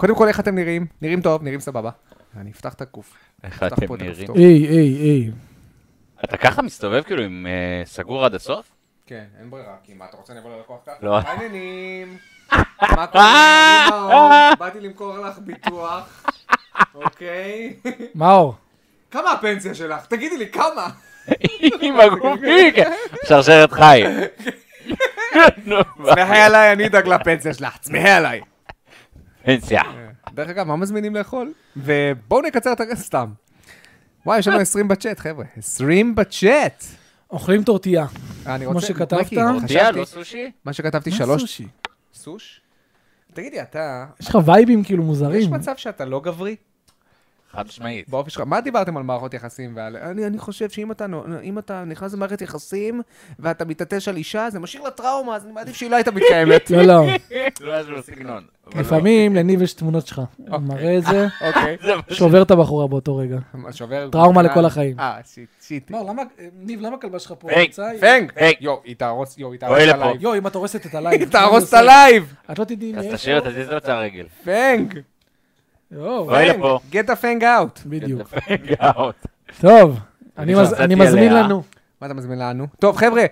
קודם כל, איך אתם נראים? נראים טוב, נראים סבבה. אני אפתח את הקוף. איך אתם נראים? היי, היי, היי. אתה ככה מסתובב כאילו עם אה, סגור עד הסוף? כן, אין ברירה, כי מה, אתה רוצה לבוא ללקוח ככה? לא. מה העניינים? מה קורה? לימור? באתי למכור לך ביטוח, אוקיי? מאור, כמה הפנסיה שלך? תגידי לי, כמה? עם הגופי, כן. שרשרת חי. נו, מה? צמחי עליי, אני אדאג לפנסיה שלך, צמחי עליי. פנסיה. דרך אגב, מה מזמינים לאכול? ובואו נקצר את הרגע סתם. וואי, אה. יש לנו 20 בצ'אט, חבר'ה. 20 בצ'אט! אוכלים טורטיה. אה, אני כמו רוצה- שכתבת. מייקי, תהיה, חשבתי, לא סושי? מה שכתבתי מה שלוש... סושי? סוש? תגידי, אתה... יש לך וייבים כאילו יש מוזרים. מצב שאתה לא גברי? חד משמעית. באופי שלך, מה דיברתם על מערכות יחסים ועל... אני, אני חושב שאם אתה, נו- אם אתה נכנס למערכת יחסים ואתה מתעטש על אישה, זה משאיר לה טראומה, אז אני מעדיף שהיא לא הייתה מתקיימת. לא, לא. לא יש לו סגנון. אבל לפעמים לניב יש תמונות שלך. הוא מראה את זה, אוקיי. לא. זה מה ש- שובר את הבחורה באותו רגע. מה, שובר... טראומה לכל החיים. אה, שיט, שיט. למה, אה, ניב, למה הכלבה שלך פה? היי, נמצא? פנג! היי. יואו, היא תהרוס, יואו, היא תהרוס את אוי, לפה. הלייב. יואו, אם את הורסת את הלייב. היא תהרוס את הלייב! את לא תדעי אז מי יש. תשאיר את הזיז אותה הרגל. פנג! יואו, לא. אוי לפה. get the fang out! בדיוק. כן, גאות. טוב, אני אני מז- נתתי אני מזמין עליה. לנו. מה אתה מזמין לנו? טוב, חבר'ה,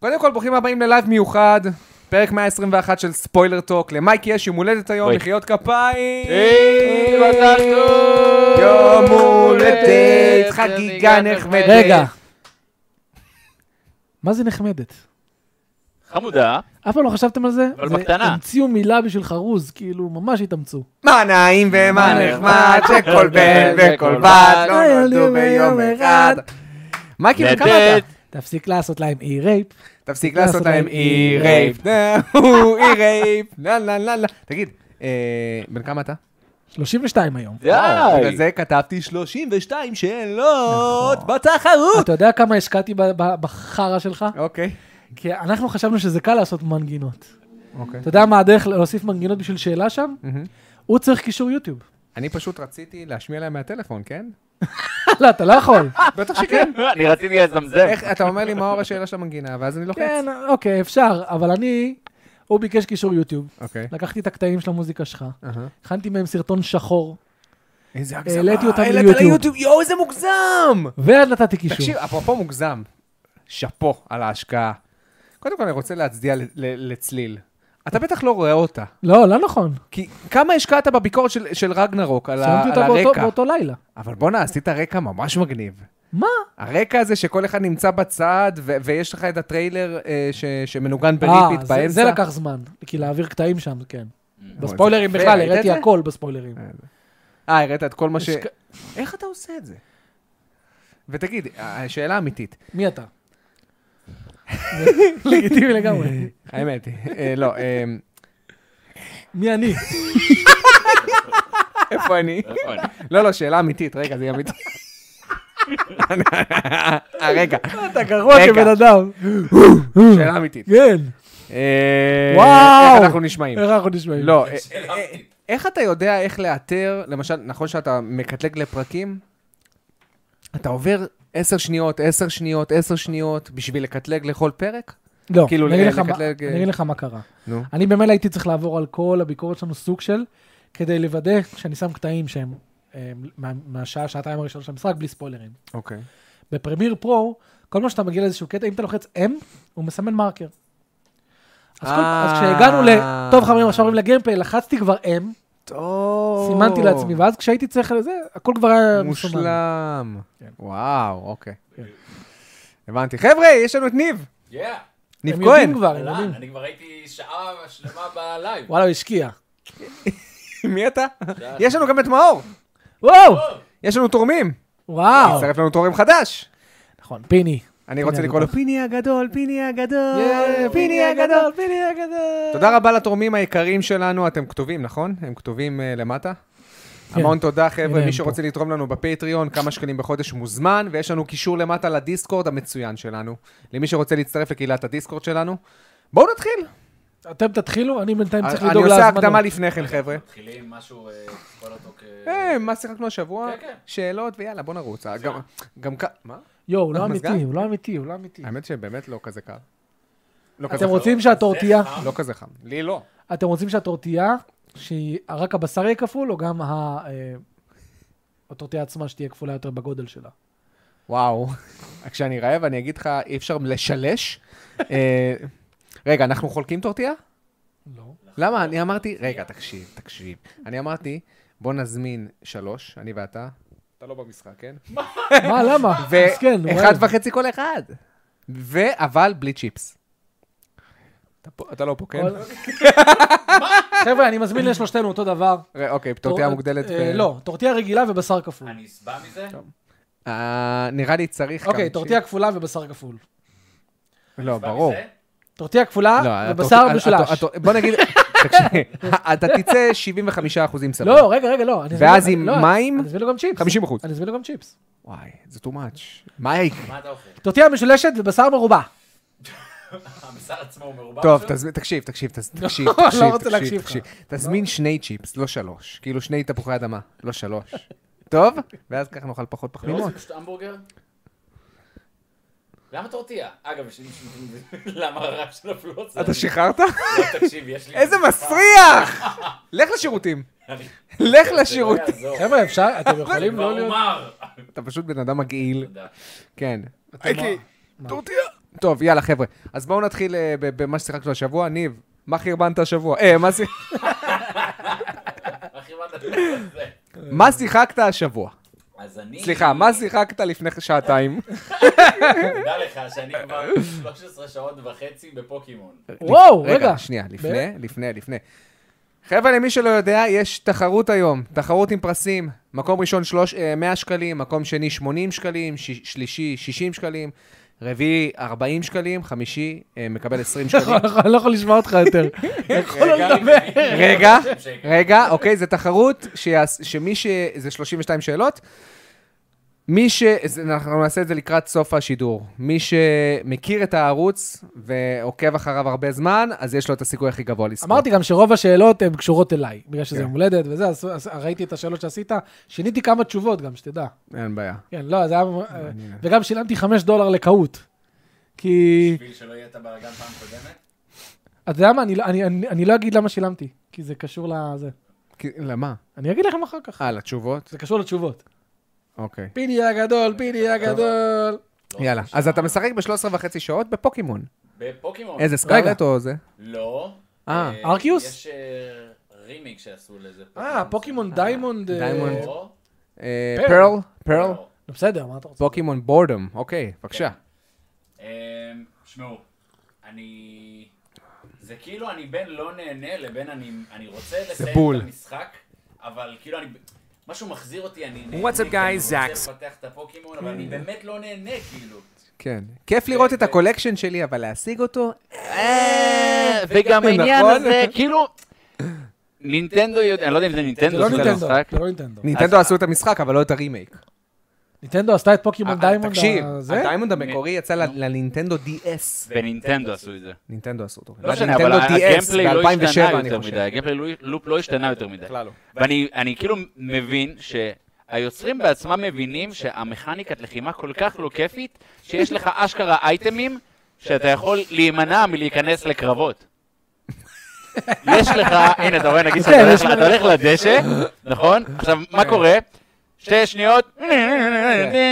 קודם כל ברוכים הבאים ללייב מיוחד, פרק 121 של ספוילר טוק. למייק יש יום הולדת היום, אוי. מחיאות כפיים! היי, מזל אה, טוב! יום אה, הולדת, חגיגה נחמדת. רגע. מה זה נחמדת? אה, חמודה. אף פעם לא חשבתם על זה? אבל זה- בקטנה. המציאו מילה בשביל חרוז, כאילו, ממש התאמצו. מה נעים ומה נחמד, שכל בן וכל בת לא נולדו ביום אחד. מייקי, בן כמה נהדרת. אתה? תפסיק לעשות להם אי רייפ. תפסיק לעשות לא להם אי רייפ, הוא אי רייפ, לה לה לה לה. תגיד, אה, בן כמה אתה? 32 היום. בגלל די. אה, זה כתבתי 32 שאלות בתחרות. אתה יודע כמה השקעתי ב- ב- בחרא שלך? אוקיי. כי אנחנו חשבנו שזה קל לעשות מנגינות. אוקיי. אתה יודע מה הדרך להוסיף מנגינות בשביל שאלה שם? מהמם. הוא צריך קישור יוטיוב. אני פשוט רציתי להשמיע להם מהטלפון, כן? לא, אתה לא יכול. בטח כן. שכן. אני רציתי לזמזם. איך, אתה אומר לי מה אור השאלה של המנגינה, ואז אני לוחץ. כן, אוקיי, אפשר, אבל אני... הוא ביקש קישור יוטיוב. אוקיי. לקחתי את הקטעים של המוזיקה שלך, אהה. הכנתי מהם סרטון שחור, איזה העליתי אותם העלית ליוטיוב. ליוטיוב. יואו, איזה מוגזם! ואז נתתי קישור. תקשיב, אפרופו מוגזם, שאפו על ההשקעה. קודם כל, אני רוצה להצדיע ל- ל- לצליל. אתה בטח לא רואה אותה. לא, לא נכון. כי כמה השקעת בביקורת של, של רגנרוק על, ה- שמתי על אותה באותו- הרקע. באותו לילה. אבל בואנה, עשית רקע ממש מגניב. מה? הרקע הזה שכל אחד נמצא בצד, ו- ויש לך את הטריילר אה, ש- שמנוגן אה, בריפית זה- באמצע. זה לקח זמן, כי להעביר קטעים שם, כן. בספוילרים יפה, בכלל, ראית את הראיתי זה? הכל בספוילרים. אה, הראת את כל מה ש... יש כ- איך אתה עושה את זה? ותגיד, אה, השאלה האמיתית, מי אתה? לגיטימי לגמרי. האמת היא, אה, לא, אה, מי אני? איפה אני? לא, לא, שאלה אמיתית, רגע, זה יהיה אמיתי. אה, רגע, אתה גרוע רגע. כבן אדם. שאלה אמיתית. כן. אה, אה. וואו! איך אנחנו נשמעים? איך אנחנו נשמעים? לא, אה, אה, אה, איך אתה יודע איך לאתר, למשל, נכון שאתה מקטלג לפרקים? אתה עובר עשר שניות, עשר שניות, עשר שניות, בשביל לקטלג לכל פרק? לא, כאילו, אני אגיד לך מה- לקטלג, אה, אני אגיד לך מה קרה. נו. אני במילא הייתי צריך לעבור על כל הביקורת שלנו סוג של, כדי לוודא שאני שם קטעים שהם אה, מה- מהשעה, שעתיים הראשונות של המשחק, בלי ספוילרים. אוקיי. בפרמייר פרו, כל פעם שאתה מגיע לאיזשהו קטע, אם אתה לוחץ M, הוא מסמן מרקר. אז כל- אה. אז כשהגענו ל... טוב חברים, עכשיו עוברים לגיימפליי, לחצתי כבר M, טוב. סימנתי לעצמי, ואז כשהייתי צריך לזה, הכל כבר היה מסומן. מושלם. כן. וואו, אוקיי. כן. הבנתי. חבר'ה, יש לנו את ניב. אה, ניב הם כהן. יודעים כבר, הם יודעים. אני כבר הייתי שעה שלמה בלייב. וואלה, הוא השקיע. מי אתה? יש לנו גם את מאור. וואו! יש לנו תורמים. וואו! הצטרף לנו תורם חדש. נכון, פיני. אני רוצה לקרוא לו פיני הגדול, פיני הגדול, יאי, פיני פיני הגדול. הגדול, פיני הגדול. תודה רבה לתורמים היקרים שלנו, אתם כתובים, נכון? הם כתובים אה, למטה. כן. המון תודה, חבר'ה. הנה מי הם שרוצה לתרום לנו בפטריון, כמה שקלים בחודש מוזמן, ויש לנו קישור למטה לדיסקורד המצוין שלנו. למי שרוצה להצטרף לקהילת הדיסקורד שלנו. בואו נתחיל. אתם תתחילו, אני בינתיים צריך אני לדאוג עושה להזמנות. הקדמה לפני כן, חבר'ה. מתחילים משהו, אה, כל אותו כ... אה, מה שיחקנו השבוע? כן, כן. שאלות, ויאללה, בוא נרוץ. גם- גם כ... מה? יואו, הוא אה, לא מזגן? אמיתי, הוא לא אמיתי, הוא לא אמיתי. האמת שבאמת לא כזה קר. לא כזה אתם חם. אה, רוצים שהטורטיה, לא כזה חם. לי לא. אתם רוצים שהטורטיה שרק הבשר יהיה כפול, או גם ה... אה, הטורטיה עצמה שתהיה כפולה יותר בגודל שלה. וואו, כשאני רעב אני אגיד לך, אי אפשר לשלש. אה, רגע, אנחנו חולקים טורטיה? לא. למה? אני אמרתי, רגע, תקשיב, תקשיב. אני אמרתי, בוא נזמין שלוש, אני ואתה. אתה לא במשחק, כן? מה, כן, למה? מסכן, הוא ואחד רעב. וחצי כל אחד. ו- אבל בלי צ'יפס. אתה פה- אתה לא פה, כן? כל- חבר'ה, אני מזמין לשלושתנו אותו דבר. ר- אוקיי, טורטיה טור- מוגדלת. אה, ו- לא, טורטיה רגילה ובשר כפול. אני אסבע מזה? אה, נראה לי צריך גם אוקיי, צ'יפ. טורטיה כפולה ובשר כפול. לא, אסבע ברור. מזה? טורטיה כפולה לא, הטורט- ובשר הטורט- משולש. הטורט- בוא נגיד, תקשיב, אתה תצא 75% סבבה. לא, רגע, רגע, לא. אני אזמין ואז לו- עם לא, מים, אני אזמין לו גם צ'יפס. 50%. אני אזמין לו גם צ'יפס. וואי, זה too much. מייק. לא מה אתה אוכל? אה, טורטיה משולשת ובשר מרובע. הבשר עצמו הוא מרובע? טוב, פשוט? תזמין, תקשיב, תקשיב, תז- לא, תקשיב, לא תקשיב, רוצה תקשיב, להקשיב לך. תקשיב. תזמין שני צ'יפס, לא שלוש. כאילו שני תפוחי אדמה, לא שלוש. טוב? ואז ככה נאכל פחות אתם לא פחמימות. רוצים פשוט המבורגר? למה טורטיה? אגב, יש לי... למה רק של הפלוץ? אתה שחררת? תקשיב, יש לי... איזה מסריח! לך לשירותים. לך לא לשירותים. חבר'ה, אפשר, אתם יכולים כבר לא להיות... אומר. אתה פשוט בן אדם מגעיל. תודה. כן. אייקי, טורטיה. טוב, יאללה, חבר'ה. אז בואו נתחיל אה, ב- במה ששיחקנו השבוע. ניב, מה חרבנת השבוע? אה, מה שיח- הכי מה אתה עושה? זה. מה שיחקת השבוע? אז אני... סליחה, מה שיחקת לפני שעתיים? תדע לך שאני כבר 13 שעות וחצי בפוקימון. וואו, רגע. רגע, שנייה, לפני, לפני, לפני. חבר'ה, למי שלא יודע, יש תחרות היום, תחרות עם פרסים. מקום ראשון שלוש- אה, 100 שקלים, מקום שני 80 שקלים, ש- שלישי 60 שקלים, רביעי 40 שקלים, חמישי אה, מקבל 20 שקלים. אני לא יכול לשמוע אותך יותר. אני יכול לא רגע, לדבר. רגע, רגע, אוקיי, זו תחרות שיעש- שמי ש... זה 32 שאלות. מי ש... זה- אנחנו נעשה את זה לקראת סוף השידור. מי שמכיר את הערוץ ועוקב אחריו הרבה זמן, אז יש לו את הסיכוי הכי גבוה לזכות. אמרתי גם שרוב השאלות הן קשורות אליי, בגלל שזה כן. יום הולדת וזה, אז אז ראיתי את השאלות שעשית, שיניתי כמה תשובות גם, שתדע. אין בעיה. כן, לא, זה היה... וגם שילמתי 5 דולר לקהוט. כי... בשביל שלא יהיה את הבלאגן פעם קודמת? אתה יודע מה, אני לא- אני- אני- אני לא אגיד למה שילמתי, כי זה קשור לזה. כי- למה? אני אגיד לכם אחר כך. אה, לתשובות? זה קשור לתשובות. אוקיי. פיני הגדול, פיני הגדול. לא, לא, יאלה. אז אתה משחק ב-13 וחצי שעות בפוקימון. אוקיי. בפוקימון. איזה סקארלט או זה? לא. אה, ארקיוס? יש אה, רימיק שעשו לזה. אה, פוקימון דיימונד. אה, דיימונד. לא, אה, פרל. פרל? פרל? לא. לא, בסדר, מה אתה רוצה? פוקימון בורדום. אוקיי, בבקשה. אה, שמעו, אני... זה כאילו אני בין לא נהנה לבין אני, אני רוצה לסיים בול. את המשחק, אבל כאילו אני... משהו מחזיר אותי, אני נהנה, What's up, כי אני guys? רוצה Zax. לפתח את הפוקימון, אבל אני באמת לא נהנה, כאילו. כן. כיף לראות את הקולקשן שלי, אבל להשיג אותו? אה, וגם העניין נכון. הזה, כאילו... נינטנדו יודע, אני לא יודע אם זה זה נינטנדו, לא זה נינטנדו, משחק. זה לא נינטנדו. נינטנדו עשו את המשחק, אבל לא את הרימייק. ניטנדו עשתה את פוקימון אה, דיימונד תקשיב, הזה. הדיימונד המקורי יצא ל- לנינטנדו DS. בנינטנדו עשו את זה. נינטנדו עשו אותו. לא משנה, אבל לנינטנדו הגיימפליי DS לא השתנה ב-2007, אני יותר חושב. מדי, הגיימפליי לוי- לופ לא השתנה יותר מדי. בכלל לא. ואני אני כאילו מבין שהיוצרים בעצמם מבינים שהמכניקת לחימה כל כך לא כיפית, שיש לך אשכרה אייטמים שאתה יכול להימנע מלהיכנס לקרבות. יש לך, הנה אתה רואה, נגיד שאתה כן, הולך- יש לך- אתה הולך לדשא, נכון? עכשיו, מה קורה? שתי שניות,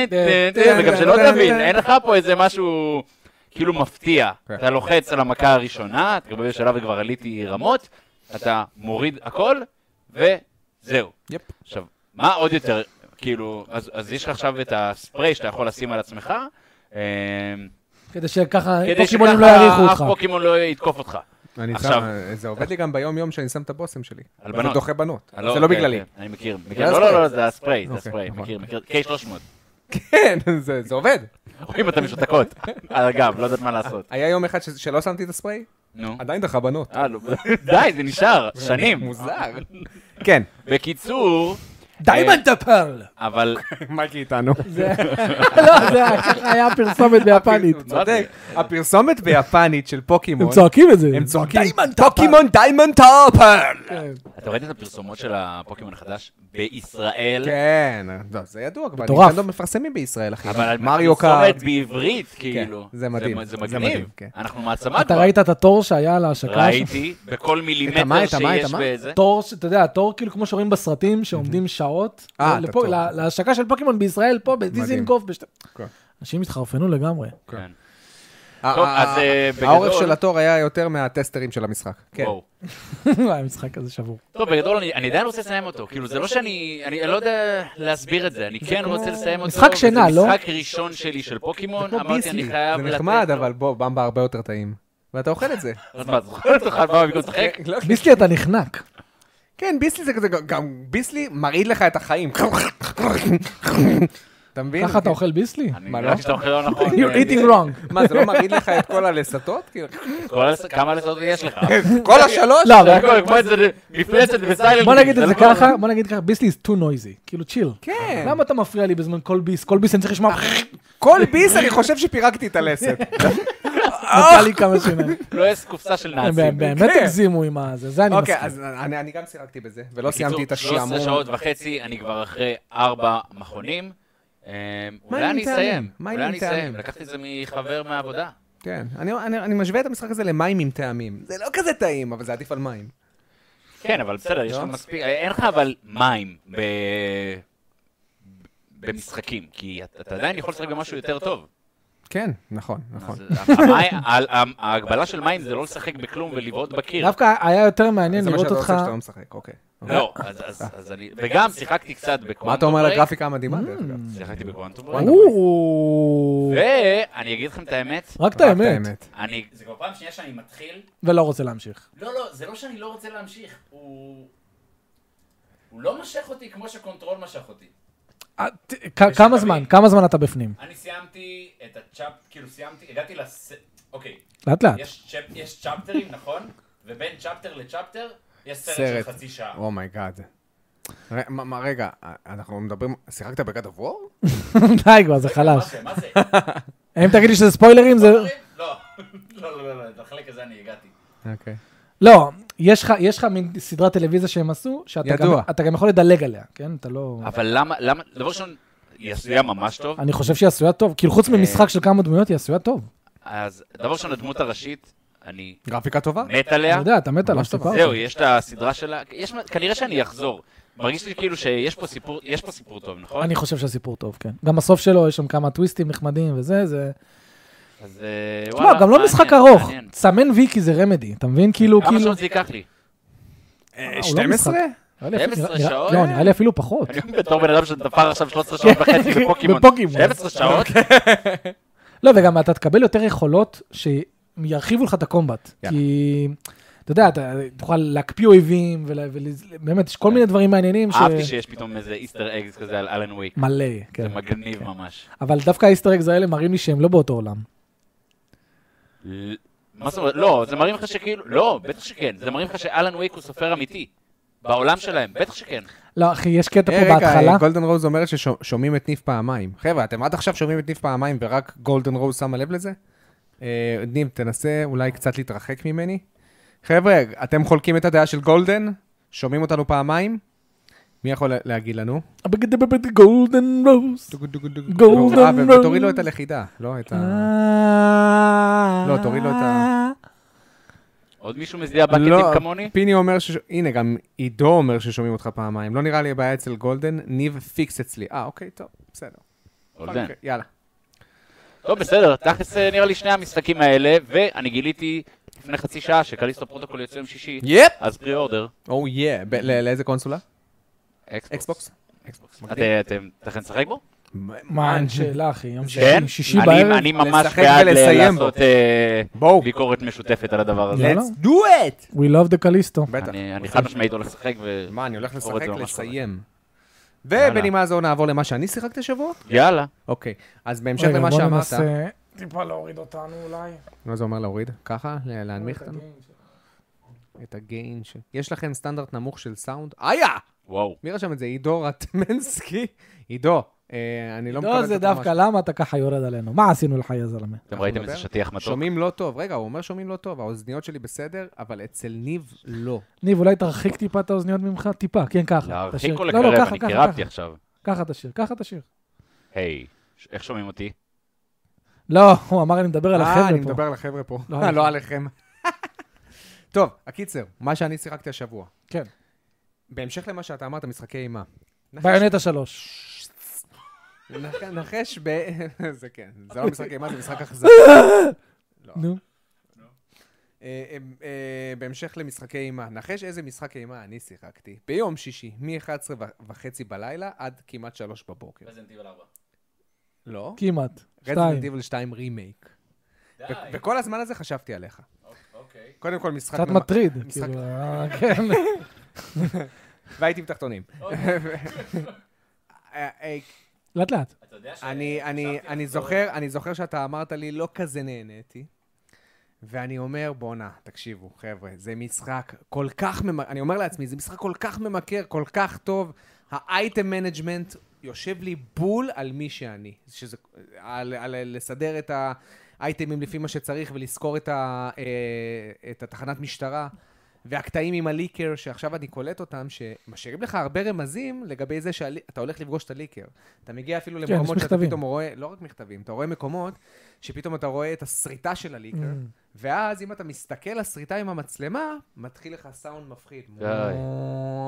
כן, וגם שלא תבין, אין לך פה איזה משהו כאילו מפתיע. כן. אתה לוחץ על המכה הראשונה, אתה כבר בשלב וכבר עליתי רמות, אתה מוריד הכל, וזהו. יפ. עכשיו, מה עוד יותר, כאילו, אז, אז יש לך עכשיו את הספרי שאתה יכול לשים על עצמך, אה, כדי שככה כדי פוקימונים לא יעריכו שככה אף אותך. פוקימון לא יתקוף אותך. אני עכשיו- שם, אה, זה עובד לי גם ביום-יום שאני שם את הבושם שלי. על זה בנות. דוחה בנות. אני זה לא כן, בגללי. כן, אני מכיר, בגלל מכיר. לא, לא, הספרי. לא, זה הספרי, זה אוקיי, הספרי, נכון. מכיר, מכיר. K300. כן, זה זה עובד. רואים אותם משותקות על הגב, לא יודעת מה לעשות. היה יום אחד ש- שלא שמתי את הספרי, נו. עדיין דחה בנות. אה, לא, די, זה נשאר, שנים. מוזר. כן, בקיצור, דיימנד הפרל! אבל מייקי איתנו. זה- לא, זה היה- ככה היה פרסומת ביפנית. הוא צודק. הפרסומת ביפנית של פוקימון, הם צועקים את זה. הם צועקים, פוקימון דיימנד טאפל! כן. אתה ראית את הפרסומות של הפוקימון החדש? בישראל? כן, לא, זה ידוע כבר, מטורף. נינטנדו מפרסמים בישראל, אחי. אבל מריו פרסומת קארט. בעברית, כאילו. זה מדהים. זה זה מדהים, מגניב. כן. אנחנו מעצמה אתה כבר. ראית את התור שהיה על ההשקה? ראיתי בכל מה, מילימטר את המה, את שיש המה? בזה. תור, ש- אתה יודע, תור כאילו כמו שרואים בסרטים, שעומדים שעות. אה, לפה- את התור. לה- להשקה של פוקימון בישראל, פה, בדיזינגוף. בשת- כן. אנשים התחרפנו לגמרי. כן. ה- טוב, ה- אז, אה, בגדול- האורך של התור היה יותר מהטסטרים של המשחק. כן. וואו. המשחק הזה שבור. טוב, בגדול אני אני עדיין רוצה לסיים אותו. כאילו, זה לא שאני... אני לא יודע להסביר את זה. אני כן רוצה לסיים אותו. משחק שינה, וזה לא? משחק ראשון שלי של פוקימון. כמו אמרתי, ביסלי. אני חייב זה לתת... נחמד, לו. אבל בוא, במבה הרבה יותר טעים. ואתה אוכל את זה. אז מה, זוכר אותך על מה במקום לשחק? לא, ביסלי אתה נחנק. כן, ביסלי זה כזה, גם ביסלי מרעיד לך את החיים. אתה מבין? ככה אתה אוכל ביסלי? אני מה, לא? נראה שאתה אוכל לא נכון. You're eating wrong. מה, זה לא מרעיד לך את כל הלסתות? כאילו, כל הס- כמה לסעות יש לך? כל השלוש? לא, אבל- זה הכל, כמו איזה מפלצת בסיילנט. בוא נגיד את זה לא נכון. ככה, בוא נגיד ככה, ביסלי is too noisy. כאילו, צ'יל. כן. אה. למה אתה מפריע לי בזמן כל ביס? כל ביס אני צריך לשמוע... כל ביס אני חושב שפירקתי את הלסת. נתן לי כמה שיניים. לא יש קופסה של הם נאצים. באמת הגזימו עם הזה, זה אני כן. אוקיי, אז מסכים. אני אני גם סירקתי בזה, ולא בקיצור, סיימתי את 13 השעמום. שעות וחצי, אני כבר אחרי ארבע מכונים. אמ, אולי עם אני טעמים? אסיים, מה עם אולי אני טעמים? אסיים. לקחתי את זה מחבר מהעבודה. כן, אני- אני אני משווה את המשחק הזה למים עם טעמים. זה לא כזה טעים, אבל זה עדיף על מים. כן, אבל בסדר, יש לך מספיק, אין לך אבל מים ב... במשחקים, כי אתה אתה עדיין יכול לשחק במשהו יותר טוב. כן, נכון, נכון. אז המים- ה- ה- ההגבלה של מים זה לא לשחק בכלום ולבעוט בקיר. דווקא היה יותר מעניין זה מה לראות שאתה אותך... עושה כשאתה לא משחק, אוקיי. לא, אז- אז אז אני... וגם שיחקתי קצת בקוונטום מה אתה אומר על ברייק. הגרפיקה המדהימה? דרך אגב? שיחקתי בקוונטום ברייק. או, ואני אגיד לכם את האמת, רק את רק האמת. אני... זה כבר פעם שנייה שאני מתחיל. ולא רוצה להמשיך. לא, לא, זה לא שאני לא רוצה להמשיך. הוא... הוא לא משך אותי כמו שקונטרול משך אותי. אה, ת- כ- כמה תמיד. זמן? כמה זמן אתה בפנים? אני סיימתי את הצ'אפ... כאילו סיימתי, הגעתי לס... אוקיי, לאט לאט. יש צ'אפ- יש צ'פטרים, נכון? ובין צ'פטר לצ'פטר יש סרט של סרט. Oh חצי שעה. אומייגאד. רגע, אה, אנחנו מדברים, שיחקת בגד הוור? די כבר, זה מה חלש. זה? מה זה? אם תגיד לי שזה ספוילרים, זה... לא, לא, לא, לא, לחלק הזה אני הגעתי. אוקיי. לא, יש לך- יש לך מין סדרת טלוויזיה שהם עשו, שאתה גם- ידוע. אתה גם יכול לדלג עליה, כן? אתה לא... אבל למה, למה, דבר ראשון, היא עשויה ממש טוב, אני חושב שהיא עשויה טוב, כאילו אה. חוץ ממשחק של כמה דמויות, היא עשויה טוב. אז דבר ראשון, הדמות הראשית, אני גרפיקה טובה? אה, מת אני עליה, יודע, אתה מת עליו, ממש טוב. סיפרת. אה. זהו, יש את הסדרה שלה, יש, מה- כנראה שאני אחזור. מרגיש לי כאילו שיש פה סיפור, יש פה סיפור טוב, נכון? אני חושב שהסיפור טוב, כן. גם הסוף שלו, יש שם כמה טוויסטים נחמדים וזה, זה... אז אה, תשמע, גם לא מעניין, משחק ארוך. מעניין. סמן וי כי זה רמדי, אתה מבין? כאילו, כמה כאילו... שעות זה ייקח לי? אה, הוא לא 12? משחק. נראה לי אפילו- 12 נראה- שעות? לא, נראה לי אפילו פחות. אני בתור בן אדם שדפר עכשיו 13 שעות וחצי בפוקימון. כן, בפוקימון. כן, 12 שעות? לא, וגם אתה תקבל יותר יכולות שירחיבו לך את הקומבט. יאללה. כי, אתה יודע, אתה תוכל להקפיא אויבים, ובאמת, יש כל מיני דברים מעניינים ש... אהבתי שיש פתאום איזה איסטר אגז כזה על אלן וויק. מלא, זה כן. מגניב ממש. אבל דווקא האיסטראגז האלה מראים לי שהם לא באותו עולם. ל- מה זאת אומרת? לא, זה מראים לך שכאילו... לא, בטח שכן. זה מראים לך שאלן וייק הוא סופר אמיתי. בעולם שלהם, בטח שכן. לא, אחי, יש קטע אה, פה בהתחלה. רגע, גולדן רוז אומרת ששומעים את ניף פעמיים. חבר'ה, אתם עד עכשיו שומעים את ניף פעמיים ורק גולדן רוז שמה לב לזה? אה, ניב, תנסה אולי קצת להתרחק ממני. חבר'ה, אתם חולקים את הדעה של גולדן? שומעים אותנו פעמיים? מי יכול לה- להגיד לנו? גולדן רוז. גולדן אה, ו- רוז. אה, ותוריד לו את הלכידה, לא את ה... לא, תוריד לו את ה- עוד מישהו מזיע לא. בקטים כמוני? פיני אומר ש... הנה, גם עידו אומר ששומעים אותך פעמיים. לא נראה לי הבעיה אצל גולדן, ניב פיקס אצלי. אה, אוקיי, טוב, בסדר. אולדן. אוקיי, יאללה. טוב, בסדר. תכלס אה, נראה לי שני המשחקים האלה, ואני גיליתי לפני חצי שעה שקליסטו פרוטוקול יוצא יום שישי, יפ! אז פרי אורדר. או יא. ב- ל- לאיזה קונסולה? אקסבוקס. אקסבוקס? אתם אתם נשחק בו? מה, אה, אין שאלה, אחי, יום כן? שישי, שישי אני- בערב. אני ממש לשחק בעד ל- ולסיים לעשות אה, בואו. לא, ביקורת משותפת על הדבר הזה. יאללה. do it! We love the קליסטו. בטח. אני אני חד משמעית הולך לשחק ו... מה, אני הולך אורן, לשחק זה ממש לסיים. יאללה. ובנימה זו נעבור למה שאני שיחקתי השבוע? יאללה. אוקיי, אז בהמשך רגע, למה בוא שאמרת... ננסה טיפה להוריד אותנו אולי. מה זה אומר להוריד? ככה? ל- להנמיך אותנו? את הגיין של... יש לכם סטנדרט נמוך של סאונד? איה! וואו. מי רשם את זה? עידו רטמנסקי? עידו, אה, אני לא מקבל את לא, זה התרומה דווקא, שלך. למה אתה ככה יורד עלינו? מה עשינו לך, יא זלמה? אתם ראיתם איזה נדבר? שטיח מתוק? שומעים לא טוב. רגע, הוא אומר שומעים לא טוב, האוזניות שלי בסדר, אבל אצל ניב לא. ניב, אולי תרחיק טיפה את האוזניות ממך? טיפה, כן, נכון, ככה. להרחיק תשאיר. או לא, לא, לקרב, ככה, אני ככה, קירבתי ככה. עכשיו. ככה תשאיר, ככה תשאיר. היי, ש- איך שומעים אותי? לא, הוא אמר, אני מדבר על אה, אני החבר'ה פה. מדבר על החבר'ה פה. לא אה, עליכם. לא עליכם. טוב, הקיצר, מה שאני שיחקתי השבוע. כן. בהמשך למה שאתה אמרת, משחקי אימה. ביונטה שלוש. נח- נחש ב... זה כן, זה לא משחק אימה, זה משחק אכזר. לא. נו. אה, אה, אה, בהמשך למשחקי אימה, נחש איזה משחק אימה אני שיחקתי ביום שישי, מ-11 וחצי בלילה עד כמעט 3 בבוקר. רזנטיבל 4. לא? כמעט. רזנט שתיים. איבל 2 רימייק. די. ו- וכל הזמן הזה חשבתי עליך. אוק- אוקיי. קודם כל משחק... קצת ממ- מטריד, משחק- כאילו, אה, כן. והייתי בתחתונים. אוקיי. אה, אה, לאט לאט. אתה יודע ש... אני, אני, חשבתי אני לחזור- זוכר, אני זוכר שאתה אמרת לי, לא כזה נהניתי. ואני אומר, בואנה, תקשיבו, חבר'ה, זה משחק כל כך ממכר, אני אומר לעצמי, זה משחק כל כך ממכר, כל כך טוב. האייטם מנג'מנט יושב לי בול על מי שאני. שזה, על, על, על לסדר את האייטמים לפי מה שצריך ולזכור את, ה, אה, את התחנת משטרה. והקטעים עם הליקר, שעכשיו אני קולט אותם, שמשאירים לך הרבה רמזים לגבי זה שאתה הולך לפגוש את הליקר. אתה מגיע אפילו כן, יש למקומות שאתה מכתבים. פתאום רואה, לא רק מכתבים, אתה רואה מקומות שפתאום אתה רואה את הסריטה של הליקר, Mm. ואז אם אתה מסתכל לסריטה עם המצלמה, מתחיל לך סאונד מפחיד. די.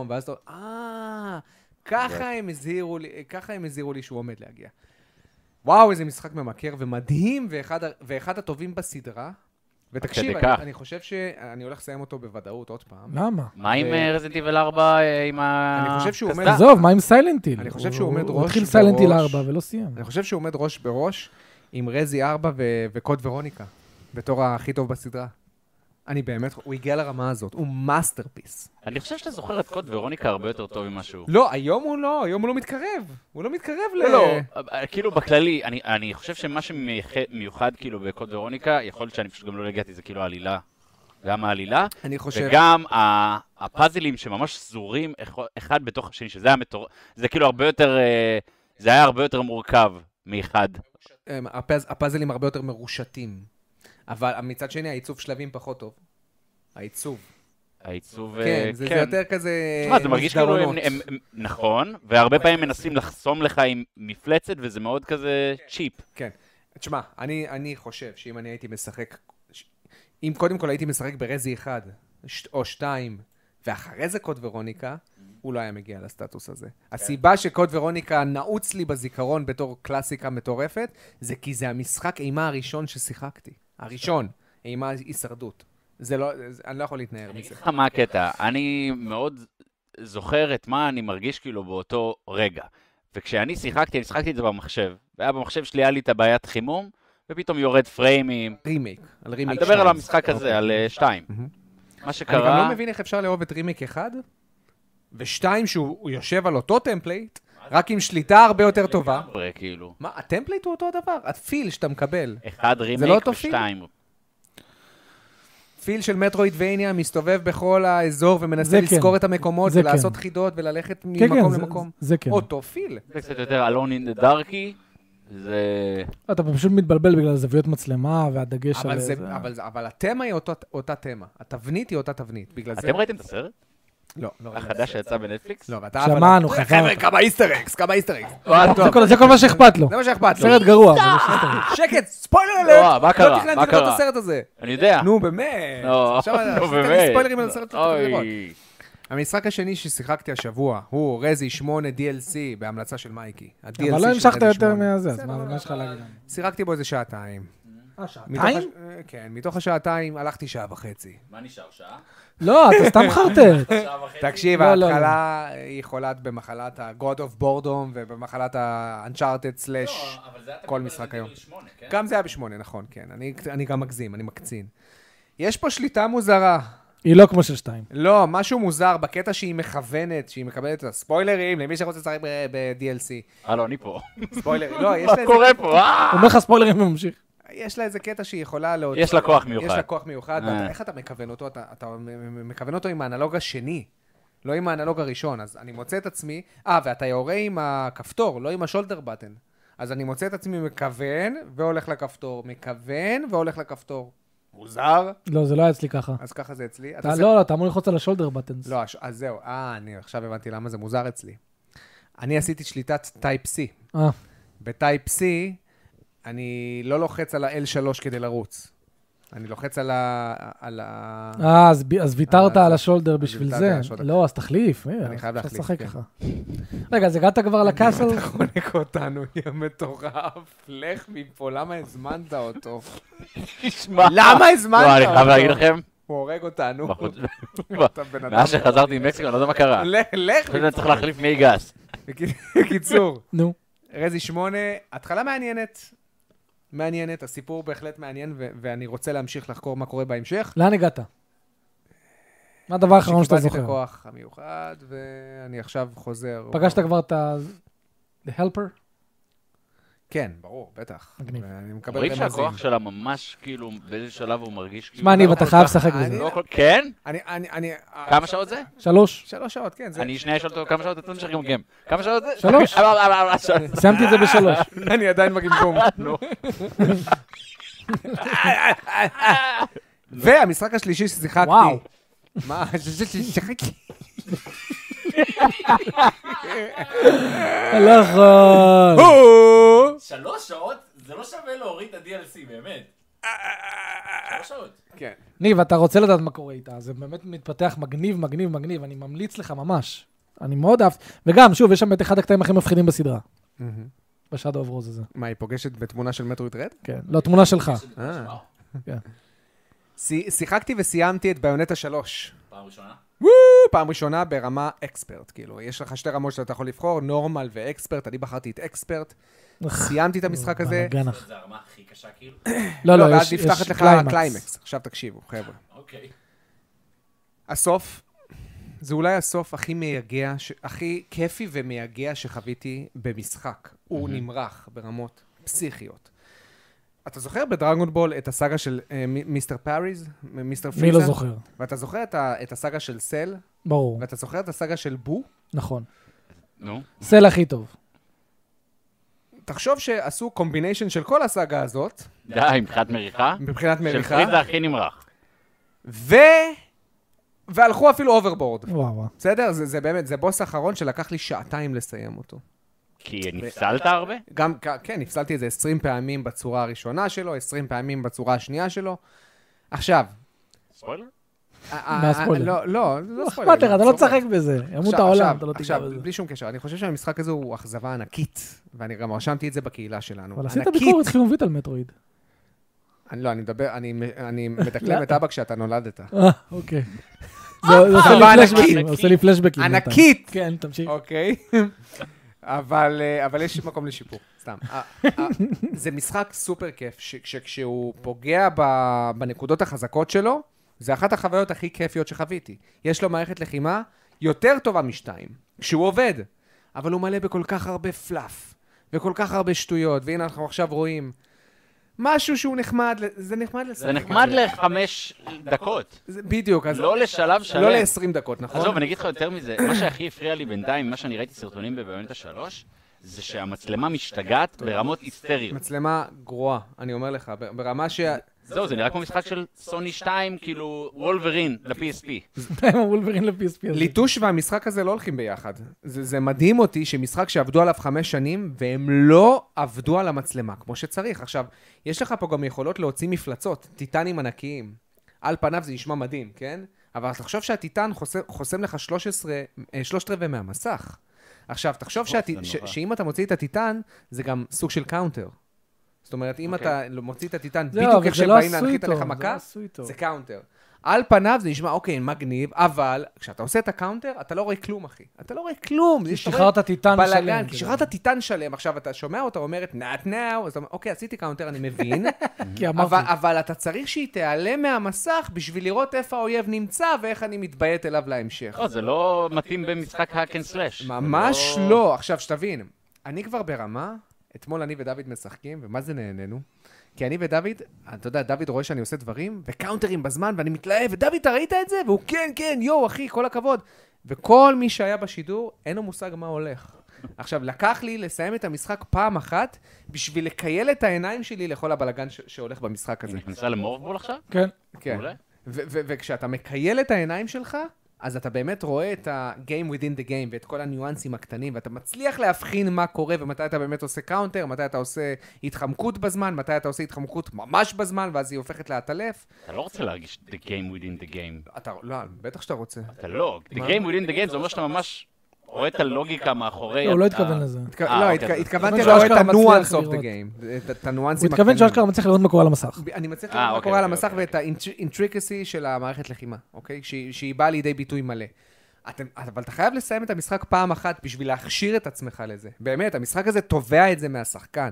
ואז אתה אומר, אה, ככה הם הזהירו לי, ככה הם הזהירו לי שהוא עומד להגיע. וואו, איזה משחק ממכר ומדהים, ואחד, ה- ואחד הטובים בסדרה. ותקשיב, כדי כך. אני, אני חושב שאני הולך לסיים אותו בוודאות עוד פעם. למה? מה עם ו- אה, רזנטיבל 4 אה, עם ה... אני חושב שהוא אומר- קסדה? עזוב, מה עם סיילנטיל? אני חושב שהוא עומד הוא ראש התחיל סיילנטיל בראש. 4 ולא סיים. אני חושב שהוא עומד ראש בראש עם רזי ארבע ו- וקוד ורוניקה, בתור הכי טוב בסדרה. אני באמת, הוא הגיע לרמה הזאת, הוא מאסטרפיס. אני חושב שאתה זוכר את קוד ורוניקה הרבה יותר טוב ממה שהוא. לא, היום הוא לא, היום הוא לא מתקרב. הוא לא מתקרב ל... לא, לא, אה, כאילו בכללי, אני- אני חושב שמה שמיוחד כאילו בקוד ורוניקה, יכול להיות שאני פשוט גם לא הגעתי, זה כאילו העלילה. גם העלילה, אני חושב... וגם ה- הפאזלים שממש סזורים אחד- אחד בתוך השני, שזה היה מטור... זה כאילו הרבה יותר... אה, זה היה הרבה יותר מורכב מאחד. הם, אמ, הפאז, הפאזלים הרבה יותר מרושתים. אבל מצד שני, העיצוב שלבים פחות טוב. העיצוב. העיצוב... כן, אה, זה, זה יותר כזה... תשמע, זה מרגיש כאילו הם, אה, מסדרונות. הם, הם... נכון, והרבה פעמים מנסים לחסום לך עם מפלצת, וזה מאוד כזה צ'יפ. כן. תשמע, אני, אני חושב שאם אני הייתי משחק... ש- אם קודם כל הייתי משחק ברזי אחד, ש... או שתיים, ואחרי זה קוד ורוניקה, Mm-hmm. הוא לא היה מגיע לסטטוס הזה. כן. הסיבה שקוד ורוניקה נעוץ לי בזיכרון בתור קלאסיקה מטורפת, זה כי זה המשחק אימה הראשון ששיחקתי. הראשון, אימה הישרדות. זה לא, זה- אני לא יכול להתנער אני אגיד מזה. לך מה הקטע, אני מאוד זוכר את מה אני מרגיש כאילו באותו רגע. וכשאני שיחקתי, אני שיחקתי את זה במחשב. והיה במחשב שלי, היה לי את הבעיית חימום, ופתאום יורד פריימים. רימייק, על רימייק אני מדבר שתיים. אוקיי. על המשחק הזה, על אה, שתיים. מהמם. מה אני גם לא שקרה, מבין איך אפשר לאהוב את רימייק אחד, ושתיים שהוא הוא יושב על אותו טמפלייט, רק עם שליטה הרבה יותר טובה. לגמרי, כאילו, מה, הטמפלייט הוא אותו הדבר, הפיל שאתה מקבל. אחד לא רימייק אותו פיל? ושתיים. פיל של מטרואידבניה מסתובב בכל האזור ומנסה זה כן. לזכור את המקומות זה ולעשות כן. חידות וללכת כן, כן, ממקום זה- למקום. זה כן. אותו פיל. זה קצת יותר אלון אין דה דארקי, זה... אתה פשוט מתבלבל בגלל זוויות מצלמה והדגש על... אבל, זה, זה. אבל, זה- אבל התמה היא אותה, אותה תמה, התבנית היא אותה תבנית, בגלל זה... אתם ראיתם את הסרט? לא, לא ראיתי. החדש שיצא בנטפליקס? לא, ואתה... שמענו, אבל- חבל. חבר'ה, כמה איסטרקס, כמה איסטרקס. אה, זה כל- זה כל מה שאכפת לו. זה מה שאכפת לי. סרט גרוע. אבל יש הסתייגות. שקט, ספוילר אלרט! מה קרה? לא מה תכננתי לראות את קרה? הסרט הזה. אני יודע. נו, באמת. נו, עכשיו לא. נו, עשית לי באמת. לא, ספוילרים על הסרט שאתה צריך לראות. אוי. המשחק השני ששיחקתי השבוע הוא רזי 8 DLC בהמלצה של מייקי. ה-DLC אבל לא של המשכת רזי יותר 8. מזה, אז מה מה יש לך להגיד? שיחקתי בו איזה שעתיים. אה, מתוך שעתיים? הש- אה, כן, מתוך השעתיים הלכתי שעה וחצי. מה נשאר? שעה? לא, אתה סתם חרטט. שעה וחצי? תקשיב, לא, לא, לא. ההתחלה היא חולת במחלת ה-God of Boredom ובמחלת ה-Uncharted slash לא, אבל זה היה כל תמיד משחק ברזנטיבל היום. שמונה, כן? גם זה היה בשמונה, נכון, כן. אני אני גם מגזים, אני מקצין. יש פה שליטה מוזרה. היא לא כמו של שתיים. לא, משהו מוזר בקטע שהיא מכוונת, שהיא מקבלת את הספוילרים למי שרוצה לשחק ב- ב-DLC. הלו, אה, לא, אני פה. ספוילרים, לא, יש מה לה איזה קורה פה? אה! אומר לך ספוילרים וממשיך. יש לה איזה קטע שהיא יכולה להוציא. יש לה כוח מיוחד. יש לה כוח מיוחד, אה. ואתה- איך אתה מכוון אותו? אתה, אתה מ- מ- מכוון אותו עם האנלוג השני. לא עם האנלוג הראשון, אז אני מוצא את עצמי... אה, ואתה יורה עם הכפתור, לא עם השולדר בטן. אז אני מוצא את עצמי מכוון והולך לכפתור, מכוון והולך לכפתור. מוזר. לא, זה לא היה אצלי ככה. אז ככה זה אצלי. אתה אתה- עושה- לא, לא, אתה אמור ללחוץ על השולדר בטנס. לא, הש- אז זהו. אה, אני עכשיו הבנתי למה זה מוזר אצלי. אני עשיתי שליטת טייפ C. אה, בטייפ C אני לא לוחץ על ה-L3 כדי לרוץ. אני לוחץ על ה... על ה... אה, אז ב- אז ויתרת אה, על השולדר אז בשביל ויתרתי זה. על השולדר. לא, אז תחליף. אה, אני חייב אז להחליף, תשחק כן. ככה. רגע, אז הגעת כבר לקאסל? אתה חונק אותנו, יא מטורף. לך מפה, למה הזמנת אותו? תשמע. למה הזמנת לא, אני חייב אותו? להגיד לכם, הוא הורג אותנו. בחוץ- לא. אתה בן אדם. מאז שחזרתי ממקסיקו, אני לא יודע מה קרה. אני לך, לך. חושב שאני צריך להחליף מי גס. בקיצור, נו. רזי שמונה, התחלה מעניינת. מעניינת, הסיפור בהחלט מעניין, ו- ואני רוצה להמשיך לחקור מה קורה בהמשך. לאן הגעת? מה הדבר האחרון שאתה שקיבלתי את זוכר? הכוח המיוחד, ואני עכשיו חוזר. פגשת כבר את ה... The Helper? כן, ברור, בטח. מגניב. אני מקבל אומרים רמזים. שהכוח שלה ממש, כאילו, באיזה שלב הוא מרגיש כאילו... שמע, ניב, לא אתה כל חייב כך- לשחק אני- בזה. לא כל- כן? אני, אני, אני... כמה שעות זה? שלוש. שלוש שעות, כן. אה, זה... אני שנייה אשאל אותו כמה שעות אתה משחק עם גיים. כמה שעות זה? שלוש. אה, אה, אה, אה, שלוש. סיימתי את זה בשלוש. אני עדיין בגמגום. נו. והמשחק השלישי ששיחקתי... וואו. מה? ששיחקתי... לא יכול. אה. שלוש שעות? זה לא שווה להוריד את ה-DLC, באמת. שלוש שעות. כן. ניב, אתה רוצה לדעת מה קורה איתה, זה באמת מתפתח מגניב, מגניב, מגניב, אני ממליץ לך ממש. אני מאוד אהבתי. וגם, שוב, יש שם את אחד הקטעים הכי מפחידים בסדרה. בשאד אוף רוז הזה. מה, היא פוגשת בתמונה של מטרויד רד? כן. לא, תמונה שלך. אה. כן. ש- שיחקתי וסיימתי את ביונטה 3. פעם ראשונה? וואו, פעם ראשונה ברמה אקספרט, כאילו, יש לך שתי רמות שאתה יכול לבחור, נורמל ואקספרט, אני בחרתי את אקספרט, סיימתי את המשחק הזה, בלאגן אח. זה הרמה הכי קשה כאילו? לא, לא, יש ואז נפתחת יש לך קליימקס. קליימקס. עכשיו תקשיבו, חבר'ה. אוקיי. הסוף, זה אולי הסוף הכי מייגע, ש... הכי כיפי ומייגע שחוויתי במשחק. הוא נמרח ברמות פסיכיות. אתה זוכר בדרגון בול את הסאגה של אה, מ- מיסטר פאריז? מ- מיסטר פריזה? מי לא זוכר? ואתה זוכר את, ה... את הסאגה של סל? ברור, ואתה זוכר את הסאגה של בו? נכון. נו. סל הכי טוב. תחשוב שעשו קומביניישן של כל הסאגה הזאת, די, מבחינת מריחה? מבחינת של מריחה, פריד זה הכי נמרח. ו... והלכו אפילו אוברבורד. וואו, וואו. בסדר? זה, זה באמת, זה בוס האחרון שלקח לי שעתיים לסיים אותו. כי נפסלת הרבה? גם, כ- כן, נפסלתי את זה 20 פעמים בצורה הראשונה שלו, 20 פעמים בצורה השנייה שלו. עכשיו, ספוילר? ה- ה- מה ה- הספוילר? לא, לא, זה לא לא ספוילר. אכפת לך, אתה לא צוחק. תשחק בזה. ימות עכשיו- העולם, עכשיו- אתה לא תיגע עכשיו, בזה. בלי שום קשר, אני חושב שהמשחק הזה הוא אכזבה ענקית, ואני גם רשמתי את זה בקהילה שלנו. אבל עשית ענקית. ביקורת חיובית על מטרואיד. אני לא, אני מדבר, אני- אני לא. מדקלם את אבא כשאתה נולדת. אה, אוקיי. זה זה עושה אבל לי אה, ענקית. פלשבקים, עושה לי פלשבקים. בינתיים. ענקית! כן, תמשיך. אוקיי. אבל, אה, אבל יש מקום לשיפור, סתם. אה, אה, זה משחק סופר כיף, שכשהוא פוגע ב- בנקודות החזקות שלו, זה אחת החוויות הכי כיפיות שחוויתי. יש לו מערכת לחימה יותר טובה משתיים, כשהוא עובד, אבל הוא מלא בכל כך הרבה פלאף, וכל כך הרבה שטויות, והנה אנחנו עכשיו רואים משהו שהוא נחמד, ל- זה נחמד לשחק. זה את נחמד זה. לחמש דקות, זה- בדיוק, אז לא לשלב שלם. לא ל-20 דקות, נכון? עזוב, אני אגיד לך יותר מזה, מה שהכי הפריע לי בינתיים, ממה שאני ראיתי סרטונים בביונטה 3, זה שהמצלמה משתגעת ברמות היסטריות. מצלמה גרועה, אני אומר לך, ב- ברמה ש... זהו, זה נראה כמו משחק של סוני 2, כאילו וולברין ל-PSP. אוקיי. אתה עם הוולברין לפספי הזה. ליטוש והמשחק הזה לא הולכים ביחד. זה, זה מדהים אותי שמשחק שעבדו עליו חמש שנים, והם לא עבדו על המצלמה כמו שצריך. עכשיו, יש לך פה גם יכולות להוציא מפלצות, טיטנים ענקיים. על פניו זה נשמע מדהים, כן? אבל תחשוב שהטיטן חוסם, חוסם לך 13, אה, שלושת רבעי מהמסך. עכשיו, תחשוב שהטי, זה ש, נורא. שאם אתה מוציא את הטיטן, זה גם סוג של קאונטר. זאת אומרת, אם אוקיי. אתה מוציא את הטיטן זהו, בדיוק אבל איך זה לא שבאים עשוי להנחית טוב, עליך זה מכה, לא עשוי טוב. זה כאילו קאונטר. על פניו זה נשמע, אוקיי, מגניב, אבל כשאתה עושה את הקאונטר, אתה לא רואה כלום, אחי. אתה לא רואה כלום. זה- אתה רואה שחררת טיטן שלם, בלאגן, כי כאילו. שחררת טיטן שלם. עכשיו אתה שומע אותה אומרת, not now, אז אתה אומר, אוקיי, עשיתי קאונטר, אני מבין, כי אמרתי. אבל- אבל אתה צריך שהיא תיעלם מהמסך בשביל לראות איפה האויב נמצא ואיך אני מתביית אליו להמשך. לא, זה לא מתאים במשחק hack and slash. ממש לא. עכשיו, שתבין, אני כבר ברמה, אתמול אני ודוד משחקים, ומה זה נהנינו? כי אני ודוד, אתה יודע, דוד רואה שאני עושה דברים, וקאונטרים בזמן, ואני מתלהב, ודוד, אתה ראית את זה? והוא, כן, כן, יואו, אחי, כל הכבוד. וכל מי שהיה בשידור, אין לו מושג מה הולך. עכשיו, לקח לי לסיים את המשחק פעם אחת, בשביל לקייל את העיניים שלי לכל הבלגן ש- שהולך במשחק היא הזה. נכנסה למורבול עכשיו? כן. כן. מעולה. ו- ו- וכשאתה מקייל את העיניים שלך, אז אתה באמת רואה את ה-game within the game ואת כל הניואנסים הקטנים, ואתה מצליח להבחין מה קורה ומתי אתה באמת עושה קאונטר, מתי אתה עושה התחמקות בזמן, מתי אתה עושה התחמקות ממש בזמן, ואז היא הופכת לעטלף. אתה לא רוצה להרגיש the game within the game. אתה, לא, בטח שאתה רוצה. אתה לא. the game within the game זה אומר שאתה ממש רואה את הלוגיקה מאחורי... לא, הוא לא ה- התכוון לזה. התכ- אה, לא, אוקיי, התכ- אז- התכוונתי אבל לראות את שאשכרה הניואנס מצליח אוף דה לראות. game, את- את הניואנסים הוא התכוון שאשכרה מצליח לראות מה קורה על המסך. אני מצליח אה, לראות מה אוקיי, קורה על אוקיי, המסך אוקיי, ואת האינטריקסי של המערכת לחימה, אוקיי? שהיא- שהיא באה לידי ביטוי מלא. אתם, אבל אתה חייב לסיים את המשחק פעם אחת בשביל להכשיר את עצמך לזה. באמת, המשחק הזה תובע את זה מהשחקן.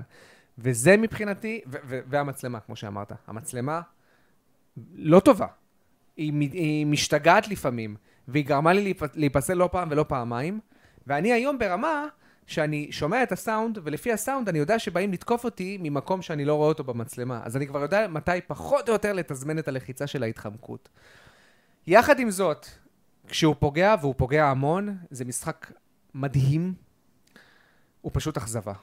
וזה מבחינתי, ו- ו- והמצלמה, כמו שאמרת. המצלמה לא טובה. היא, מ- היא משתגעת לפעמים, והיא גרמה לי להיפ- להיפסל לא פעם ולא פעמיים, ואני היום ברמה שאני שומע את הסאונד, ולפי הסאונד אני יודע שבאים לתקוף אותי ממקום שאני לא רואה אותו במצלמה. אז אני כבר יודע מתי פחות או יותר לתזמן את הלחיצה של ההתחמקות. יחד עם זאת, כשהוא פוגע, והוא פוגע המון, זה משחק מדהים, הוא פשוט אכזבה.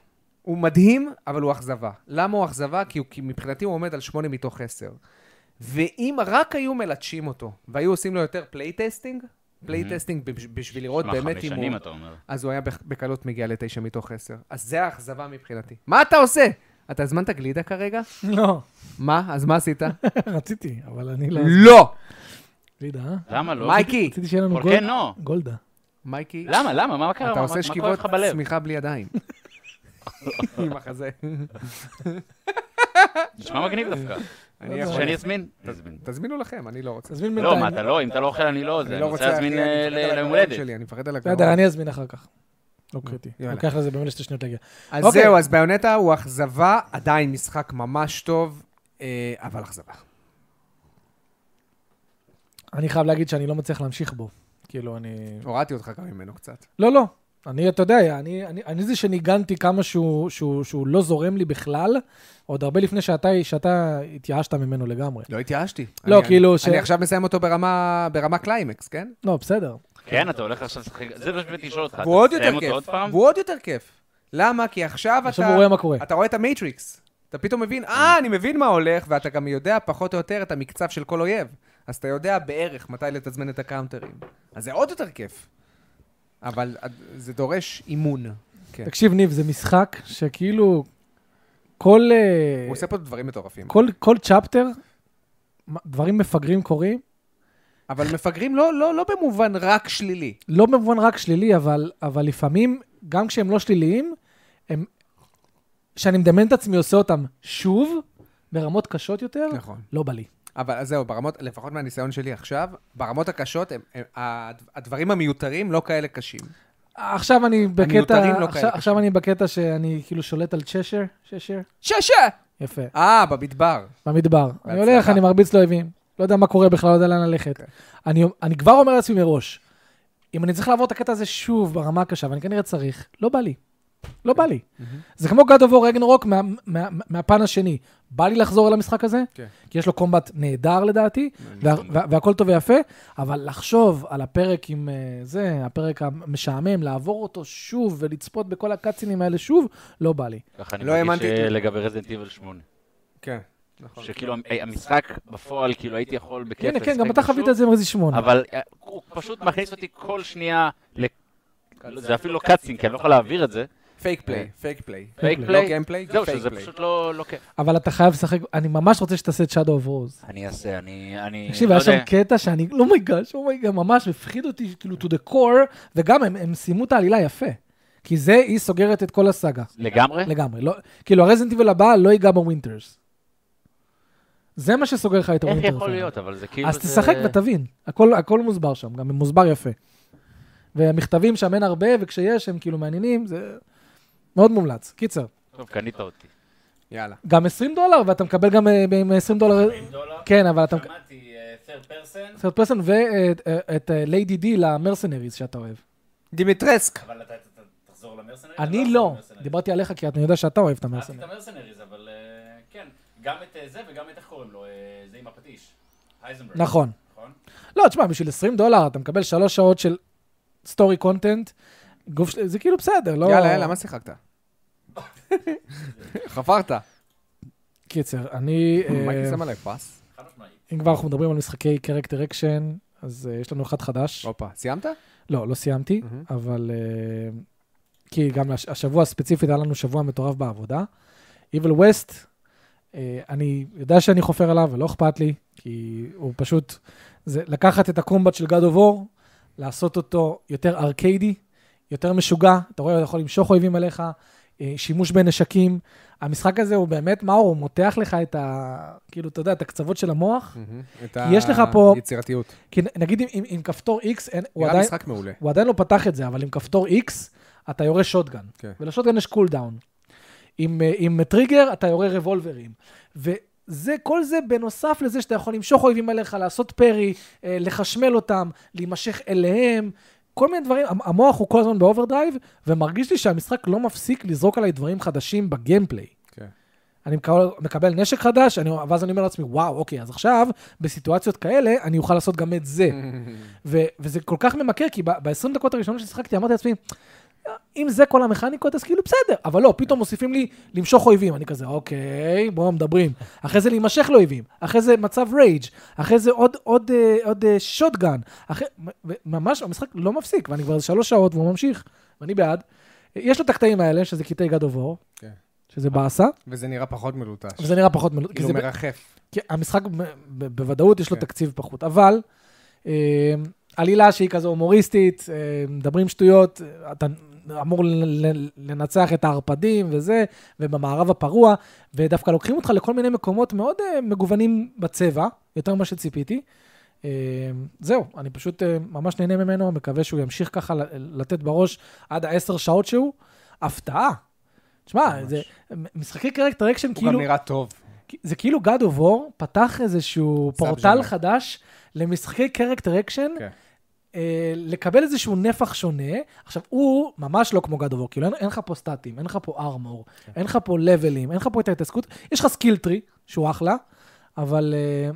הוא מדהים, אבל הוא אכזבה. למה הוא אכזבה? כי, הוא, כי מבחינתי הוא עומד על שמונה מתוך עשר. ואם רק היו מלטשים אותו, והיו עושים לו יותר פלייטסטינג, פלייטסטינג בש- בשביל לראות מה, באמת חמש אם שנים הוא... אתה אומר. אז הוא היה בק- בקלות מגיע לתשע מתוך עשר. אז זה האכזבה מבחינתי. מה אתה עושה? אתה הזמנת גלידה כרגע? לא. מה? אז מה עשית? רציתי, אבל אני לא... לא! לידה, אה? למה לא? מייקי! רציתי שיהיה לנו אבל גולד- כן, לא. גולדה. מייקי, למה? למה? מה קרה? אתה מה- עושה מה כואב שכיבות לך בלב? צמיחה בלי ידיים. עם החזה. נשמע מגניב כן. דווקא. אני לא יכול- שאני אזמין? תזמין. תזמינו לכם, אני לא רוצה. תזמין לא, בינתיים. מה, אתה לא, אם אתה לא אוכל, אני לא, זה, אני אני לא רוצה רוצה, אחי, אני להזמין אה, מפחד על ל- ליום הגרון הולדת. שלי, אני מפחד על הגרון. בסדר, אני אזמין אחר כך. לא קריטי. יאללה. לוקח לזה באמת שתי שניות להגיע. אז אוקיי. זהו, אז ביונטה הוא אכזבה, עדיין משחק ממש טוב, אה, אבל אכזבה. אני חייב להגיד שאני לא מצליח להמשיך בו. כאילו, אני... הורדתי אותך גם ממנו קצת. לא, לא. אני, אתה יודע, אני, אני, אני זה שניגנתי כמה שהוא, שהוא, שהוא לא זורם לי בכלל, עוד הרבה לפני שאתה, שאתה התייאשת ממנו לגמרי. לא התייאשתי. לא, אני- כאילו אני- ש- אני עכשיו מסיים אותו ברמה ברמה קליימקס, כן? לא, בסדר. כן, אתה הולך עכשיו לשחק, זה מה שבאתי לשאול אותך. אתה והוא עוד תסיים יותר אותו עוד כיף. פעם? והוא עוד יותר כיף. למה? כי עכשיו אתה... עכשיו הוא רואה מה קורה. אתה רואה את המייטריקס. אתה פתאום מבין, אה, אני מבין מה הולך, ואתה גם יודע פחות או יותר את המקצב של כל אויב. אז אתה יודע בערך מתי לתזמן את הקאונטרים. אז זה עוד יותר כיף. אבל אה, זה דורש אימון. כן. תקשיב, ניב, זה משחק שכאילו, כל... אה, הוא עושה פה דברים מטורפים. כל, כל צ'פטר, מה- דברים מפגרים קורים, אבל מפגרים לא, לא, לא במובן רק שלילי. לא במובן רק שלילי, אבל, אבל לפעמים, גם כשהם לא שליליים, הם... שאני מדמיין את עצמי עושה אותם שוב, ברמות קשות יותר, נכון. לא בא לי. אבל אז זהו, ברמות, לפחות מהניסיון שלי עכשיו, ברמות הקשות, הם, הם, הד- הדברים המיותרים לא כאלה קשים. עכשיו אני המיותרים בקטע, לא עכשיו, כאלה. עכשיו אני בקטע שאני כאילו שולט על צ'שר, צ'שר, ששה! יפה, אה, במדבר. במדבר. אני הולך, בהצלחה. אוקיי. אני מרביץ לאויבים, לא יודע מה קורה בכלל, לא יודע לאן ללכת. אני, אני כבר אומר לעצמי מראש, אם אני צריך לעבור את הקטע הזה שוב ברמה הקשה, ואני כנראה צריך, לא בא לי. לא בא לי. אוקיי. זה כמו God of War רגנרוק מה, מה, מה, מהפן השני. בא לי לחזור אל המשחק הזה, כן. כי יש לו קומבט נהדר לדעתי, וה, וה, והכל טוב ויפה, אבל לחשוב על הפרק עם אה, זה, הפרק המשעמם, לעבור אותו שוב ולצפות בכל הקאצינים האלה שוב, לא בא לי. ככה אני לא מרגיש האמנתי. אה, לגבי רזדנט איבל 8. כן, נכון. שכאילו המ- המשחק בפועל, כאילו הייתי יכול בכיף הנה, כן, לשחק גם אתה בו שוב, חווית את זה עם רזי שמונה. אבל אה, הוא פשוט מכניס אותי כל שנייה, ל- לא, זה אפילו לא קאצינג, כי אני לא יכול להעביר את זה. פייק פליי, אה. פייק פליי. פייק פליי. פליי, לא גיימפליי, זהו, פייק שזה פליי. פשוט לא לא כיף. אבל אתה חייב לשחק, אני ממש רוצה שתעשה את Shadow of Rose. אני אעשה, אני... אני- תקשיב, לא היה שם יודע. קטע שאני, לא מייגש, לא מייגש, ממש הפחיד אותי, כאילו, to the core, וגם הם, הם סיימו את העלילה יפה. כי זה, היא סוגרת את כל הסאגה, לגמרי? לגמרי. לא, כאילו, הרזנטיבל הבא לא ייגע בווינטרס. זה מה שסוגר לך את איך הווינטרס. יכול להיות, אבל זה כאילו... אז זה- תשחק ותבין, הכל, הכל מוסבר שם, גם מוסבר יפה. ומכתבים שם אין הרבה, וכשיש הם כאילו מעניינים, זה מאוד מומלץ. קיצר, טוב, קנית אותי. יאללה. גם 20 דולר, ואתה מקבל גם אה, עם 20 דולר, דולר? כן, אבל אתה... שמעתי, אה, third person, סרט פרסון אה, ואת ליידי די למרסנריז שאתה אוהב. דימיטרסק. אבל אתה אתה- אתה תחזור למרסנריז? אה, אני לא, דיברתי דיברתי עליך כי אני יודע שאתה אוהב את אהבתי את המרסנריז. המרסנריז, אבל אה, כן. גם את אה, זה וגם את איך קוראים לו, אה, זה עם הפטיש. הייזנברג. נכון. נכון? לא, תשמע, בשביל 20 דולר אתה מקבל שלוש שעות של סטורי קונטנט, גוף של... זה כאילו בסדר, לא... יאללה, יאללה, מה שיחקת? חפרת. אה, קיצר, אני... אה, מייקי שם עליי פס. חד משמעית. אם כבר אנחנו מדברים על משחקי קרקטר אקשן, אז אה, יש לנו אחד חדש. הופה, סיימת? לא, לא סיימתי, מהמם. אבל... אה, כי גם הש- השבוע ספציפית היה לנו שבוע מטורף בעבודה. Evil West, אה, אני יודע שאני חופר עליו ולא אכפת לי, כי הוא פשוט... זה לקחת את הקומבט של God of War, לעשות אותו יותר ארקיידי, יותר משוגע, אתה רואה, אתה יכול למשוך אויבים אליך, אה, שימוש בנשקים. המשחק הזה הוא באמת, מה הוא מותח לך את ה... כאילו, אתה יודע, את הקצוות של Mm. המוח. את יש לך פה- יצירתיות. כי נ- נגיד עם, עם, עם כפתור X, אין, הוא נראה עדיין... משחק מעולה. הוא עדיין לא פתח את זה, אבל עם כפתור X, אתה יורה שוטגן. כן. ולשוטגן יש קולדאון. עם, אה, עם טריגר, אתה יורה רבולברים. וזה, כל זה בנוסף לזה שאתה יכול למשוך אויבים עליך, לעשות פרי, אה, לחשמל אותם, להימשך אליהם, כל מיני דברים. המ- המוח הוא כל הזמן באוברדרייב, ומרגיש לי שהמשחק לא מפסיק לזרוק עליי דברים חדשים בגיימפליי. כן. אני מקבל, מקבל נשק חדש, אני, ואז אני אומר לעצמי, וואו, אוקיי, אז עכשיו, בסיטואציות כאלה, אני אוכל לעשות גם את Mm. זה. ו- וזה כל כך ממכר, כי ב-20 דקות הראשונות ששיחקתי, אמרתי לעצמי, אם זה כל המכניקות, אז כאילו בסדר. אבל לא, פתאום מוסיפים לי למשוך אויבים. אני כזה, אוקיי, בואו מדברים. אחרי זה להימשך לאויבים. אחרי זה מצב רייג'. אחרי זה עוד, עוד, אה, עוד אה, שוטגן. אחרי... ו- ממש, המשחק לא מפסיק, ואני כבר שלוש שעות והוא ממשיך, ואני בעד. יש לו את הקטעים האלה, שזה קטעי God of War, כן. שזה באסה, וזה נראה פחות מלוטש. וזה נראה פחות מלוט. כי כאילו זה ב- מרחף. כי המשחק ב- ב- בוודאות יש לו כן. תקציב פחות, אבל אה, עלילה שהיא כזו הומוריסטית, אה, מדברים שטויות, אה, אתה אמור ל- ל- לנצח את הערפדים וזה, ובמערב הפרוע, ודווקא לוקחים אותך לכל מיני מקומות מאוד אה, מגוונים בצבע, יותר ממה שציפיתי. אה, זהו, אני פשוט אה, ממש נהנה ממנו, מקווה שהוא ימשיך ככה ל- לתת בראש עד העשר שעות שהוא. הפתעה. תשמע, זה משחקי קרקטר אקשן הוא כאילו... גם נראה טוב. זה כאילו God of War פתח איזשהו פורטל ז'אנר. חדש למשחקי קרקטר אקשן, כן. אה, לקבל איזשהו נפח שונה. עכשיו, הוא ממש לא כמו God of War, כאילו אין, אין לך פה סטטים, אין לך פה ארמור, כן. אין לך פה לבלים, אין לך פה את ההתעסקות, יש לך סקיל טרי, שהוא אחלה, אבל אה,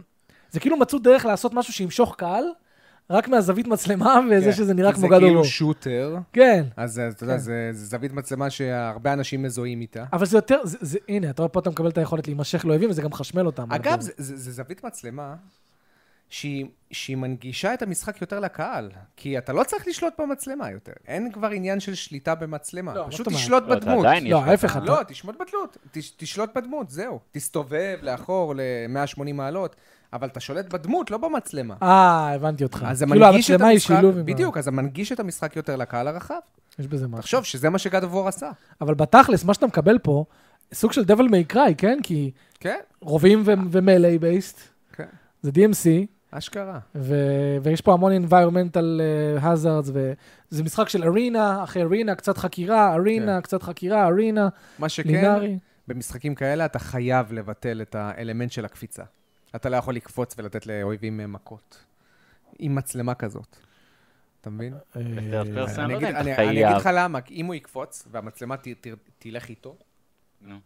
זה כאילו מצאו דרך לעשות משהו שימשוך קהל, רק מהזווית מצלמה וזה כן. שזה נראה כי כמו God of War. זה כאילו שוטר, כן. אז אה, אתה יודע, כן. זה זה זווית מצלמה שהרבה אנשים מזוהים איתה. אבל זה יותר, זה, זה, הנה, אתה רואה פה אתה מקבל את היכולת להימשך לאויבים, וזה גם חשמל אותם. אגב, זה- זה זה זווית מצלמה שהיא שהיא מנגישה את המשחק יותר לקהל, כי אתה לא צריך לשלוט במצלמה יותר. אין כבר עניין של שליטה במצלמה. לא, מה פשוט זאת אומרת? תשלוט לא, אתה בדמות. עדיין יש לא, לך- ההפך, אתה... לא, תשמוט בדמות, תש- תשלוט בדמות, זהו. תסתובב לאחור ל-180 מעלות, אבל אתה שולט בדמות, לא במצלמה. אה, הבנתי אותך. אז זה כאילו מנגיש את המצלמה היא המשחק, שילוב עם... ה- בדיוק, אז זה מנגיש את המשחק יותר לקהל הרחב. יש בזה משהו. תחשוב שזה מה שגד אבור עשה. אבל בתכלס, מה שאתה מקבל פה, סוג של devil may cry, כן? כי כן, רובים ו- ומלי בייסט, כן, זה DMC, אשכרה. ו- ויש פה המון environmental אה, hazards, וזה משחק של ארינה, אחרי ארינה, קצת חקירה, ארינה, קצת חקירה, ארינה, מה כן. שכן, לינארי. במשחקים כאלה אתה חייב לבטל את האלמנט של הקפיצה. אתה לא יכול לקפוץ ולתת לאויבים אה, מכות. עם מצלמה כזאת. אתה מבין? יותר אה, פרסן, אני לא אגיד יודע אם אני- אתה אני אגיד חייב. לך למה, כי אם הוא יקפוץ והמצלמה ת- ת- תלך איתו, נו.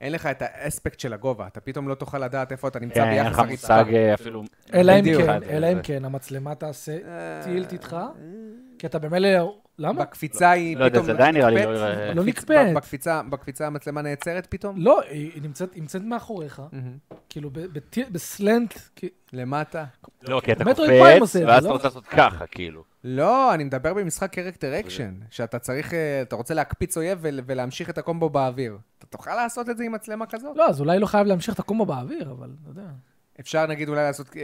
אין לך את האספקט של הגובה, אתה פתאום לא תוכל לדעת איפה אתה נמצא כן, אין ביחס לך מושג אה, אפילו... אלא אם בדיוק. כן, אלא אם כן, המצלמה תעשה אה, טילט איתך, כי אתה במילא... למה? בקפיצה היא לא יודע, פתאום... זה עדיין נראה לי נקפאת. לא יראה. לא בקפיצ- נקפאת. בקפיצה- בקפיצה המצלמה נעצרת פתאום? לא, היא היא נמצאת היא נמצאת מאחוריך, כאילו ב- בטי- בסלנט, כי- למטה. לא, כי אתה מטרויד פריים קופץ, עושה את זה, ואז לא? אתה רוצה לעשות ככה, כאילו. לא, אני מדבר במשחק קרקטר אקשן, אוקיי. שאתה צריך, אה, אתה רוצה להקפיץ אויב ול- ולהמשיך את הקומבו באוויר. אתה תוכל לעשות את זה עם מצלמה כזאת? לא, אז אולי לא חייב להמשיך את הקומה באוויר, אבל אתה יודע. אפשר נגיד אולי לעשות אה,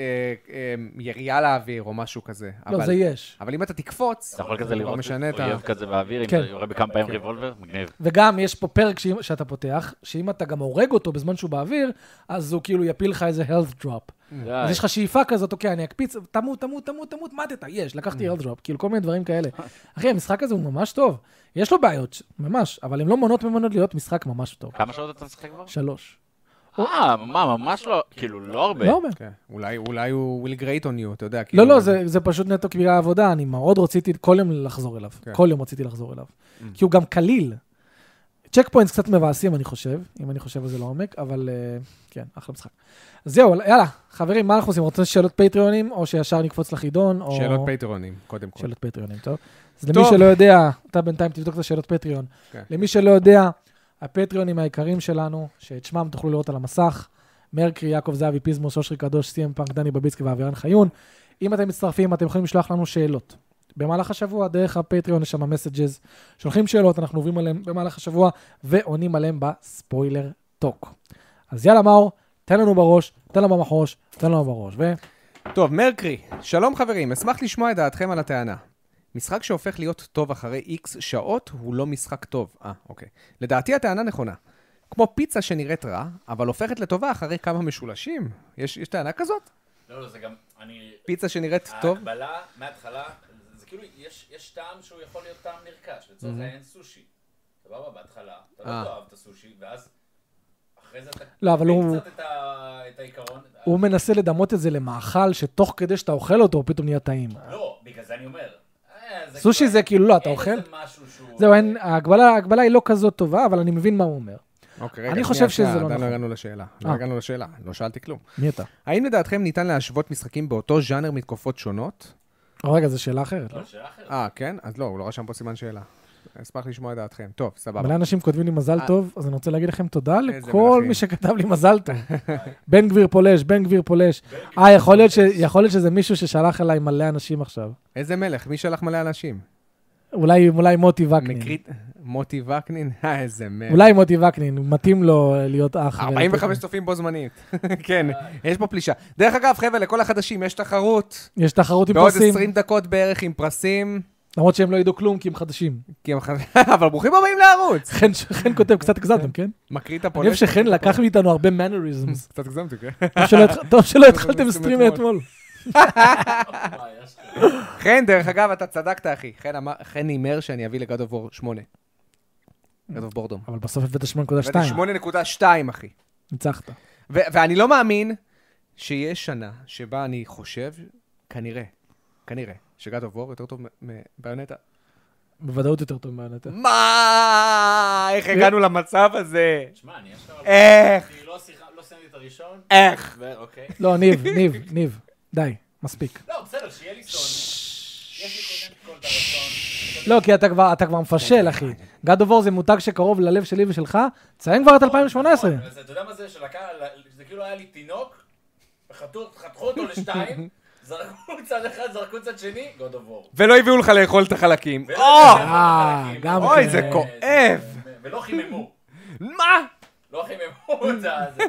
אה, ירייה לאוויר או משהו כזה. לא, אבל- זה יש. אבל אם אתה תקפוץ, אתה יכול זה כזה לא כבר לראות משנה את ה... אויב כזה באוויר, אם כן. אתה יורה בכמה פעמים ריבולבר, מגניב. וגם יש פה פרק שאם- שאתה פותח, שאם אתה גם הורג אותו בזמן שהוא באוויר, אז הוא כאילו יפיל לך איזה health drop. כן. אה, אז יש לך שאיפה כזאת, אוקיי, אני אקפיץ, תמות, תמות, תמות, תמות, מתת, יש, לקחתי health drop, כאילו כל מיני דברים כאלה. אחי, המשחק הזה הוא ממש טוב. יש לו בעיות, ממש, אבל הן לא מונעות ממנו להיות משחק ממש טוב. כמה שעות אתה משחק כבר? שלוש. אה, מה, ממש לא, כאילו, לא הרבה. לא אומר. כן, אולי- אולי הוא will great on you, אתה יודע, כאילו... לא, לא, זה, זה פשוט נטו קביעה העבודה, אני מאוד רציתי כל יום לחזור אליו. כן. כל יום רציתי לחזור אליו. כי הוא גם קליל. צ'ק פוינטס קצת מבאסים, אני חושב, אם אני חושב על זה לעומק, אבל אה, כן, אחלה משחק. אז זהו, יאללה, חברים, מה אנחנו עושים? רוצים שאלות פטריונים, או שישר נקפוץ לחידון, או... שאלות פטרונים, קודם כל. שאלות פטריונים, טוב. אז למי שלא יודע, אתה בינתיים תבדוק את השאלות פטריון. כן. למי שלא יודע, הפטריונים העיקריים שלנו, שאת שמם תוכלו לראות על המסך, מרקרי, יעקב זהבי, פיזמוס, אושרי קדוש, סי.אם פאנק, דני בביצקי ואבירן חיון. אם אתם מצטרפים, אתם יכולים לשלוח לנו שאלות. במהלך השבוע, דרך הפטריון, יש שם מסג'ז. שולחים שאלות, אנחנו עוברים עליהן במהלך השבוע, ועונים עליהן בספוילר טוק. אז יאללה, מאור, תן לנו בראש, תן לנו במחוש, תן לנו בראש. ו... טוב, מרקרי, שלום חברים, אשמח לשמוע את דעתכם על הטענה. משחק שהופך להיות טוב אחרי איקס שעות הוא לא משחק טוב. אה, אוקיי. לדעתי הטענה נכונה. כמו פיצה שנראית רע, אבל הופכת לטובה אחרי כמה משולשים. יש, יש טענה כזאת? לא, לא, זה גם... אני... פיצה שנראית טוב? ההקבלה מההתחלה, זה- זה כאילו, יש יש טעם שהוא יכול להיות טעם נרכש. לצורך העניין סושי. סבבה, בהתחלה, אתה אה. לא תאהב את הסושי, ואז... אחרי זה אתה... לא, אבל מבין הוא- קצת את ה- את העיקרון. הוא מנסה לדמות את זה למאכל שתוך כדי שאתה אוכל אותו, הוא פתאום נהיה טעים. לא, בגלל זה אני אומר. אה, זה סושי כאילו- זה כאילו, לא, אתה אין אוכל? איזה משהו שהוא... זהו, אין, ההגבלה, ההגבלה היא לא כזאת טובה, אבל אני מבין מה הוא אומר. אוקיי, אני חושב שזה לא עדיין נכון. לא הגענו לשאלה. לא אה. הגענו לשאלה, לא שאלתי כלום. מי אתה? האם לדעתכם ניתן להשוות משחקים באותו ז'אנר מתקופות שונות? רגע, זו שאלה אחרת, לא? לא, שאלה אחרת. אה, כן? אז לא, הוא לא רשם פה סימן שאלה. אשמח לשמוע את דעתכם. טוב, סבבה. מלא אנשים כותבים לי מזל אה. טוב, אז אני רוצה להגיד לכם תודה איזה לכל מלכים. מי שכתב לי מזל טוב. בן גביר פולש, בן גביר פולש. אה, יכול להיות ש- יכול להיות שזה מישהו ששלח אליי מלא אנשים עכשיו. איזה מלך, מי שלח מלא אנשים? אולי אולי מוטי וקנין. מקרית... מוטי וקנין? אה, איזה מלך. אולי מוטי וקנין, מתאים לו אה, להיות אח. ולתת- 45 צופים בו זמנית. כן, יש פה פלישה. דרך אגב, חבר'ה, לכל החדשים יש תחרות. יש תחרות עם בעוד פרסים, 20 דקות בערך עם פרסים. למרות שהם לא ידעו כלום כי הם חדשים. כי הם חד- אבל ברוכים הבאים לערוץ. חן- חן כותב קצת הגזמתם, כן? מקריא את אני חושב הפולש. שחן לקח מאיתנו הרבה מנריזמס. קצת הגזמתי, כן? טוב שלא התחלתם סטרים מאתמול. וואי, אשכרה. חן, דרך אגב, אתה צדקת, אחי. חן אמר- חן הימר שאני אביא לגד אוף וור 8. גד אוף בורדום. אבל בסוף הבאת 8.2, 8.2, אחי. ניצחת. ו- ואני לא מאמין שיש שנה שבה אני חושב, כנראה, כנראה, שגד אוף וור יותר טוב מביונטה. בוודאות יותר טוב מהנטע. מה? איך הגענו למצב הזה? שמע, אני אשכרה... אה. איך? כי לא שיחה- לא סיימתי את הראשון, איך? ואוקיי. לא, ניב, ניב, ניב, די, מספיק. לא, בסדר, שיהיה לי סון. יש לי קודם כל את הרצון. לא, כי אתה כבר, אתה כבר מפשל, אחי. God of War זה מותג שקרוב ללב שלי ושלך, תסיים כבר את 2018. לא. נכון, אז אתה יודע מה זה שלקה, זה כאילו היה לי תינוק, וחתו- חתכו אותו לשתיים, זרקו צד אחד, זרקו צד שני, God of War. ולא הביאו לך לאכול את החלקים. ולא או! הביאו אה, גם אוי, כן. זה כואב! ולא חיממו. מה? לא חיממו את ה- זה.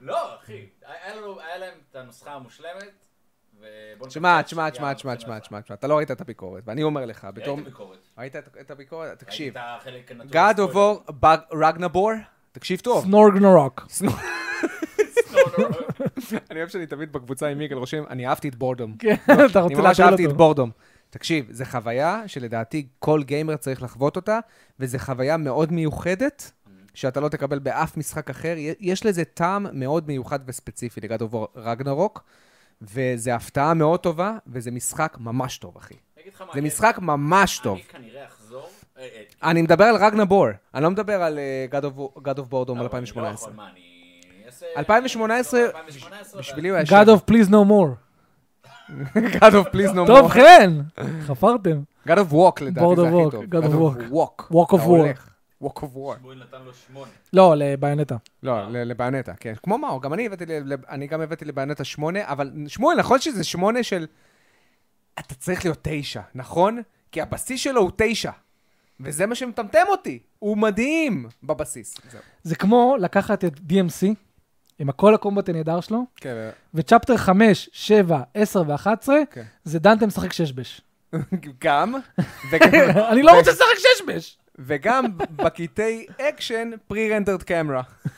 לא, אחי, היה לנו- היה להם את הנוסחה המושלמת, ובוא תשמע, נקווה תשמע, שהשנייה תשמע, תשמע, הראשונה תשמע, עשרה. תשמע, תשמע, אתה לא ראית את הביקורת, ואני אומר לך, בתור... ראיתי ביקורת. ראית את את הביקורת? תקשיב. ראיתי את החלק הנתון God of בספוילר. War, רגנבור, תקשיב טוב. סנורגנורוק. לא, לא, לא. אני אוהב שאני תמיד בקבוצה עם מיגל רושם, אני אהבתי את בורדום. כן, אתה אני רוצה ממש להטריל אהבתי את אותו. בורדום. תקשיב, זו חוויה שלדעתי כל גיימר צריך לחוות אותה, וזו חוויה מאוד מיוחדת, שאתה לא תקבל באף משחק אחר. י- יש לזה טעם מאוד מיוחד וספציפי לגד אובור רגנרוק, וזו הפתעה מאוד טובה, וזה משחק ממש טוב, אחי. אני אגיד לך מה, זה אני- משחק ממש טוב. אני כנראה אחזור. אה, אה, אני מדבר על רגנבור, אני לא מדבר על אה, God of- God of Boredom אבל אני לא יכול, 2018. מה, אני אעשה- לא, 2018, 2018, בשבילי הוא היה God of Please No More. God of Please No טוב, More. חן, חפרתם. God of Walk לדעתי Bored זה of הכי Walk, טוב. God of Walk. Walk. Walk of אתה War. הולך. Walk of War. בואי נתן לו שמונה. לא, לביונטה. לא, ל- לביונטה, כן. כמו מאור, גם אני הבאתי, ל- ל- אני גם הבאתי לביונטה שמונה, אבל שמואל, נכון שזה שמונה של... אתה צריך להיות תשע, נכון? כי הבסיס שלו הוא תשע. וזה מה שמטמטם אותי. הוא מדהים בבסיס. זהו. זה כמו לקחת את DMC, עם הכל הקומבט הנהדר שלו, כן, וצ'פטר 5, 7, 10 ו-11, כן. זה דנתם משחק שש בש. גם, וגם, אני לא רוצה לשחק שש בש! וגם בקטעי אקשן, pre-rendered camera.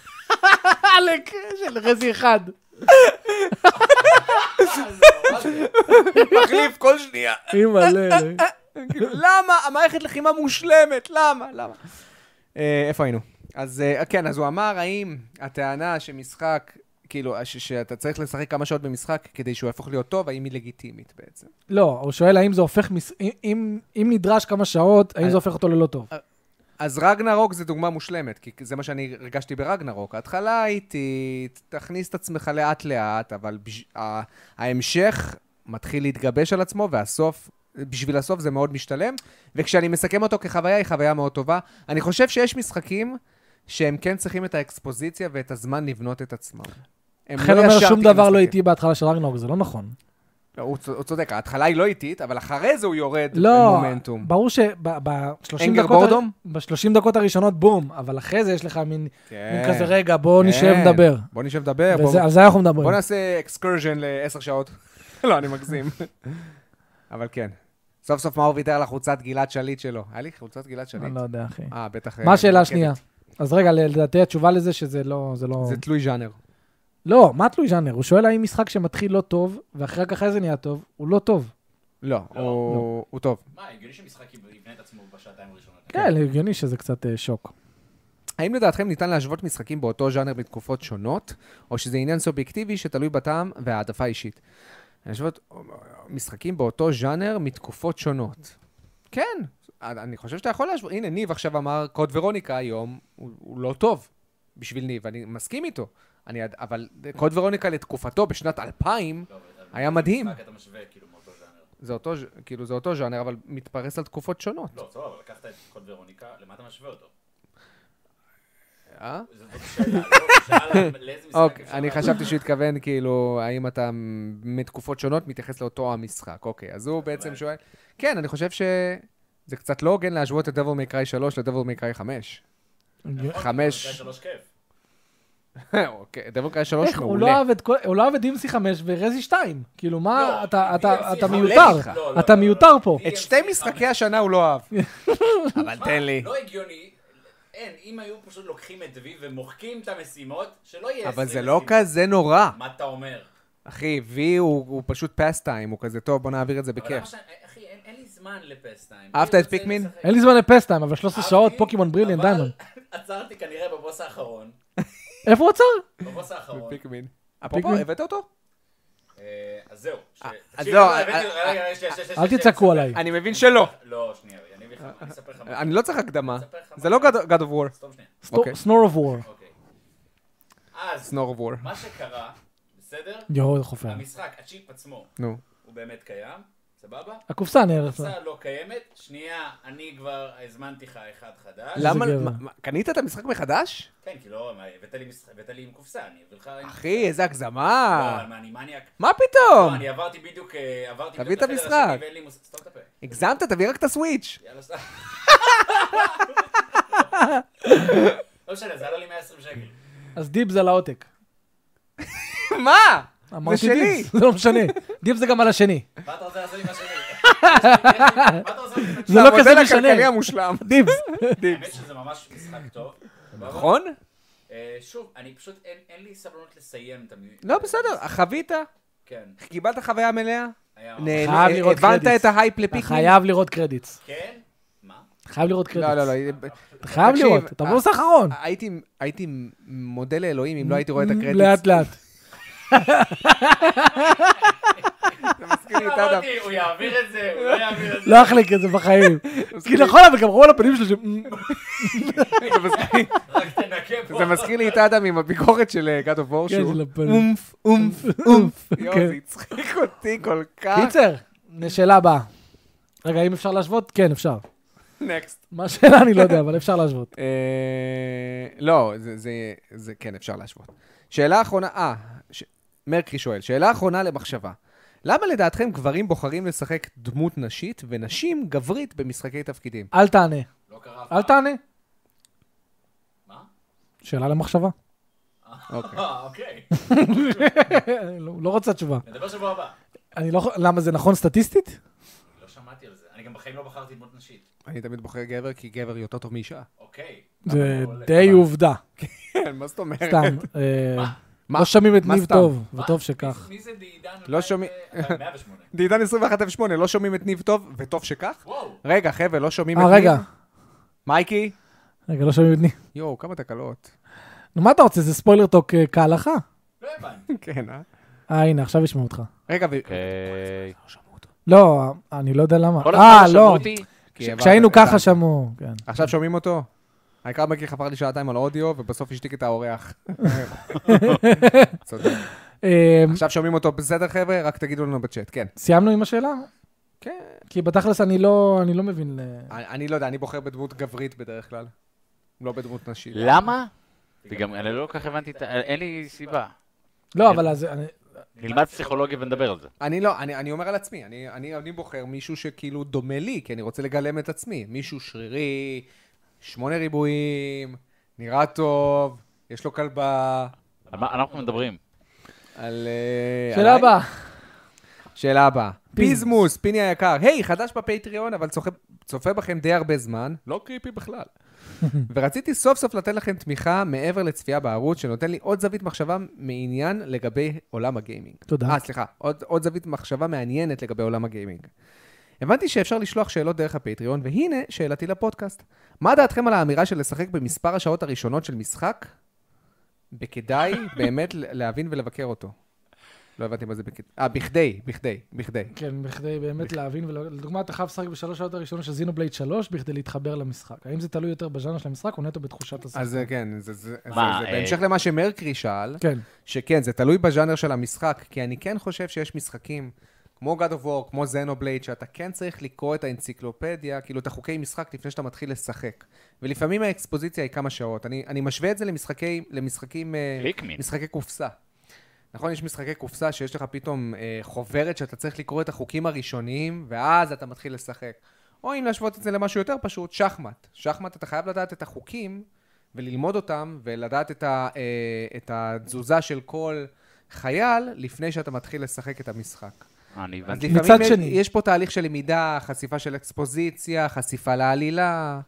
עלק של רזי אחד. לא. מחליף כל שנייה. אימא'לה. כאילו, למה? המערכת לחימה מושלמת, למה? למה? אה, איפה היינו? אז אה, כן, אז הוא אמר, האם הטענה שמשחק, כאילו, ש- שאתה צריך לשחק כמה שעות במשחק כדי שהוא יהפוך להיות טוב, האם היא לגיטימית בעצם? אה, לא, הוא שואל האם זה הופך, מס... אם, אם, אם נדרש כמה שעות, האם זה הופך אותו ללא טוב. אז רגנרוק זה דוגמה מושלמת, כי זה מה שאני הרגשתי ברגנרוק. ההתחלה איטית, תכניס את עצמך לאט-לאט, אבל בש... ה... ההמשך מתחיל להתגבש על עצמו, והסוף, בשביל הסוף זה מאוד משתלם. וכשאני מסכם אותו כחוויה, היא חוויה מאוד טובה. אני חושב שיש משחקים שהם כן צריכים את האקספוזיציה ואת הזמן לבנות את עצמם. הם חן לא אומר ישר שום תיק דבר לא משחקים. איטי בהתחלה של ארגנוג, זה לא נכון. לא, הוא צ- הוא צודק, ההתחלה היא לא איטית, אבל אחרי זה הוא יורד לא, במומנטום. ברור שב-30 אנגר דקות... בורדום? ב-30 דקות הראשונות בום, אבל אחרי זה יש לך מין מין כן. כזה, רגע, בוא כן. נשב נדבר. בוא נשב לדבר, בוא- וזה- על זה אנחנו בוא מדברים. נעשה אקסקורז'ן לעשר שעות. לא, אני מגזים. אבל כן. סוף סוף מאור ויתר על החולצת גלעד שליט שלו. היה לי חולצת גלעד שליט? אני לא יודע, אחי. אה, בטח... מה אה, השאלה מורכבת. השנייה? אז רגע, לדעתי התשובה לזה שזה לא... זה לא... זה תלוי ז'אנר. לא, מה תלוי ז'אנר? הוא שואל האם משחק שמתחיל לא טוב, ואחרי רק אחרי זה נהיה טוב, הוא לא טוב. לא, הוא הוא טוב. מה, הגיוני שמשחק יבנה את עצמו בשעתיים הראשונות. כן, הגיוני שזה קצת אה, שוק. האם לדעתכם ניתן להשוות משחקים באותו ז'אנר בתקופות שונות, או שזה עניין סובייקטיבי שתלוי בטעם והעדפה אישית? להשוות אה, משחקים באותו ז'אנר מתקופות שונות. כן, אני חושב שאתה יכול להשוות. הנה, ניב עכשיו אמר, קוד ורוניקה היום הוא, הוא לא טוב בשביל ניב, אני מסכים איתו. אני, עד- אבל קוד ורוניקה לתקופתו בשנת 2000 לא, היה מדהים. רק אתה משווה, כאילו, מאותו ז'אנר. זה אותו, ז'- כאילו, זה אותו ז'אנר, אבל מתפרס על תקופות שונות. לא, טוב, אבל לקחת את קוד ורוניקה, למה אתה משווה אותו? אה? זאת שאלה, לא, שאלה לאיזה משחק אוקיי, אפשר אני לעשות. חשבתי שהוא התכוון, כאילו, האם אתה מ- מתקופות שונות מתייחס לאותו המשחק. אוקיי, אז הוא בעצם שואל... כן, אני חושב שזה קצת לא הוגן להשוות את דבור מקראי 3 לדבור מקראי 5. נכון, חמש. זה שלוש כיף. אוקיי, דבור מקראי 3 איך, הוא לא מעולה. אהב את כל... הוא לא אהב את דימסי 5 ורזי 2. כאילו, מה, לא, אתה- אתה DLC אתה חמש. הולך מיותר. איתך. לא, לא, אתה לא, לא, מיותר פה. לא. את שתי משחקי השנה הוא לא אהב. אבל מה? תן לי. לא הגיוני. אין, אם היו פשוט לוקחים את וי ומוחקים את המשימות, שלא יהיה אבל 20 זה לא משימות. כזה נורא. מה אתה אומר? אחי, V הוא הוא פשוט פסטיים, הוא כזה טוב, בוא נעביר את זה אבל בכיף. למה שאני- אחי, אין אין לי זמן לפסטיים. אהבת אני את רוצה פיקמין? לשחק. אין לי זמן לפסטיים, אבל 13 שעות אהבתי, פוקימון בריליאן אבל דיימון. עצרתי כנראה בבוס האחרון. איפה הוא עצר? בבוס האחרון. פיקמין. אפרופו, הבאת אותו? אה, אז זהו. ש- אה, אז תקשיב, לא, לא, אה, הבאתי- אה, רגע, רגע, שנייה, שנייה, שנייה, אל שנייה, תצעקו אני עליי. אני מבין שלא. אספר- לא, שנייה, רגע, אני אביא לך, אני אספר לך. מה. אני לא צריך הקדמה. אספר לך זה מה. לא God of War. סתום שנייה. אוקיי. סנור אוף וור. אוקיי. אז, Snore of War. מה שקרה, בסדר? יואו, איזה חופר. המשחק, הצ'יפ עצמו, נו. הוא באמת קיים, סבבה? הקופסה נהרסה. הקופסה לא קיימת, שנייה, אני כבר הזמנתי לך אחד חדש. למה? גבר. מה- מה- קנית את המשחק מחדש? כן, כי לא, מה, הבאת לי משחק- הבאת לי עם קופסה, אני אביא לך... אחי, אה. איזה לא, הגזמה. מה, אני מניאק. מה לא, פתאום? אני עברתי בדיוק, אה, עברתי תביא בדיוק את לחדר המשחק. השני ואין לי מושג, סתום את הפה. הגזמת, תביא רק את הסוויץ'. יאללה, סתם. לא משנה, זה עלה לי 120 שקל. אז דיבס על העותק. מה? זה אמרתי שלי. דיבס, זה לא משנה. דיבס זה גם על השני. מה אתה רוצה לעשות עם השני? יש לי- יש לי- מה אתה רוצה לעשות עם השני? זה לא כזה המודל הכלכלי משנה. המושלם. דיבס. האמת שזה ממש משחק טוב. סבבה? נכון? אה, שוב, אני פשוט, אין אין לי סבלנות לסיים את המ... לא, בסדר. חווית, כן, קיבלת חוויה מלאה. היה... נהנה- אה, חייב לראות הבנת קרדיט. את ההייפ אתה לפיקניק. חייב לראות קרדיטס. כן? מה? אתה חייב לראות קרדיטס. לא, לא, לא. אתה חייב תקשיב, לראות. אתה אה, בוס האחרון. Mm, הייתי- הייתי מודה לאלוהים אם לא הייתי רואה את הקרדיט. לאט לאט. מזכיר לי את אדם. אמרתי, הוא יעביר את זה, הוא לא יעביר את זה. לא אחלק את זה בחיים. כי נכון, אבל גם ראו על הפנים "Mm, שלו ש... זה מזכיר- רק תנקה פה. זה מזכיר לי את אדם עם הביקורת של אה, God of War כן, שהוא של הפנים. אומף, אומף, אומף. יואו, כן. זה הצחיק אותי כל כך. קיצר, שאלה הבאה. רגע, אם אפשר להשוות? כן, אפשר. נקסט. מה השאלה אני לא יודע, אבל אפשר להשוות. אה, לא, זה, זה, זה כן, אפשר להשוות. שאלה אחרונה, אה, ש... מרקרי שואל, שאלה אחרונה למחשבה. למה לדעתכם גברים בוחרים לשחק דמות נשית ונשים גברית במשחקי תפקידים? אל תענה. לא קרה אף פעם. אל תענה. מה? שאלה למחשבה. אוקיי. אה, אוקיי. לא לא רוצה תשובה. נדבר שבוע הבא. אני לא... יכול- למה, זה נכון סטטיסטית? לא שמעתי על זה. אני גם בחיים לא בחרתי דמות נשית. אני תמיד בוחר גבר כי גבר יותר טוב מאישה. אוקיי. זה לא אבל- די עובדה. כן, מה זאת אומרת? סתם. אה, מה? לא שומעים את מה ניב סתם? טוב, מה? וטוב שכך. מי מי זה דעידן? אה, לא שומעים. 108. דידן 2108, לא שומעים את ניב טוב, וטוב שכך? וואו. רגע, חבר'ה, לא שומעים את אה, ניב? רגע. מייקי? רגע, לא שומעים את ניב. יואו, כמה תקלות. נו, מה אתה רוצה? זה ספוילר טוק אה, כהלכה? לא הבנתי. כן, אה? אה, הנה, עכשיו ישמעו אותך. רגע, ו... אוקיי. לא, אני לא יודע למה. כל הזמן אה, שמעו לא. אותי, כי העברת כשהיינו את ככה ה- שמעו, כן. עכשיו שומעים אותו? העיקר מגיע חפר לי שעתיים על אודיו, ובסוף השתיק את האורח. צודק. אה, עכשיו שומעים אותו בסדר, חבר'ה? רק תגידו לנו בצ'אט, כן. סיימנו עם השאלה? כן. כי בתכלס אני לא אני לא מבין... אה, אני אני לא יודע, אני בוחר בדמות גברית בדרך כלל. לא בדמות נשית. למה? וגם אני לא כל כך הבנתי, את ה- אין לי סיבה. לא, אבל אז... אני- נלמד פסיכולוגיה ונדבר על זה. אני לא, אני, אני אומר על עצמי, אני, אני, אני בוחר מישהו שכאילו דומה לי, כי אני רוצה לגלם את עצמי. מישהו שרירי, שמונה ריבועים, נראה טוב, יש לו כלבה, על מה אנחנו מדברים? על... אה, שאלה עליי. הבאה. שאלה הבאה. פיזמוס. פיזמוס, פיני היקר, היי, חדש בפטריון, אבל צופה, צופה בכם די הרבה זמן, לא קריפי בכלל. ורציתי סוף סוף לתת לכם תמיכה מעבר לצפייה בערוץ, שנותן לי עוד זווית מחשבה מעניין לגבי עולם הגיימינג. תודה. אה, סליחה, עוד, עוד זווית מחשבה מעניינת לגבי עולם הגיימינג. הבנתי שאפשר לשלוח שאלות דרך הפטריון, והנה שאלתי לפודקאסט. מה דעתכם על האמירה של לשחק במספר השעות הראשונות של משחק? בכדאי באמת ל- להבין ולבקר אותו. לא הבנתי מה זה בכדאי. אה, בכדי, בכדי, בכדי. כן, בכדי באמת להבין, ולא- לדוגמה, אתה חייב לשחק בשלוש שעות הראשונות של זינובלייד 3 בכדי להתחבר למשחק. האם זה תלוי יותר בז'אנר של המשחק או נטו בתחושת השחק? אז זה כן, זה, זה, זה, מה, זה אה, בהמשך למה שמרקרי שאל, כן. שכן, זה תלוי בז'אנר של המשחק, כי אני כן חושב שיש משחקים, כמו God of War, כמו Xenoblade, שאתה כן צריך לקרוא את האנציקלופדיה, כאילו את החוקי משחק לפני שאתה מתחיל לשחק. ולפעמים האקספוזיציה היא כמה שעות. אני, אני משווה את זה למשחקי, למשחקים... אה, פיקמין. משחקי קופסה. נכון, יש משחקי קופסה שיש לך פתאום אה, חוברת שאתה צריך לקרוא את החוקים הראשוניים, ואז אתה מתחיל לשחק. או אם להשוות את זה למשהו יותר פשוט, שחמט. שחמט, אתה חייב לדעת את החוקים וללמוד אותם, ולדעת את, ה, אה, את התזוזה של כל חייל לפני שאתה מתחיל לשחק את המשחק. אה, אני אז הבנתי. לפעמים מצד יש, שני. יש פה תהליך של למידה, חשיפה של אקספוזיציה, חשיפה לעלילה,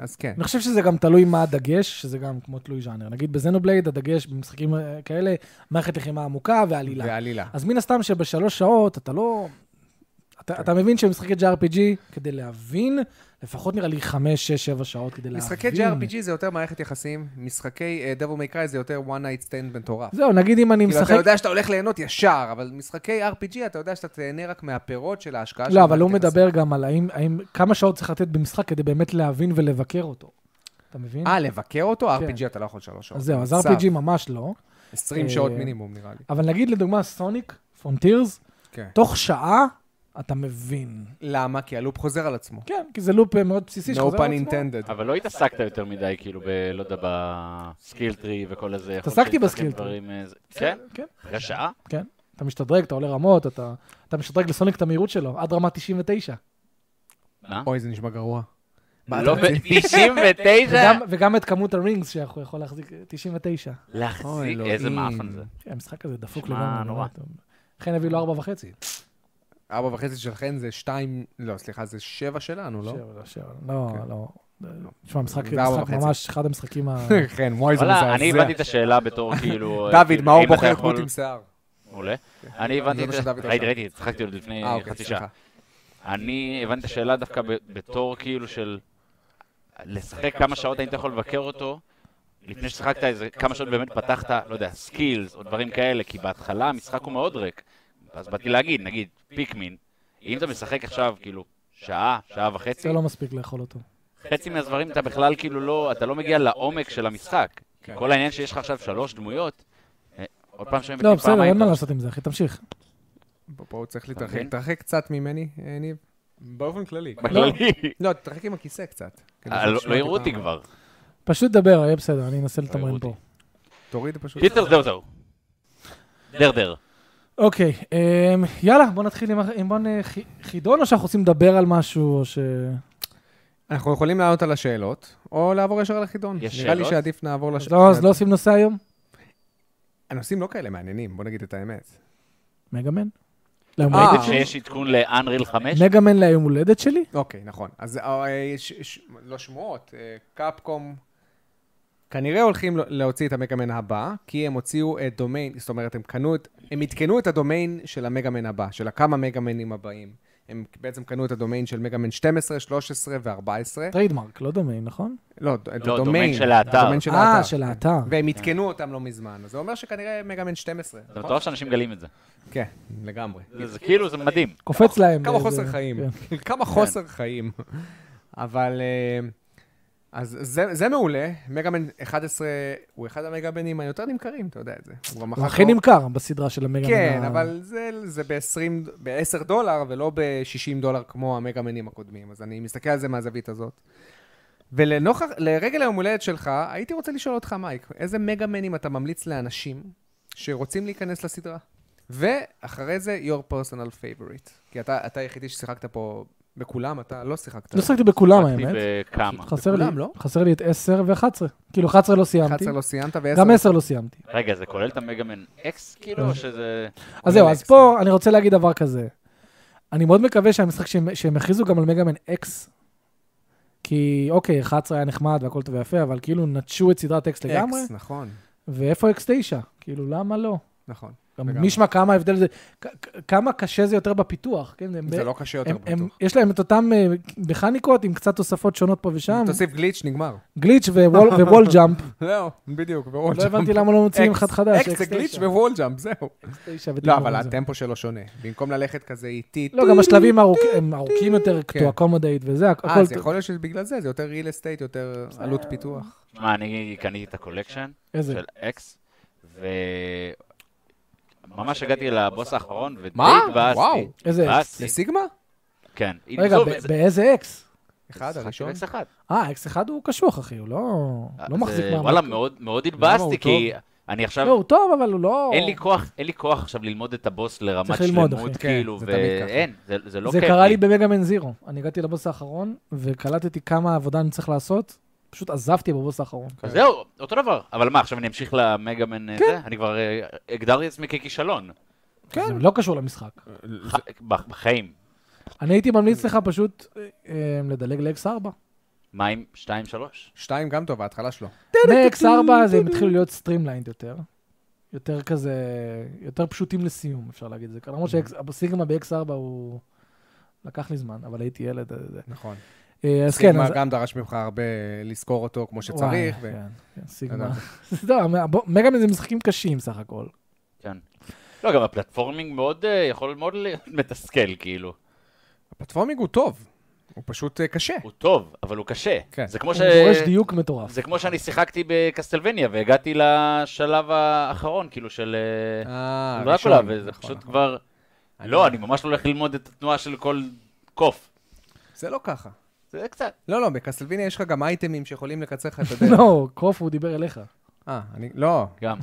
אז כן. אני חושב שזה גם תלוי מה הדגש, שזה גם כמו תלוי ז'אנר. נגיד בזנובלייד, הדגש במשחקים אה, כאלה, מערכת לחימה עמוקה ועלילה. ועלילה. אז מן הסתם שבשלוש שעות אתה לא... כן. אתה, אתה מבין שמשחקי JRPG, כדי להבין, לפחות נראה לי חמש, שש, שבע שעות כדי להבין. משחקי JRPG זה יותר מערכת יחסים, משחקי אה, Devil May Cry זה יותר one night stand מטורף. זהו, נגיד אם אני כאילו, משחק... אתה יודע שאתה הולך ליהנות ישר, אבל משחקי RPG, אתה יודע שאתה תהנה רק מהפירות של ההשקעה של לא, אבל הוא מערכת יחסים. מדבר גם על האם, האם, כמה שעות צריך לתת במשחק כדי באמת להבין ולבקר אותו. אתה מבין? אה, לבקר אותו? כן. RPG אתה לא יכול שלוש שעות. אז זהו, אז מצב. RPG ממש לא. 20 אה, שעות מינימום, נראה לי. אבל נגיד לדוגמה סוניק, פונטירס, כן. תוך שעה אתה מבין. למה? כי הלופ חוזר על עצמו. כן, כי זה לופ אה, מאוד בסיסי No שחוזר על pun עצמו. אה? intended. אבל לא התעסקת יותר מדי, כאילו, ב... לא יודע, בסקיל טרי וכל הזה. יכול התעסקתי להיות בסקיל שתשחק טרי. דברים, אה, זה- כן? כן, אחרי שעה? כן. אתה משתדרג, אתה עולה רמות, אתה, אתה משדרג לסוניק את המהירות שלו, עד רמה 99. מה? אוי, זה נשמע גרוע. מה, לא אתה רוצה? ב-99? וגם, וגם את כמות הרינגס שאנחנו יכול להחזיק, אה, 99. אוי, להחזיק, אלוהים. איזה מאפן זה. כן, המשחק הזה דפוק שמע, לגמרי. נורא נורא. טוב. לכן הביאו לו ארבע וחצי. ארבע וחצי שלכם זה שתיים, לא, סליחה, זה שבע שלנו, לא? שבע, שבע. לא, כן. לא. תשמע, משחק זה ארבע משחק וחצי. ממש אחד המשחקים ה... כן, וואי, זה וואלה, אני הבנתי מזעזע. את השאלה בתור כאילו... אה, דוד, כאילו, מה הוא אם אתה בוחר יכול- דמות עם שיער? מעולה. אני זה הבנתי את מה זה. שדוד ראיתי, עשה. ראיתי, צחקתי עוד לפני אה, אוקיי, חצי שעה. סליחה. אני הבנתי את השאלה דווקא ב- בתור כאילו של לשחק כמה שעות האם אתה יכול לבקר אותו, לפני ששיחקת איזה כמה שעות באמת פתחת, לא יודע, סקילס או דברים כאלה, כי בהתחלה המשחק הוא מאוד ריק. אז באתי להגיד, נגיד, פיקמין, אם אתה משחק עכשיו כאילו שעה, שעה וחצי, זה לא מספיק לאכול אותו. חצי מהדברים אתה בכלל כאילו לא, אתה לא מגיע לעומק של המשחק. כי כל העניין שיש לך עכשיו שלוש דמויות, אה, עוד פעם שומעים לא, אותי בסדר, פעמיים, אין מה אתה- לעשות עם זה, אחי, תמשיך. פה- פה הוא צריך אתה להתרחק מבין? תרחק קצת ממני, אה, ניב. באופן כללי. בכללי. לא, תתרחק עם הכיסא קצת. כדי אה, לא- שתשמע לא יראו אותי פעם. כבר. פשוט דבר, יהיה בסדר, אני אנסה לתמרן אותי. פה. תוריד פשוט. קיצר זהו זהו. דר דר. אוקיי, אמ, יאללה, בוא נתחיל עם הח- עם בוא נ- חי- חידון, או שאנחנו רוצים לדבר על משהו, או ש... אנחנו יכולים לענות על השאלות, או לעבור ישר לחידון. יש נראה לי שאלות? שעדיף נעבור אז לא, לשאלות. אז לא עושים נושא היום? הנושאים לא כאלה מעניינים, בוא נגיד את האמת. מגאמן? ליום אה. הולדת שלי? שיש עדכון לאנריל 5? מגאמן ליום הולדת שלי? אוקיי, נכון. אז אה, ש- ש- לא שמועות, אה, קפקום כנראה הולכים לה- להוציא את המגאמן הבא, כי הם הוציאו את דומיין, זאת אומרת, הם קנו את, הם עדכנו את הדומיין של המגאמן הבא, של הכמה מגאמנים הבאים. הם בעצם קנו את הדומיין של מגאמן 12, 13 ו-14. טריידמרק, לא דומיין, נכון? לא, את הדומיין. דומיין של האתר. הדומיין של האתר. כן. אה, של האתר. והם עדכנו אותם לא מזמן, אז זה אומר שכנראה מגאמן 12. זה מטורף שאנשים מגלים את זה. כן, לגמרי. זה זה כאילו, זה מדהים. קופץ להם. כמה איזה- חוסר חיים. כן. כמה חוסר חיים. אבל... אה, אז זה, זה מעולה, מגאמן 11 הוא אחד המגאמנים היותר נמכרים, אתה יודע את זה. הוא גם הוא אחר הכי כך- נמכר בסדרה של המגה כן, מן ה- אבל זה, זה ב-20, ב-10 דולר ולא ב-60 דולר כמו המגאמנים הקודמים, אז אני מסתכל על זה מהזווית הזאת. ולנוכח, לרגל היום הולדת שלך, הייתי רוצה לשאול אותך, מייק, איזה מגאמנים אתה ממליץ לאנשים שרוצים להיכנס לסדרה? ואחרי זה, your personal favorite. כי אתה, אתה היחידי ששיחקת פה בכולם, אתה לא שיחקת. לא שחקתי בכולם, הייתי האמת. בכמה. חסר לי, בכולם, לא? חסר לי את 10 ו-11. כאילו, 11 לא סיימתי. 11 לא סיימת ו-10... גם 10 לא סיימתי. רגע, זה כולל את המגאמן אקס, כאילו, או שזה... אז זהו, אז אקס. פה אני רוצה להגיד דבר כזה. אני מאוד מקווה שהמשחק שהם- שהם הכריזו גם על מגאמן אקס, כי אוקיי, 11 היה נחמד והכל טוב ויפה, אבל כאילו נטשו את סדרת אקס לגמרי, X, נכון, ואיפה אקס 9? כאילו, למה לא? נכון. גם לגמרי. מי ישמע כמה ההבדל זה, כ- כ- כמה קשה זה יותר בפיתוח, כן? הם זה ב- לא קשה יותר הם- הם- בטוח. יש להם את אותם אה, מכניקות עם קצת תוספות שונות פה ושם, תוסיף גליץ', נגמר. גליץ' ווול ווול ג'אמפ, לא, בדיוק, ווול לא הבנתי למה לא מוציאים אחד חדש. אקס זה גליץ' תשע. ווול ג'אמפ, זהו. אקס תשע לא, ותגמור אבל עם זה. הטמפו שלו שונה. במקום ללכת כזה איטי... לא, גם השלבים ארוכ- הם ארוכים יותר, כן. to accommodate וזה, הכ- אה, הכל אז טוב. יכול להיות שבגלל זה, זה יותר real estate, יותר עלות פיתוח. מה, אני קניתי את הקולקשן איזה? של אקס, ו... ממש הגעתי לבוס האחרון, ודי מה? וואו. התבאסתי. איזה אקס? התבאסתי, זה סיגמה? כן. רגע, עזוב, ב- זה- באיזה אקס? אחד, שיחקתי הראשון. באקס אחד. אה, אקס אחד הוא קשוח, אחי, הוא לא לא אז, מחזיק אה, מעמד. וואלה, מאוד מאוד הוא התבאסתי, טוב? כי אני עכשיו... לא, הוא טוב, אבל הוא לא... אין לי כוח, אין לי כוח עכשיו ללמוד את הבוס לרמת צריך ללמוד, שלמות, אחי. כאילו, כן, זה תמיד ככה. ואין, זה- זה לא זה כיף קרה לי לי. במגאמן זירו. אני הגעתי לבוס האחרון, וקלטתי כמה עבודה אני צריך לעשות, פשוט עזבתי בבוס האחרון. אז זהו, אותו דבר. אבל מה, עכשיו אני אמשיך למגאמן אה, זה? אני כבר אה, הגדרתי את עצמי ככישלון. כן. זה לא קשור למשחק. ח- בח- בחיים. אני הייתי ממליץ לך פשוט אה, אה, לדלג לאקס 4. מה עם 2, 3? שתיים גם טוב, ההתחלה שלו. מאקס 4 אז הם התחילו להיות סטרימליינד יותר. יותר כזה, יותר פשוטים לסיום, אפשר להגיד את זה. ככה, למרות שהסיגמה באקס 4 הוא... לקח לי זמן, אבל הייתי ילד. אז- נכון. אה, אז כן, סיגמה אז... גם דרש ממך הרבה לזכור אותו כמו וואי, שצריך. ו- כן, כן, סיגמה. לא, בוא, מגאמן זה משחקים קשים סך הכל. כן. לא, גם הפלטפורמינג מאוד, אה, יכול מאוד להיות מתסכל, כאילו. הפלטפורמינג הוא טוב, הוא פשוט אה, קשה. הוא טוב, אבל הוא קשה. כן. זה כמו הוא ש... דורש דיוק מטורף. זה כמו שאני שיחקתי בקסטלבניה, והגעתי לשלב האחרון, כאילו, של... אה, אה, דרקולה, הראשון, וזה נכון, פשוט נכון. כבר... לא, אני ממש הולך ללמוד את התנועה של כל קוף. זה לא ככה. זה קצת. לא, לא, בקסלוויניה יש לך גם אייטמים שיכולים לקצר לך את הדרך. לא, קוף הוא דיבר אליך. אה, אני... לא, גם.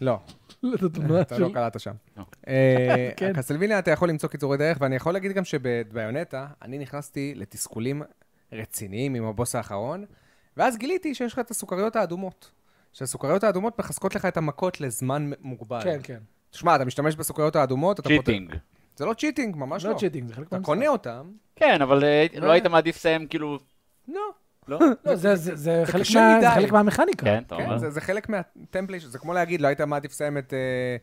לא. זאת התמונה אתה של- לא קלעת שם. לא. אה, כן. הקסלוויניה, אתה יכול למצוא קיצורי דרך, ואני יכול להגיד גם שבביונטה, אני נכנסתי לתסכולים רציניים עם הבוס האחרון, ואז גיליתי שיש לך את הסוכריות האדומות. שהסוכריות האדומות מחזקות לך את המכות לזמן מוגבל. כן, כן. תשמע, אתה משתמש בסוכריות האדומות, אתה צ'יטינג. זה לא צ'יטינג, ממש לא לא. צ'יטינג, זה חלק אתה מהמשחק. קונה אותם, כן, אבל אה, לא. לא היית מעדיף לסיים כאילו... לא. לא? לא, זה- זה זה חלק קשה מה- זה מדי. חלק מהמכניקה. כן, אתה אומר. כן, זה- זה חלק מהטמפלי, זה כמו להגיד, לא היית מעדיף לסיים את, אה,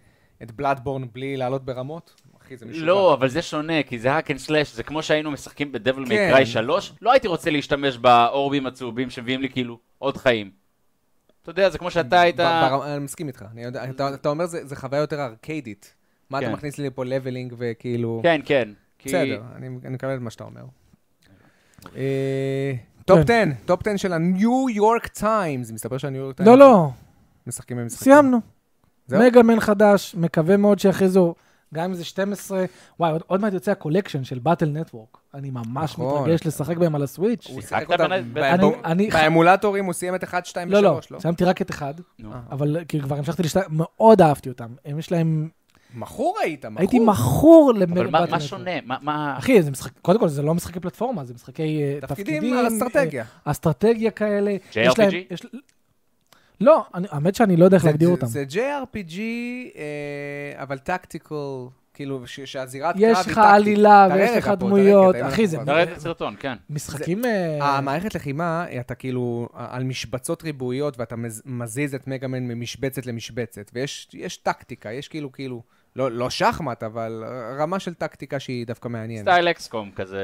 את בלאדבורן בלי לעלות ברמות? אחי, זה משוגע. לא, אבל זה שונה, כי זה האק אנד סלאש, זה כמו שהיינו משחקים בדבל כן. מקראי 3, לא הייתי רוצה להשתמש באורבים הצהובים שמביאים לי כאילו עוד חיים. אתה יודע, זה כמו שאתה היית... ב- ברמה- אני מסכים איתך, אני יודע, אתה- אתה אומר זה זה חוויה יותר ארקיידית. מה אתה כן. מכניס לי לפה לבלינג וכאילו... כן, כן. כי- כן. בסדר, אני אני מקבל את מה שאתה אומר. אה, כן. טופ 10, טופ 10 של הניו יורק טיימס, מסתבר שהניו יורק טיימס... לא, לא, משחקים במשחקים. סיימנו. זהו? מגאמן חדש, מקווה מאוד שיכריזו, גם אם זה 12, וואי, עוד- עוד מעט יוצא הקולקשן של באטל נטוורק. אני ממש נכון. מתרגש לשחק בהם על הסוויץ'. הוא שיחקת שיחק אותם בנ- באמו- אני- אני- באמולטורים, הוא סיים את 1, 2 ו-3, לא, לא, לא? סיימתי רק את אחד, נו. אה. אבל כאילו כבר המשכתי לשתיים, מאוד אהבתי אותם. הם יש להם, מכור היית, מכור. הייתי מכור אבל מה- לבאטל מה נטוורק. שונה? מה- מה... אחי, זה משחק, קודם כל זה לא משחקי פלטפורמה, זה משחקי אה, תפקידים. תפקידים על אסטרטגיה. אה, אסטרטגיה כאלה. JRPG? יש להם- יש- לא, אני- האמת שאני לא יודע איך זה- להגדיר זה- אותם. זה JRPG, אה, אבל טקטיקל, כאילו, ש- שהזירת קרב היא יש טקטית. לך עלילה תראה ויש רגע לך פה, תראה, דמויות. תראה, אחי, זה תראה, תראה את הסרטון, כן. משחקים... אה, המערכת לחימה, אתה כאילו על משבצות ריבועיות, ואתה מז- מזיז את מגאמן ממשבצת למשבצת, ויש יש טקטיקה, יש כאילו, כאילו, לא, לא שחמט, אבל רמה של טקטיקה שהיא דווקא מעניינת. סטייל אקסקום כזה,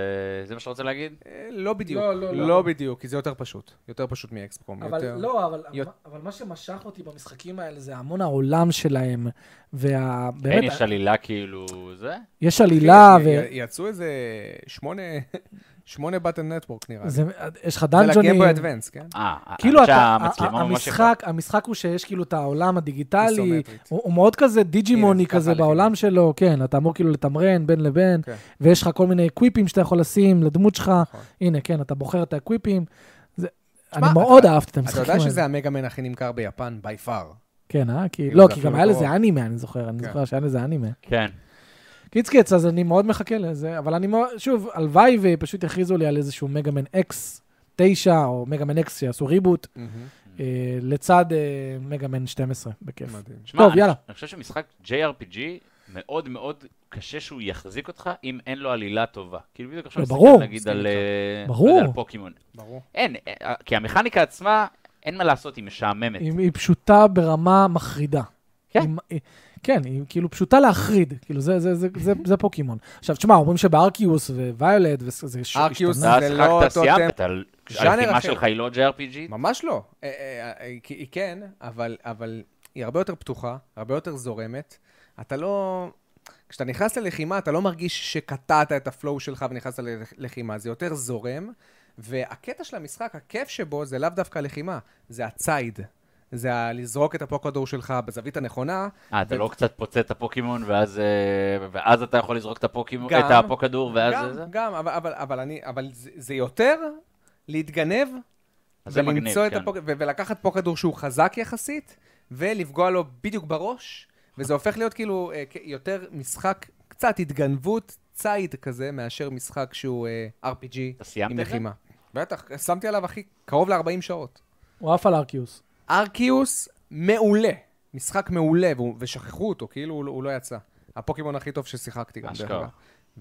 זה מה שאתה רוצה להגיד? אה, לא בדיוק. לא, לא, לא. לא בדיוק, כי זה יותר פשוט. יותר פשוט מאקסקום. אבל יותר- לא, אבל- יותר- אבל מה שמשך אותי במשחקים האלה זה המון העולם שלהם, ובאמת, אין, יש עלילה כאילו, זה? יש עלילה, ו... י- יצאו איזה שמונה, שמונה בטל נטוורק נראה לי. זה- יש לך זה דאנג'ונים. לגמבוי אדוונס, כן? אה, אה, כאילו, האמת אתה- שהמצלמה ה- ה- ממש יפה. המשחק, המשחק הוא שיש כאילו את העולם הדיגיטלי, איסומטרית. הוא הוא מאוד כזה דיג'ימוני הנה, ככה כזה עליתי. בעולם שלו, כן, אתה אמור כאילו לתמרן בין לבין, כן. נכון. ויש לך כל מיני אקוויפים שאתה יכול לשים לדמות שלך, הנה, כן, אתה בוחר את האקוויפים. זה- אני אתה- מאוד אהבתי את אתה המשחקים יודע האלה. שזה המגה-מן הכי נמכר ביפן, by far. כן, אה? כי... כאילו, לא, זה כי אפילו גם היה קרוב. לזה אנימה, אני זוכר, אני כן. זוכר שהיה לזה אנימה. כן. קיצקץ, אז אני מאוד מחכה לזה, אבל אני מאוד, שוב, הלוואי ופשוט יכריזו לי על איזשהו מגאמן אקס 9, או מגאמן אקס שיעשו ריבוט, אה, לצד אה, מגאמן 12, בכיף. מדהים. שמע, טוב, אני- יאללה. אני חושב שמשחק JRPG מאוד מאוד קשה שהוא יחזיק אותך אם אין לו עלילה טובה. כאילו בדיוק עכשיו לא, ברור. נגיד על אה, ברור. לא יודע, על פוקימון. ברור. אין, אה, כי המכניקה עצמה, אין מה לעשות, היא משעממת. היא, היא פשוטה ברמה מחרידה. כן. היא, היא, כן, היא כאילו פשוטה להחריד, כאילו זה, זה, זה, זה, זה פוקימון. עכשיו, תשמע, אומרים שבארקיוס וויולט וזה ש- ארקיוס השתנה. אתה זה שיחקת, לא אותו סיימת, טמפ. אתה- ז'אנר הלחימה אחר. שלך היא לא JRPG? ממש לא. אה, אה, אה, כי- היא כן, אבל, אבל היא הרבה יותר פתוחה, הרבה יותר זורמת. אתה לא... כשאתה נכנס ללחימה, אתה לא מרגיש שקטעת את הפלואו שלך ונכנסת ללחימה, זה יותר זורם. והקטע של המשחק, הכיף שבו, זה לאו דווקא הלחימה, זה הציד. זה ה- לזרוק את הפוקדור שלך בזווית הנכונה, אה, אתה לא קצת פוצץ את הפוקימון, ואז אה, ואז אתה יכול לזרוק את הפוקימון, גם. את הפוקדור, ואז אה, זה? גם, גם, אבל, אבל, אבל, אני, אבל זה, זה יותר להתגנב, אז זה מגניב, ולמצוא את כן. הפוק... ו- ולקחת פה כדור שהוא חזק יחסית, ולפגוע לו בדיוק בראש, וזה הופך להיות כאילו אה, כ- יותר משחק, קצת התגנבות, ציד כזה, מאשר משחק שהוא אה, RPG אתה סיימת עם את זה? לחימה. בטח, שמתי עליו הכי קרוב ל-40 שעות. הוא עף על ארקיוס. ארקיוס מעולה, משחק מעולה, והוא- ושכחו אותו, כאילו הוא לא- הוא לא יצא. הפוקימון הכי טוב ששיחקתי גם, דרך אשכרה.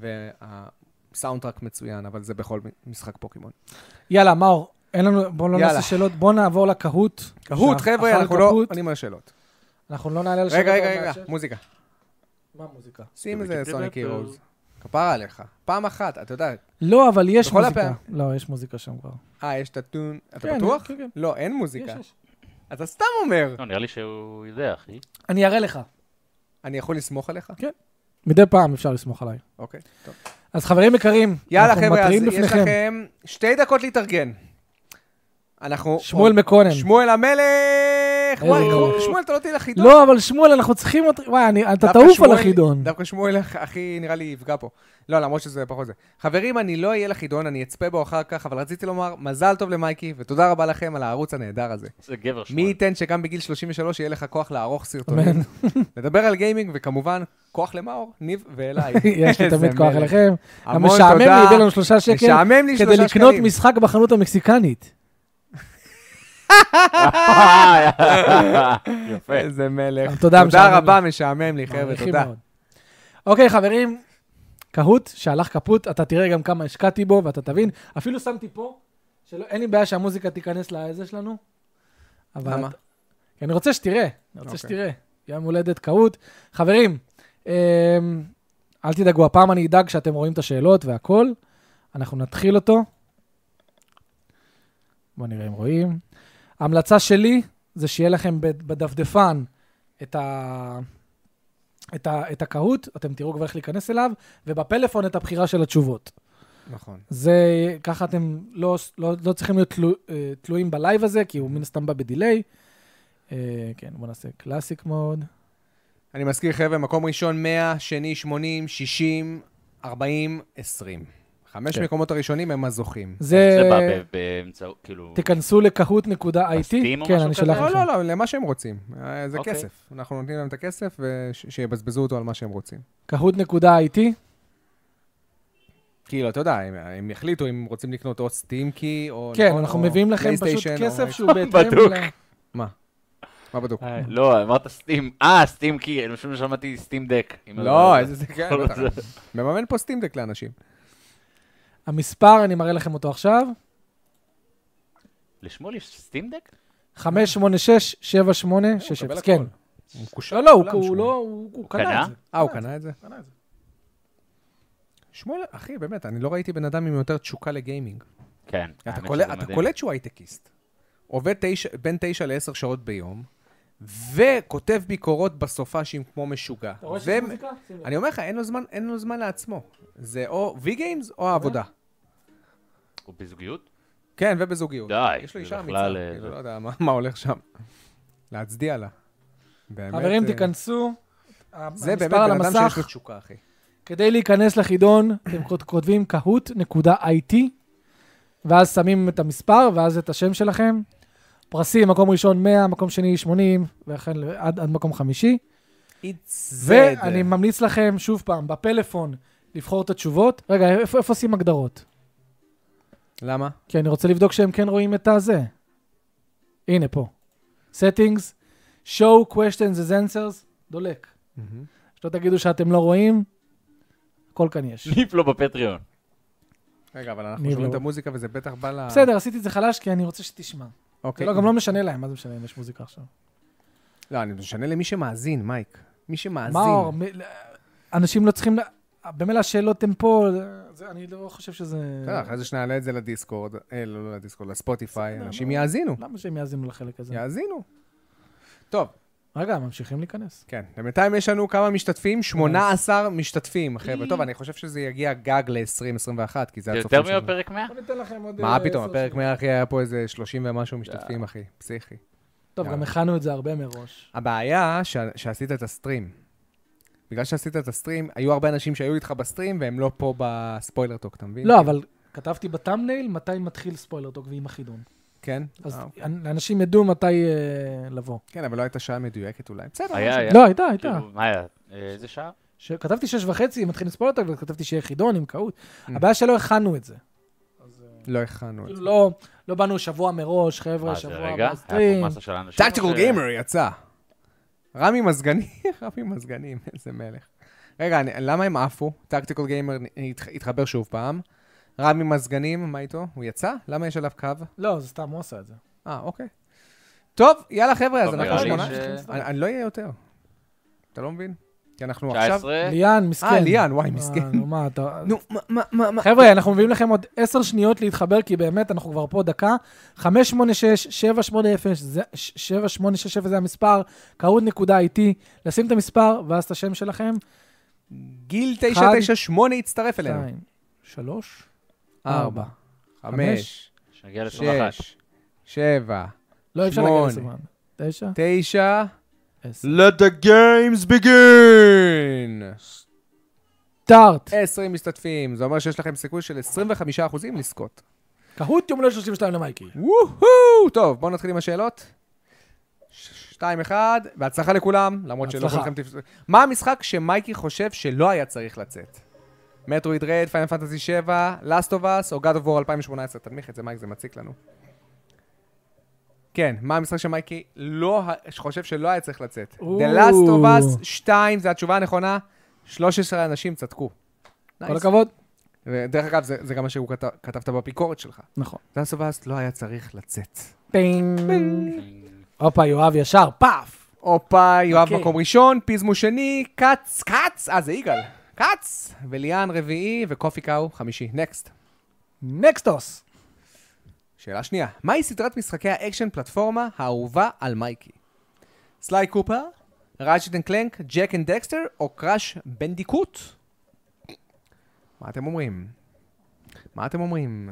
אגב. והסאונדטרק מצוין, אבל זה בכל מ- משחק פוקימון. יאללה, מאור, אין לנו, בואו לא יאללה. נעשה שאלות, בואו נעבור לקהוט. קהוט, שאנחנו- חבר'ה, אחר אנחנו לא הקהוט, עונים על שאלות. אנחנו לא נעלה על שאלות. רגע, רגע, עוד מעט. רגע, מוזיקה. מה המוזיקה? שים איזה סוניק הירוז. אה, כפרה עליך. פעם אחת, אתה יודע... לא, אבל יש בכל מוזיקה. הפעמים. לא, יש מוזיקה שם כבר. אה, יש את הטון... אתה כן, בטוח? כן, כן. לא, אין מוזיקה. יש, יש. אתה סתם אומר. לא, נראה לי שהוא יודע, אחי. אני אראה לך. אני יכול לסמוך עליך? כן. מדי פעם אפשר לסמוך עליי. אוקיי, טוב. אז חברים יקרים, יאללה, אנחנו חבר'ה, אז מתריעים יש בפניכם. לכם שתי דקות להתארגן. אנחנו... שמואל מקונן. שמואל המלך! איזה וואי, גאון. שמואל, אתה לא תהיה לחידון. לא, אבל שמואל, אנחנו צריכים אותך... וואי, אני- אתה דווקא תעוף על שמואל- החידון. דווקא שמואל הכ- הכי נראה לי יפגע פה. לא, למרות שזה פחות זה. חברים, אני לא אהיה לחידון, אני אצפה בו אחר כך, אבל רציתי לומר מזל טוב למייקי, ותודה רבה לכם על הערוץ הנהדר הזה. זה גבר מי שמואל. ייתן שגם בגיל 33 יהיה לך כוח לערוך סרטונים, אמן. לדבר על גיימינג, וכמובן, כוח למאור, ניב ואליי. יש לי איזה תמיד כוח מלך. אליכם. המון המשעמם לי, תודה. הביא לנו שלושה שקל משעמם לי כדי שלושה לקנות שקלים. משחק בחנות המקסיקנית. אה! יפה. איזה מלך. תודה, משעמם תודה רבה, לי. משעמם לי, חבר'ה, מעריכים תודה. מאוד. אוקיי, חברים, קהוט שהלך קפוט, אתה תראה גם כמה השקעתי בו ואתה תבין. אפילו שמתי פה, שאין לי בעיה שהמוזיקה תיכנס לזה שלנו. אבל- למה? כי אני רוצה שתראה, אני רוצה אוקיי. שתראה. יום הולדת קהוט. חברים, אמ, אל תדאגו, הפעם אני אדאג שאתם רואים את השאלות והכול. אנחנו נתחיל אותו. בואו נראה אם רואים. ההמלצה שלי זה שיהיה לכם בד- בדפדפן את ה... את, ה, את הקהוט, אתם תראו כבר איך להיכנס אליו, ובפלאפון את הבחירה של התשובות. נכון. זה, ככה אתם לא, לא, לא צריכים להיות תלו, אה, תלויים בלייב הזה, כי הוא מן הסתם בא בדיליי. אה, כן, בואו נעשה קלאסיק מוד. אני מזכיר, חבר'ה, מקום ראשון 100, שני 80, 60, 40, 20. חמש כן. מקומות הראשונים הם הזוכים. זה, זה בא ב- באמצעות, כאילו... תיכנסו לקהוט.it. בסטים או כן, משהו אני כזה? שולח לא, לכם. לא, לא, למה שהם רוצים. אה, זה אוקיי. כסף. אנחנו נותנים להם את הכסף, ושיבזבזו אותו על מה שהם רוצים. קהוט.it. כאילו, אתה יודע, הם- הם יחליטו אם רוצים לקנות או סטים קי, או... כן, או- אנחנו או מביאים לכם פשוט פלייסטיישן, או- כסף שהוא בהתאם בדוק. ל... מה? מה בדוק? לא, אמרת סטים. אה, סטים קי, אני פשוט שמעתי סטים דק. עם לא, ה- איזה זה, כן, כל בטח. זה. מממן פה סטימדק לאנשים. המספר, אני מראה לכם אותו עכשיו. לשמואל יש סטים דק? 586-7860. הוא מקבל כן, הכל. הוא קושר. לא, לא, הוא- לכולם, הוא שמואל. לא, הוא הוא קנה? קנה את זה. אה, הוא קנה את זה? קנה את זה. שמואל, אחי, באמת, אני לא ראיתי בן אדם עם יותר תשוקה לגיימינג. כן. אתה האמת קולט- שזה אתה מדהים. קולט שהוא הייטקיסט. עובד תשע- בין תשע לעשר שעות ביום, וכותב ביקורות בסופ"שים כמו משוגע. אתה רואה ו- שיש מוזיקה? שים לב. אני אומר לך, אין לו זמן- אין לו זמן לעצמו. זה או וי גיימס או העבודה. הוא בזוגיות? כן, ובזוגיות. די, יש לו זה אישה אמיצה, בכלל, אה, כאילו, זה- לא יודע מה- מה הולך שם. להצדיע לה. באמת, חברים, אה, תיכנסו. זה באמת המספר על בן אדם שיש המסך. לו תשוקה, אחי. כדי להיכנס לחידון, אתם כות- כותבים kahoot.it, ואז שמים את המספר, ואז את השם שלכם. פרסים, מקום ראשון 100, מקום שני 80, ואכן ל- עד, עד מקום חמישי. ואני ממליץ לכם, שוב פעם, בפלאפון, לבחור את התשובות. רגע, איפה, איפה עושים הגדרות? למה? כי אני רוצה לבדוק שהם כן רואים את הזה. הנה, פה. Settings, show questions as answers, דולק. שלא תגידו שאתם לא רואים, הכל כאן יש. ניף לו לא בפטריון. רגע, אבל אנחנו ניב, שומעים את לא. המוזיקה וזה בטח בא ל... בסדר, עשיתי את זה חלש כי אני רוצה שתשמע. זה אה. אוקיי. לא, גם לא משנה להם, מה זה משנה אם יש מוזיקה עכשיו. לא, אני משנה למי שמאזין, מייק. מי שמאזין. מאור, מ- אנשים לא צריכים... ל- במילא השאלות הן פה, זה- אני לא חושב שזה... בסדר, אחרי זה שנעלה את זה לדיסקורד, אה, לא לא לדיסקורד, לספוטיפיי, אנשים יאזינו. למה שהם יאזינו לחלק הזה? יאזינו. טוב, רגע, ממשיכים להיכנס. כן. בינתיים יש לנו כמה משתתפים? 18 משתתפים, חבר'ה. טוב, אני חושב שזה יגיע גג ל-2021, כי זה זה עד יותר סופו של... מבפרק 100? בוא ניתן לכם עוד... אה, מה פתאום, הפרק 100 אחי היה פה איזה 30 ומשהו משתתפים, אחי. פסיכי. טוב, גם הכנו את זה הרבה מראש. הבעיה שה- שעשית את הסטרים. בגלל שעשית את הסטרים, היו הרבה אנשים שהיו איתך בסטרים והם לא פה בספוילר טוק, אתה מבין? לא, אבל כתבתי בטאמנייל מתי מתחיל ספוילר דוק ועם החידון. כן? אז אה, אנ- אנשים ידעו מתי אה, לבוא. כן, אבל לא הייתה שעה מדויקת אולי. בסדר. היה, היה. לא, הייתה, הייתה. כאילו, מה היה? אה, איזה שעה? ש- כתבתי שש וחצי, מתחיל לספוילר דוק, וכתבתי שיהיה חידון עם קהוט. Mm. הבעיה שלא הכנו את זה. לא הכנו את כאילו זה. לא, לא באנו שבוע מראש, חבר'ה, מה זה שבוע רגע? הבא היה סטרים. פה מסה של אנשים. טקטיקל גיימר יצא. רמי מזגנים, רמי מזגנים, איזה מלך. רגע, אני- למה הם עפו? טקטיקל גיימר התח- התחבר שוב פעם. רמי מזגנים, מה איתו? הוא יצא? למה יש עליו קו? לא, זה סתם, הוא עשה את זה. אה, אוקיי. טוב, יאללה חבר'ה, אז טוב, אנחנו לא, נראה לי שמונה. ש- אני אני לא אהיה יותר. אתה לא מבין? כי אנחנו עכשיו... 19? ליאן, מסכן. אה, ליאן, וואי, מסכן. אה, נו, מה, אתה... נו, מה, מה, מה, מה? חבר'ה, אנחנו מביאים לכם עוד עשר שניות להתחבר, כי באמת, אנחנו כבר פה דקה. 586-780, זה- ש- 7860 זה המספר, קהוד נקודה איתי, לשים את המספר, ואז את השם שלכם. גיל 998 הצטרף אלינו. שתיים, שלוש, ארבע, ארבע. חמש, שנגיע ל-21. שש, שבע, לא, אי אפשר להגיע שמונה. לסומן. תשע, תשע. עשר. Let the games begin! סטארט. 20 משתתפים, זה אומר שיש לכם סיכוי של 25% לזכות. קהוט יום הולדת 32 למייקי. וואו! טוב, בואו נתחיל עם השאלות. 2-1, בהצלחה לכולם, למרות שלא בהצלחה. כולכם תפסו... מה המשחק שמייקי חושב שלא היה צריך לצאת? מטרואיד רד, פיינל פנטזי 7, Last of Us או God of War 2018? תנמיך את זה, מייק, זה מציק לנו. כן, מה המשחק שמייקי לא, ה- חושב שלא היה צריך לצאת? The Last of Us 2, זו התשובה הנכונה. 13 אנשים צדקו. כל Nice. הכבוד. ודרך אגב, זה, זה גם מה שכתבת בביקורת שלך. נכון. Last of Us לא היה צריך לצאת. טינג. הופה, יואב ישר, פאף. הופה, יואב אוקיי. מקום ראשון, פיזמו שני, כץ, כץ, אה, זה יגאל, כץ, וליאן רביעי, וקופי קאו חמישי. נקסט. נקסטוס. שאלה שנייה, מהי סדרת משחקי האקשן פלטפורמה האהובה על מייקי? סליי קופר, ראג'ט אנד קלנק, ג'ק אנד דקסטר, או קראש בנדיקוט? מה אתם אומרים? מה אתם אומרים?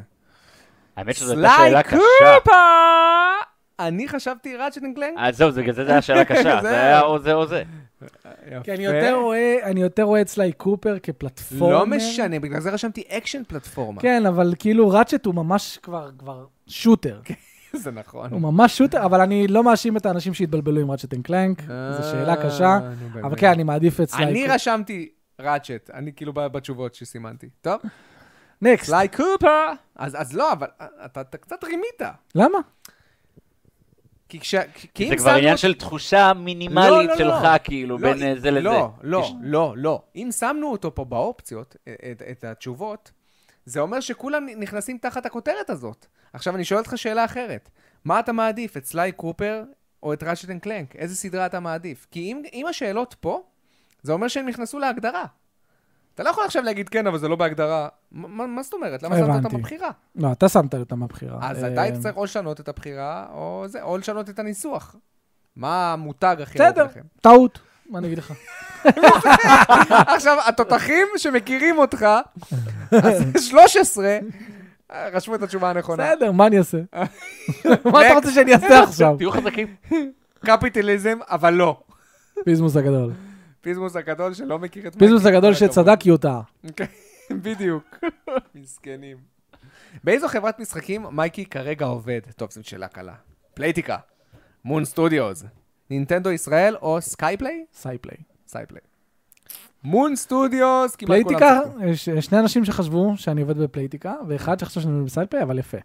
האמת שזו הייתה סליי שאלה קשה. קופר! אני חשבתי ראג'ט אנד קלנק. אז אה, זהו, זה- בגלל זה זו הייתה שאלה קשה. זה- זה היה או זה או זה. כי אני כן, יותר רואה, אני יותר רואה את סליי קופר כפלטפורמה. לא משנה, בגלל זה רשמתי אקשן פלטפורמה. כן, אבל כאילו ראצ'ט הוא ממש כבר, כבר שוטר. זה נכון. הוא ממש שוטר, אבל אני לא מאשים את האנשים שהתבלבלו עם ראצ'ט אנד קלנק, זו שאלה קשה. אה, נו, באמת. אבל כן, אני מעדיף את סליי אני קופר. רשמתי ראצ'ט, אני כאילו ב- בתשובות שסימנתי. טוב, נקסט. סליי קופר. אז אז לא, אבל אתה אתה קצת רימית. למה? כי כש... כי- כי אם זה כבר שמנו- עניין של תחושה מינימלית לא, לא, לא. שלך, כאילו, לא, בין אה, זה לזה. לא, יש- לא, לא, לא. אם שמנו אותו פה באופציות, אה, את- את התשובות, זה אומר שכולם נכנסים תחת הכותרת הזאת. עכשיו, אני שואל אותך שאלה אחרת. מה אתה מעדיף, את סליי קופר או את ראשט אנד קלנק? איזה סדרה אתה מעדיף? כי אם, אם השאלות פה, זה אומר שהם נכנסו להגדרה. אתה לא יכול עכשיו להגיד כן, אבל זה לא בהגדרה. מ- מה, מה זאת אומרת? למה שמת הבנתי. אותם בבחירה? לא, אתה שמת אותם בבחירה. אז אתה אה, היית צריך או לשנות את הבחירה, או זה, או לשנות את הניסוח. מה המותג הכי אהוב בסדר, לכם? טעות. מה אני אגיד לך? עכשיו, התותחים שמכירים אותך, אז 13, אה, רשמו את התשובה הנכונה. בסדר, מה אני אעשה? מה אתה רוצה שאני אעשה עכשיו? תהיו חזקים. קפיטליזם, אבל לא. פיזמוס הגדול. פיזמוס הגדול שלא מכיר את... פיזמוס הגדול מהכיוון שצדק יוטה. כן, בדיוק. מסכנים. באיזו חברת משחקים מייקי כרגע עובד? טוב, זו שאלה קלה. פלייטיקה, מון סטודיוס, נינטנדו ישראל או סקייפליי? סייפליי. סקייפליי. מון סטודיוס, כמעט כולם פלייטיקה, צחקו. יש שני אנשים שחשבו שאני עובד בפלייטיקה, ואחד שחשב שאני עובד בסייפליי, אבל יפה.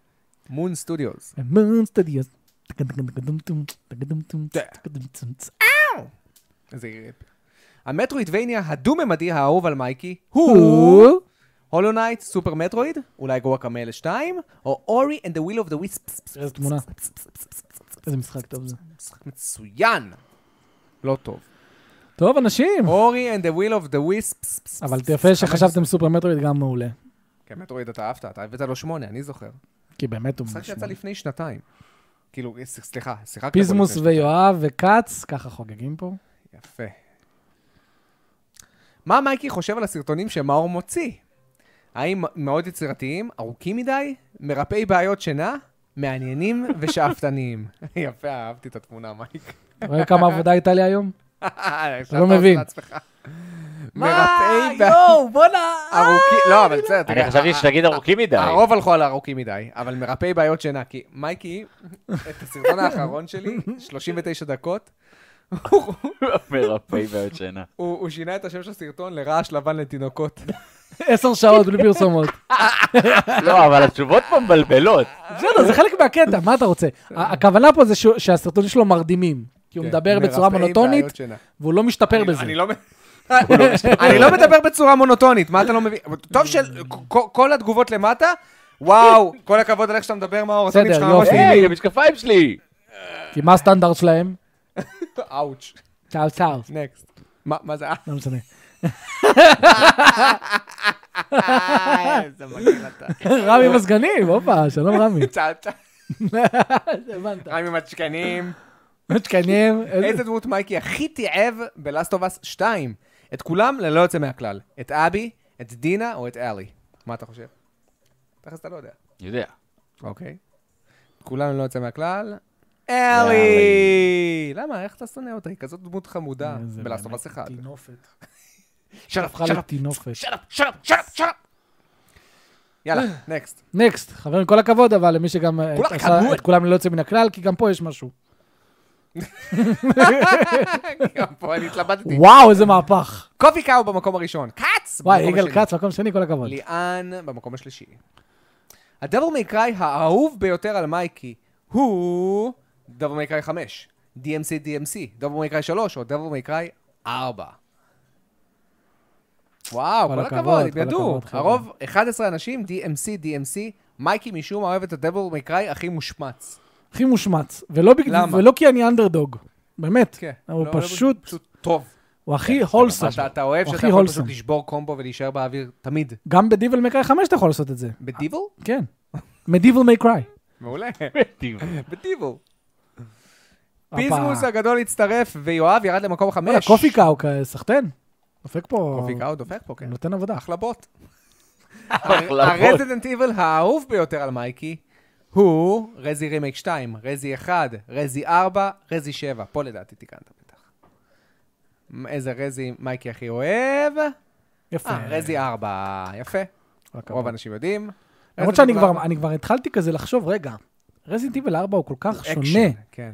מון סטודיוס. אמון סטודיוס. תקדמטום, תקדמטום, תקדמטום. איזה ריפ. המטרואידבניה הדו-ממדי האהוב על מייקי הוא... הוא- הולו נייט, סופר מטרואיד, אולי גוואקמלה 2, או אורי and the will of the wisps. איזה תמונה. איזה משחק טוב זה. משחק מצוין. לא טוב. טוב, אנשים. אורי and the will of the wisps. אבל יפה שחשבתם סופר מטרואיד גם מעולה. כן, מטרואיד אתה אהבת, אתה הבאת לו שמונה, אני זוכר. כי באמת הוא... משחק שיצא משמעותי. לפני שנתיים. כאילו, ס- סליחה, שיחקת בו פיזמוס לפני שנתיים. ויואב וכץ, ככה חוגגים פה. יפה. מה מייקי חושב על הסרטונים שמאור מוציא? האם מאוד יצירתיים, ארוכים מדי, מרפאי בעיות שינה, מעניינים ושאפתניים? יפה, אהבתי את התמונה, מייק. רואה כמה עבודה הייתה לי היום? אה, אתה לא מבין. מרפאי בעיות... יואו, בואנה... אה, ארוכים... לא, אבל בסדר, אני חשבתי שתגיד ארוכים מדי. הרוב הלכו על הארוכים מדי, אבל מרפאי בעיות שינה, כי מייקי, את הסרטון האחרון שלי, 39 דקות, הוא- מרפאי בעיות שינה. הוא הוא שינה את השם של הסרטון לרעש לבן לתינוקות. עשר שעות בלי פרסומות. לא, אבל התשובות פה מבלבלות. בסדר, זה חלק מהקטע, מה אתה רוצה? ה- הכוונה פה זה שהוא- שהסרטונים שלו מרדימים. כי הוא כן, מדבר בצורה מרפאי מונוטונית, בעיות שינה. והוא לא משתפר אני- בזה. אני לא... מ- אני לא מדבר בצורה מונוטונית, מה אתה לא מבין? טוב שכל התגובות למטה, וואו, כל הכבוד על איך שאתה מדבר, מאור, הסרטונים בסדר, שלך ממש יופי. נעימים. היי, המשקפיים שלי! כי מה הסטנדרט שלהם? אאוץ', צאו צאו. נקסט. מה מה זה? אה, לא משנה. אה, איזה מגעיל אתה. רמי עם הסגנים, הופה, שלום רמי. צעד צעד. הבנת. רם עם הצ'קנים. מתקנים, איזה דמות מייקי הכי תיעב בלאסט אוף אס 2? את כולם ללא יוצא מהכלל. את אבי, את דינה או את אלי. מה אתה חושב? תכלס אתה לא יודע. יודע. אוקיי. כולם ללא יוצא מהכלל. אלי! אלי. למה? איך אתה שונא אותה? היא כזאת דמות חמודה בלאסט אוף אס 1. טינופת. שלף, הפכה שלף, לטינופת. שלף, שלף, שלף, שלף. יאללה, נקסט. נקסט, חברים, כל הכבוד, אבל למי שגם אה, כל עשה הכבוד. את כולם ללא יוצא מן הכלל, כי גם פה יש משהו. גם פה אני התלבטתי. וואו, איזה מהפך. קובי קאו במקום הראשון. כץ! וואי, במקום יגאל השני. כץ, מקום שני, כל הכבוד. ליאן במקום השלישי. הדבר מייקראי האהוב ביותר על מייקי הוא דבר מייקראי 5, DMC DMC, דבר מייקראי 3 או דבר מייקראי 4. וואו, כל כל הכבוד, הכבוד, כל ידעו. הכבוד, חבר'ה. הרוב 11 אנשים, DMC DMC, מייקי משום מה אוהב את הדבר מייקראי הכי מושמץ. הכי מושמץ. ולא בג- למה? ולא כי אני אנדרדוג. באמת. כן. הוא לא- לא- פשוט, פשוט טוב. הוא הכי הולסום. אתה אתה אוהב הוא שאתה הכי אה. יכול הולסום. פשוט לשבור קומבו ולהישאר באוויר תמיד. גם בדיבל מקראי 5 אתה יכול לעשות את זה. בדיבל? כן. מדיבל מקראי. מעולה. מתים. בדיבל. פיזמוס הגדול הצטרף, ויואב ירד למקום חמש. וואלה, אה, קופי קאו, כ- סחטיין. דופק פה. קופי קאו דופק פה, כן. נותן עבודה. אחלה בוט. אחלה בוט. הרזידנט איבל האהוב ביותר על מייקי הוא רזי רימייק 2, רזי 1, רזי 4, רזי 7. פה לדעתי תיקנת בטח. איזה רזי מייקי הכי אוהב? יפה. אה, רזי 4. יפה. כל הכבוד. רוב האנשים יודעים. למרות רזי שאני ארבע. כבר, אני כבר התחלתי כזה לחשוב, רגע, רזינט איבל 4 הוא כל כך אקשן, שונה. כן,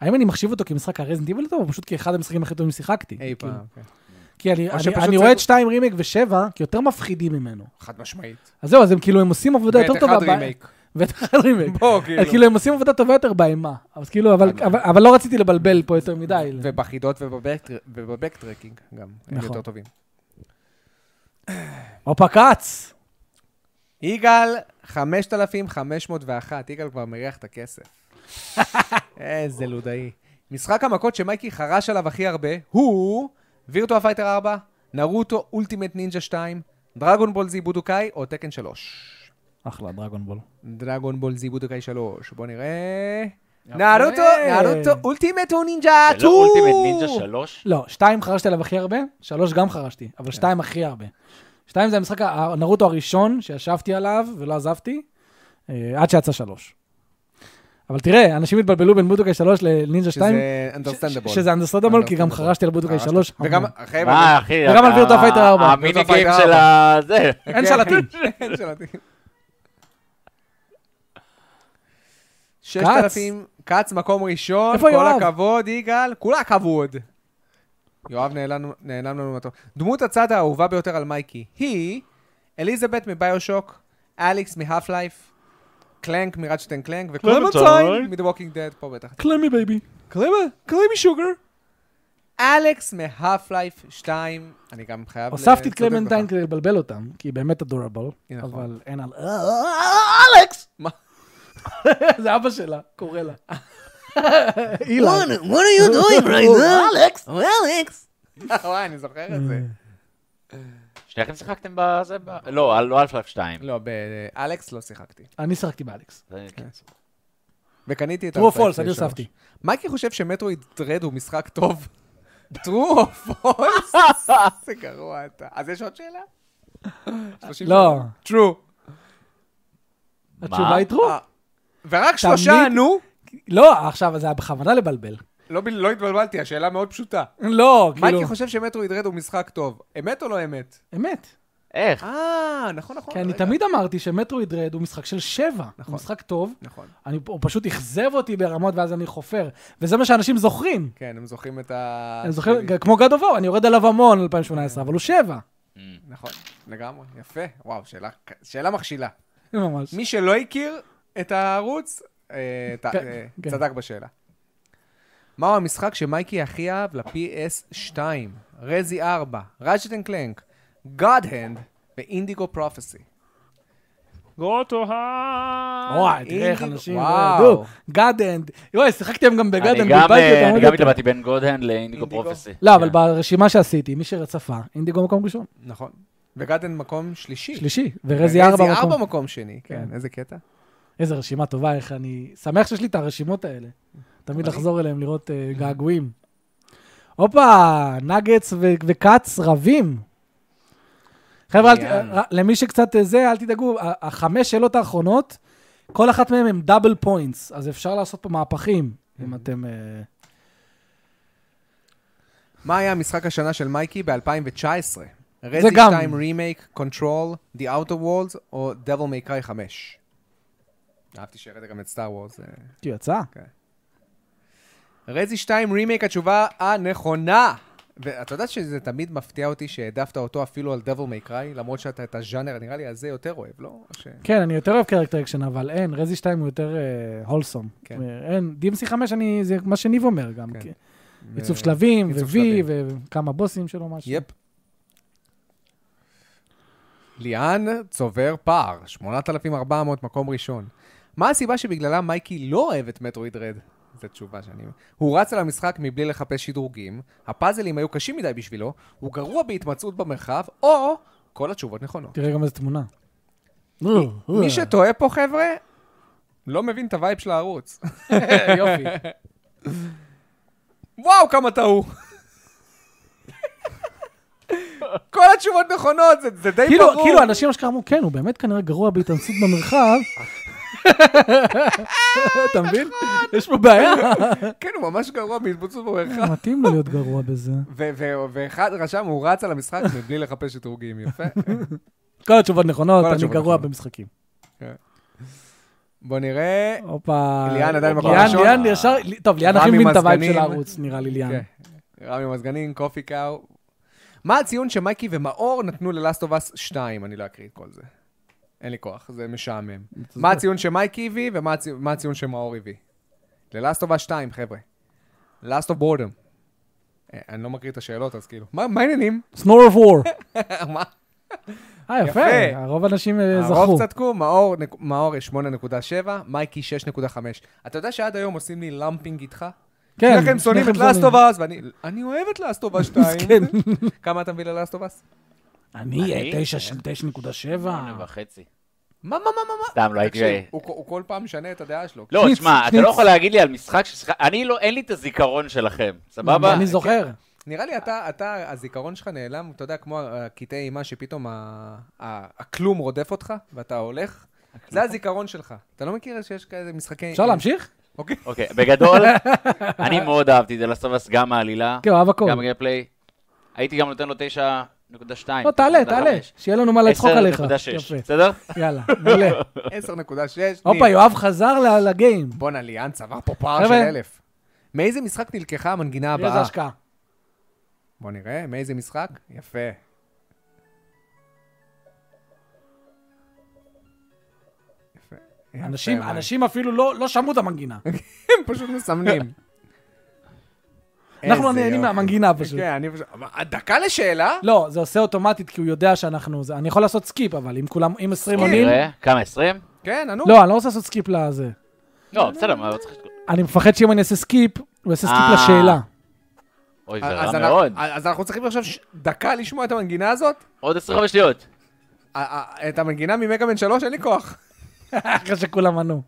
האם אני מחשיב אותו כמשחק הרזינט איבל טוב, או פשוט כאחד המשחקים הכי טובים ששיחקתי? אי כאילו, פעם. כן. כי אני- או אני- שפשוט אני זה- רואה את 2 רימייק ו-7 כיותר מפחידים ממנו. חד משמעית. אז זהו, אז הם כאילו, הם עושים עבודה יותר טובה. ואת ב- אחד רימייק. ואת אחד רימייק. בוא, אז כאילו. כאילו, הם עושים עבודה טובה יותר באימה. אז כאילו, אבל- אבל- אבל לא רציתי לבלבל פה יותר מדי. ובחידות ובבקטר- ובבקטרקינג גם. הם נכון. יותר טובים. הופה כץ! יגאל, 5,501. יגאל כבר מריח את הכסף. איזה לודאי. משחק המכות שמייקי חרש עליו הכי הרבה הוא וירטואה פייטר 4, נרוטו אולטימט נינג'ה 2, דרגון בול זי בודוקאי או תקן 3. אחלה, דרגון בול. דרגון בול זי בודוקאי 3, בוא נראה. נרוטו, נרוטו אולטימט הוא נינג'ה 2! זה לא אולטימט נינג'ה 3? לא, שתיים חרשתי עליו הכי הרבה, שלוש גם חרשתי, אבל כן. שתיים הכי הרבה. שתיים זה המשחק ה- הנרוטו הראשון שישבתי עליו ולא עזבתי, אה, עד שיצא שלוש. אבל תראה, אנשים התבלבלו בין בודוקאי 3 לנינג'ה 2, שזה understandable. שזה אנדרסטנדבול, כי גם Understandable. חרשתי על בודוקאי חרשת. 3. וגם, המון. אחי, מה, אה, אחי? וגם אתה- אה, על וירטואה פייטר ארבע. המיני וירטואה גיים פייטר של ה... זה. אין שלטים. אין שלטים. 6,000, כץ מקום ראשון, איפה כל יואב? הכבוד, יגאל, כולה הכבוד. יואב נעלם נעלם לנו מהטוב. דמות הצד האהובה ביותר על מייקי היא אליזבת מביושוק, אליקס מהאף לייף, קלנק מראצ'טן קלנק, וקלמנטיין מ"דה ווקינג דד", פה בטח. קלמי בייבי. קלמה, אה? קלמי שוגר. אלכס מהאף לייף 2, אני גם חייב... הוספתי את לצדק קלמנטיין אה, לך. כדי לבלבל אותם, כי היא באמת אדורבל, היא נכון. אבל אין על... אה, אלכס! מה? זה אבא שלה, קורא לה. אילן. What are you doing right now? Alex! Alex! וואי, אני זוכר את זה. אה. שניכם שיחקתם בזה? ב- לא, על- לא אלפלאפ 2. לא, באלכס לא שיחקתי. אני שיחקתי באלכס. זה- כן. וקניתי את... True or Half-Life false, אני 3. הוספתי. מייקי חושב שמטרואיד טרד הוא משחק טוב. טרו או פולס? איזה גרוע אתה. אז יש עוד שאלה? שלושים לא. שאלות. טרו. התשובה היא טרו. אה, ורק שלושה ענו? לא, עכשיו, זה היה בכוונה לבלבל. לא ב- לא התבלבלתי, השאלה מאוד פשוטה. לא, כאילו... מייקי חושב שמטרואיד רד הוא משחק טוב. אמת או לא אמת? אמת. איך? אה, נכון, נכון. כי כן, אני רגע. תמיד אמרתי שמטרואיד רד הוא משחק של שבע. הוא משחק טוב. נכון. אני, הוא פשוט אכזב אותי ברמות ואז אני חופר. וזה מה שאנשים זוכרים. כן, הם זוכרים את ה... אני זוכר, כמו God of War, אני יורד עליו המון 2018, אבל הוא שבע. נכון, לגמרי. יפה. וואו, שאלה- שאלה מכשילה. ממש. מי שלא הכיר את הערוץ, אה, ת- כן, אה, כן. צדק בשאלה. מהו המשחק שמייקי הכי אהב ל-PS2? רזי 4, ראג'ט אנד קלנק, God Hand ואינדיגו פרופסי. וואי, תראה איך אינדיגו, אנשים... וואו. גאדנד. יואי, שיחקתם גם אני בגאדנד, גם, בלבלתי אה, אותם. אני עוד גם יותר. התלבטתי בין גודהן לאינדיגו פרופסי. כן. לא, אבל ברשימה שעשיתי, מי שרצפה, אינדיגו מקום ראשון. נכון. וגאד Hand מקום שלישי. שלישי, אוקיי. כן. ורזי ארבע ארבע מקום. מקום שני, כן, כן. איזה קטע. איזה רשימה טובה, איך אני... שמח שיש לי את הרשימות האלה. תמיד לחזור אליהם, לראות אה, געגועים. הופה, נגץ ו- וכץ רבים. חבר'ה, אל ת- יאללה. ר- למי שקצת אה, זה, אל תדאגו, ה- החמש שאלות האחרונות, כל אחת מהן הן דאבל פוינטס, אז אפשר לעשות פה מהפכים, אם אתם... אה, מה היה משחק השנה של מייקי ב-2019? זה רזי גם. 2 רימייק, קונטרול, The Outer Worlds או Devil May Cry 5? אהבתי שהראית גם את אה. סטאר וורס. כי הוא יצא. רזי 2 רימייק התשובה הנכונה. ואתה יודע שזה תמיד מפתיע אותי שהעדפת אותו אפילו על Devil May Cry, למרות שאתה את הז'אנר הנראה לי הזה יותר אוהב, לא? או ש... כן, אני יותר אוהב קרקטר אקשן, אבל אין, רזי 2 הוא יותר אה, הולסום. כן. אין, DMC 5, אני- זה מה שניב אומר גם. כן. כי- ו- עיצוב שלבים, עיצוב ו-V, שלבים. וכמה בוסים שלו, משהו. יפ. ליאן צובר פער, 8,400 מקום ראשון. מה הסיבה שבגללה מייקי לא אוהב את מטרואיד רד? זו תשובה שאני... הוא רץ על המשחק מבלי לחפש שדרוגים, הפאזלים היו קשים מדי בשבילו, הוא גרוע בהתמצאות במרחב, או כל התשובות נכונות. תראה גם איזה תמונה. אה, מי שטועה פה, חבר'ה, לא מבין את הווייב של הערוץ. אה, יופי. וואו, כמה טעו. כל התשובות נכונות, זה, זה די כאילו, ברור. כאילו, אנשים אשכרה אמרו, כן, הוא באמת כנראה גרוע בהתאמצות במרחב. אתה מבין? יש פה בעיה. כן, הוא ממש גרוע בהתמצאות במרחב. מתאים לו להיות גרוע בזה. ו- ו- ואחד רשם, הוא רץ על המשחק מבלי לחפש שדרוגים, יפה. כל התשובות נכונות, כל אני התשובות גרוע נכונות. במשחקים. בוא נראה. הופה. ליאן עדיין מקום ליאן, ראשון. ליאן ישר, טוב, ליאן הכי רמי מבין את הווייב מזגנים. של הערוץ, נראה לי, ליאן. כן. רמי מזגנים, קופי קאו. מה הציון שמייקי ומאור נתנו ללאסט אוף אס 2? אני לא אקריא את כל זה. אין לי כוח, זה משעמם. מה הציון שמייקי הביא ומה הצי- מה הציון שמאור הביא? ללאסט אוף אס 2, חבר'ה. לאסט אוף בורדום. אני לא מקריא את השאלות, אז כאילו. מה מה העניינים? Snore of War. מה? אה, יפה. יפה. הרוב האנשים אה, זכו. הרוב צדקו, מאור, נק- מאור 8.7, מייקי 6.5. אתה יודע שעד היום עושים לי למפינג איתך? כן. כן, לכן שונאים את לכם כן. לאסטובס, ואני אני אוהב את לאסטובס 2. מסכן. כמה אתה מביא ללאסטובס? אני אני? אה, תשע של 9.7. שמונה וחצי. מה, מה, מה, מה, מה? סתם, לא הייתי... תקשיב, הוא הוא כל פעם משנה את הדעה שלו. לא, שניץ, תשמע, אתה שניץ. לא יכול להגיד לי על משחק ששחק... אני לא, אין לי את הזיכרון שלכם, סבבה? אני זוכר. כן, נראה לי אתה, אתה, הזיכרון שלך נעלם, אתה יודע, כמו הקטעי אימה שפתאום ה- ה- הכלום רודף אותך, ואתה הולך. זה הזיכרון שלך. אתה לא מכיר שיש כאלה משחקי... אפשר להמשיך? אוקיי. אוקיי, בגדול, אני מאוד אהבתי את זה לסובס, גם העלילה, כן, הוא אהב הכל. גם הגייפליי. הייתי גם נותן לו 9.2. לא, תעלה, תעלה, שיהיה לנו מה לצחוק עליך. 10.6, יפה. כן. בסדר? יאללה, מעולה. 10.6. הופה, יואב חזר ל- לגיים. בואנה, ליאן צבר פה פער של חבר'ה. אלף. מאיזה משחק נלקחה המנגינה איזה הבאה? השקעה. בוא נראה, מאיזה משחק? יפה. יפה. יפה, אנשים- מה? אנשים אפילו לא לא שמעו את המנגינה. הם פשוט מסמנים. אנחנו לא איזה נהנים יופי. מהמנגינה פשוט. כן, אני פשוט... אבל דקה לשאלה? לא, זה עושה אוטומטית, כי הוא יודע שאנחנו... זה- אני יכול לעשות סקיפ, אבל אם כולם, אם 20 עונים... אה? נראה, כמה, 20? כן, ענו. לא, אני לא רוצה לעשות סקיפ לזה. לא, אה, בסדר, מה, לא צריך... אני מפחד שאם אני אעשה סקיפ, הוא יעשה סקיפ אה. לשאלה. אוי, זה אז רע אנחנו- מאוד. אז אנחנו צריכים עכשיו ש- דקה לשמוע את המנגינה הזאת? עוד 25 שניות. א- א- את המנגינה ממגה-מן 3? אין לי כוח. אחרי שכולם ענו.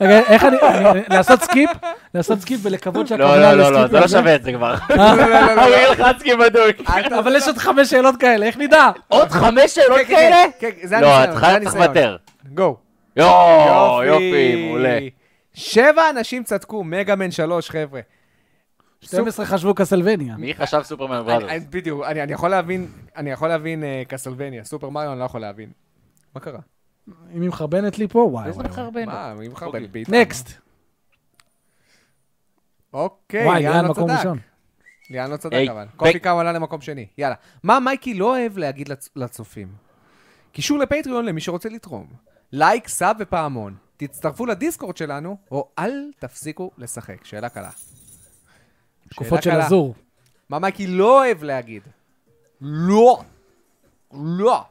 רגע, איך אני... אני- לעשות סקיפ? לעשות סקיפ ולקוות לא, שהכוונה לא, לא, לסקיפ לא, זה לא הזה? שווה את זה כבר. לא, לא, לא, לא. אני אלחץ כבדוק. אל ת- אבל יש עוד חמש שאלות כאלה, איך נדע? עוד חמש שאלות כן, כן, כאלה? כן, כן, זה לא, הניסיון, את זה חייב צריך הניסיון. לוותר. גו. יואו, יופי, מעולה. שבע אנשים צדקו, מגה-מן 3, חבר'ה. 12 חשבו קסלבניה. מי חשב סופרמן אני- בראדרס? אני- בדיוק, אני אני יכול להבין, אני יכול להבין אה, קסלבניה, סופר מריו אני לא יכול להבין. מה קרה? אם היא מחרבנת לי פה, וואי. וואי, וואי. מה, מי מחרבן אוקיי. בעיטה? נקסט. אוקיי, וואי, יאן ליאן לא מקום צדק. ראשון. ליאן לא צדק היי, אבל. ב- קופי קאו עלה למקום שני. יאללה. מה מייקי לא אוהב להגיד לצ- לצופים? קישור לפטריון למי שרוצה לתרום. לייק, סאב ופעמון. תצטרפו לדיסקורד שלנו, או אל תפסיקו לשחק. שאלה קלה. תקופות של קלה. אוקיי. אזור. מה מייקי לא אוהב להגיד? לא. לא.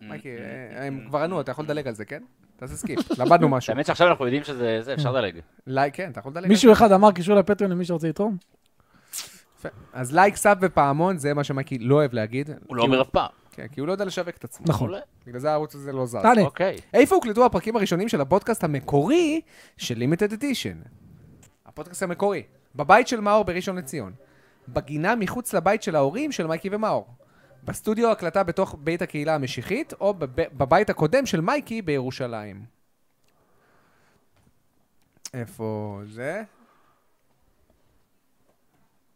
מייקי, אה, הם כבר ענו, אתה יכול לדלג על זה, כן? תעשה סקיפ, למדנו משהו. האמת שעכשיו אנחנו יודעים שזה, זה, אפשר לדלג. לייק, כן, אתה יכול לדלג על זה. מישהו אחד אמר קישור לפטריון למי שרוצה לתרום? יפה. אז לייק, סאב ופעמון, זה מה שמייקי לא אוהב להגיד. הוא לא אומר אף פעם. כן, כי הוא לא יודע לשווק את עצמו. נכון. אולי. בגלל זה הערוץ הזה לא זז. תענה. אוקיי. איפה הוקלטו הפרקים הראשונים של הפודקאסט המקורי של לימיטד אדישן? הפודקאסט המקורי. בבית של מאור בראשון לציון. בגינה מחוץ לבית של ההורים של מייקי ומאור. בסטודיו הקלטה בתוך בית הקהילה המשיחית, או בב... בבית הקודם של מייקי בירושלים. איפה זה?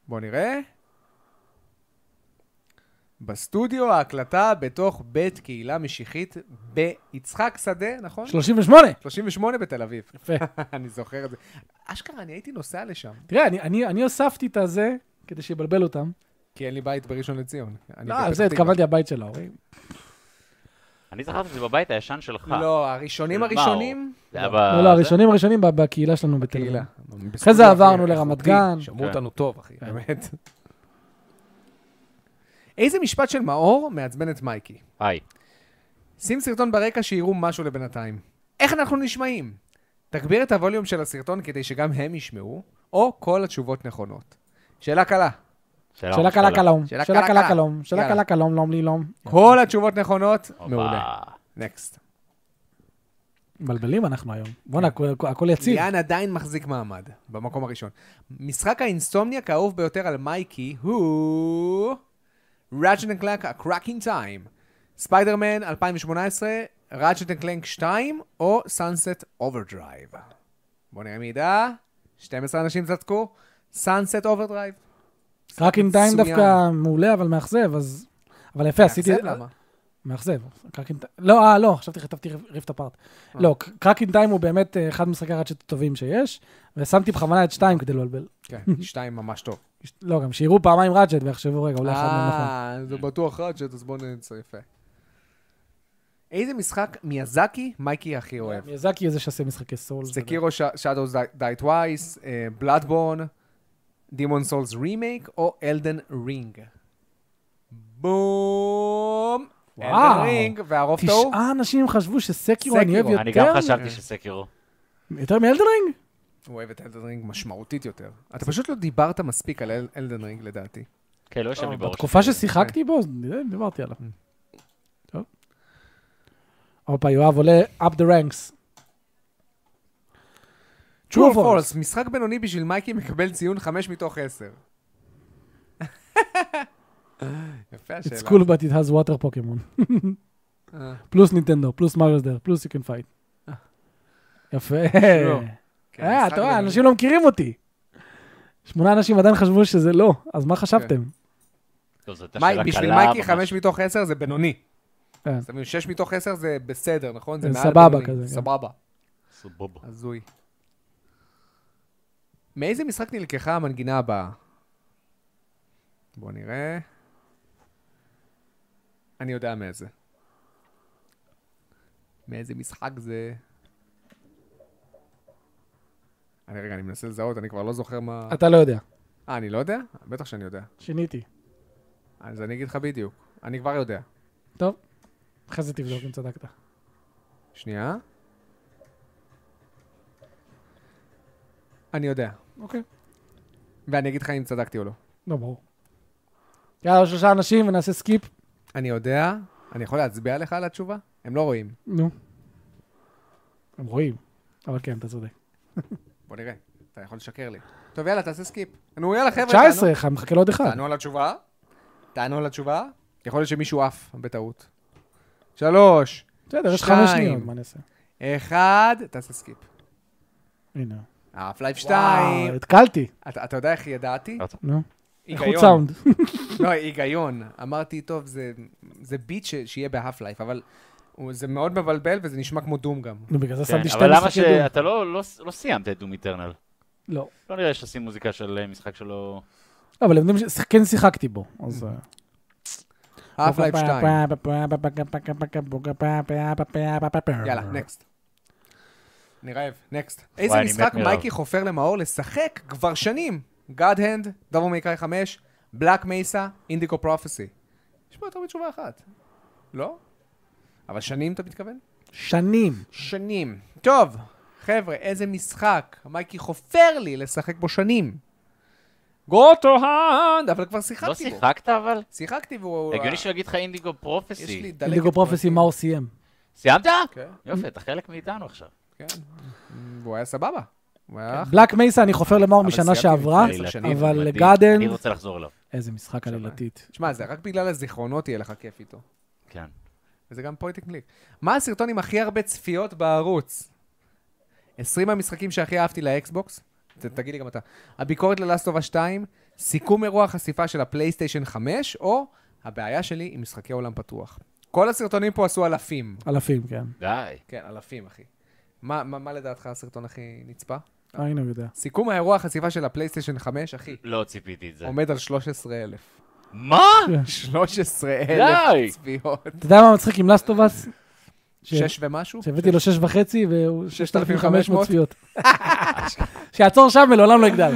בואו נראה. בסטודיו ההקלטה בתוך בית קהילה משיחית ביצחק שדה, נכון? 38! 38 בתל אביב. יפה. אני זוכר את זה. אשכרה, אני הייתי נוסע לשם, תראה, אני- אני- אני הוספתי את הזה כדי שיבלבל אותם. כי אין לי בית בראשון לציון. אני לא, בפתח זה, תקווה. התכוונתי הבית של ההורים. אני זכרתי שזה בבית הישן שלך. לא, הראשונים של הראשונים, זה היה ב... לא, לא, הראשונים הראשונים ב- בקהילה שלנו בתל אביב. אה, קהילה. אחרי זה עברנו לרמת גן. שמעו כן. אותנו טוב, אחי, באמת. איזה משפט של מאור מעצבן את מייקי? היי. שים סרטון ברקע שיראו משהו לבינתיים. איך אנחנו נשמעים? תגביר את הווליום של הסרטון כדי שגם הם ישמעו, או כל התשובות נכונות. שאלה קלה. שאלה קלה קלום. שאלה שאלה קלה, קלה קלום. שאלה יאללה. קלה קלום, לום לי לום. כל התשובות נכונות, הופה. מעולה. נקסט. מבלבלים אנחנו היום. בואנה, כן. הכ- הכ- הכל יציב. ליאן עדיין מחזיק מעמד, במקום הראשון. משחק האינסומניאק האהוב ביותר על מייקי הוא... ראג'ט אנד קלנק, הקראקינג טיים. ספיידרמן 2018, ראג'ט אנד קלנק 2, או סאנסט אוברדרייב. בואו נראה מי ידע. 12 אנשים צדקו. סאנסט אוברדרייב. קראקינג טיים מצוין. דווקא מעולה, אבל מאכזב, אז... אבל יפה, עשיתי... מאכזב, למה? מאכזב. קראקינג טיים... לא, אה, לא, חשבתי, כתבתי ריב- ריפט הפארט. אה. לא, ק- קראקינג טיים הוא באמת אה, אחד משחקי הראצ'ט הטובים שיש, ושמתי בכוונה את שתיים כדי לא לבלבל. כן, 2 ממש טוב. לא, גם שיראו פעמיים ראצ'ט ויחשבו, רגע, אולי אחד מהם נכון. אה, זה בטוח ראג'ט, אז בואו נצא יפה. איזה משחק מיאזקי מייקי הכי אוהב? כאילו מיאזקי הוא זה שעושה משחקי סול. סקירו Shadows Die Twice, בלאדבורן, Demon Souls Remake או אלדן רינג. בום! אלדן וואו. רינג, והרוב טוב. תשעה אנשים חשבו שסקירו אני אוהב סקירו. יותר. אני גם חשבתי שסקירו. יותר מאלדרינג? הוא אוהב את אלדן רינג משמעותית יותר. אתה פשוט לא דיברת מספיק על אל- אלדן רינג, לדעתי. כן, לא אה, יושב לי בראש. בתקופה ששיחקתי בו, נראה, דיברתי עליו. Mm. טוב. הופה, יואב עולה up the ranks. True or false, משחק בינוני בשביל מייקי מקבל ציון 5 מתוך 10. יפה It's השאלה. cool but it has water פוקימון. אה. פלוס נינטנדו, פלוס מריוס דר, פלוס you can fight. יפה. שלא. כן, אה, משחק אתה רואה, בינוני. אנשים לא מכירים אותי. שמונה אנשים עדיין חשבו שזה לא, אז כן. מה חשבתם? טוב, זאת הייתה מי- שאלה בשביל קלה מייקי ממש. 5 מתוך 10 זה בינוני. כן. אז אתה מבין, 6 מתוך 10 זה בסדר, נכון? זה זה מעל סבבה בינוני. כזה, כן. סבבה. סבבה. הזוי. מאיזה משחק נלקחה המנגינה הבאה? בואו נראה. אני יודע מאיזה. מאיזה משחק זה? אני רגע, אני מנסה לזהות, אני כבר לא זוכר מה... אתה לא יודע. אה, אני לא יודע? בטח שאני יודע. שיניתי. אז אני אגיד לך בדיוק. אני כבר יודע. טוב. אחרי זה תבדוק אם צדקת. שנייה. אני יודע. אוקיי. ואני אגיד לך אם צדקתי או לא. לא, ברור. יאללה, עוד שלושה אנשים ונעשה סקיפ. אני יודע, אני יכול להצביע לך על התשובה? הם לא רואים. נו. הם רואים. אבל כן, אתה צודק. בוא נראה, אתה יכול לשקר לי. טוב, יאללה, תעשה סקיפ. נו, יאללה, חבר'ה, 19, חם, מחכה לעוד אחד. תענו. תענו על התשובה. תענו על התשובה. יכול להיות שמישהו עף בטעות. שלוש, בסדר, יש חמש שתיים. שניות, מה אני אעשה? אחד, תעשה סקיפ. הנה. עף לייב וואו, שתיים. התקלתי. אתה אתה יודע איך ידעתי? נו. איכות היגיון. סאונד. לא, היגיון. אמרתי, טוב, זה, זה ביט ש, שיהיה בהאף לייף, אבל הוא- זה מאוד מבלבל וזה נשמע כמו דום גם. נו, בגלל זה כן, שמתי שתי אבל למה משחקי דום. שאתה לא לא- לא סיימת את דום איטרנל? לא. לא נראה שתשים מוזיקה של אה, משחק שלא... לא, אבל הם יודעים שכן שיחקתי בו, אז... אה, האף לייף Mm-hmm. שתיים. יאללה, נקסט. אני רעב, נקסט. איזה אני מת משחק מרעב. מייקי חופר למאור לשחק כבר שנים? God Hand, דאבו מייקאי 5, בלק מייסה, אינדיקו פרופסי. יש פה יותר מתשובה אחת. לא? אבל שנים אתה מתכוון? שנים. שנים. טוב, חבר'ה, איזה משחק מייקי חופר לי לשחק בו שנים. גוטו האנד, אבל כבר לא שיחקתי בו. שיחקת אבל? שיחקתי והוא... הגיוני שהוא יגיד לך אינדיגו יש לי פרופסי. דלקת. אינדיגו פרופסי, פרקים. מה הוא סיים? סיימת? כן, יופי, אתה חלק מאיתנו עכשיו. כן. והוא היה סבבה. הוא היה בלק מייסה, אני חופר למאור אה? אבל משנה סיימתי שעברה, לפני עשר שנים, אבל מדהים. גאדן... אני רוצה לחזור אליו. איזה משחק עלילתית. תשמע, זה רק בגלל הזיכרונות יהיה לך כיף איתו. כן. וזה גם פויטק קליק. מה הסרטון עם הכי הרבה צפיות בערוץ? 20 המשחקים שהכי אהבתי לאקסבוקס, ת- תגיד לי גם אתה. הביקורת ללאסטובה 2, סיכום אירוע החשיפה של הפלייסטיישן 5, או הבעיה שלי עם משחקי עולם פתוח. כל הסרטונים פה עשו אלפים. אלפים, כן. די. כן, אלפים, אחי. מה, מה, מה לדעתך הסרטון הכי נצפה? אה, הנה הוא יודע. סיכום האירוע החשיפה של הפלייסטיישן 5, אחי, לא ציפיתי את זה. עומד על 13,000. מה? 13,000 די. צפיות. אתה יודע מה מצחיק עם לאסטובס? שש ומשהו? שהבאתי לו שש וחצי והוא 6,500 6,500 צפיות. שיעצור שם ולעולם לא יגדל.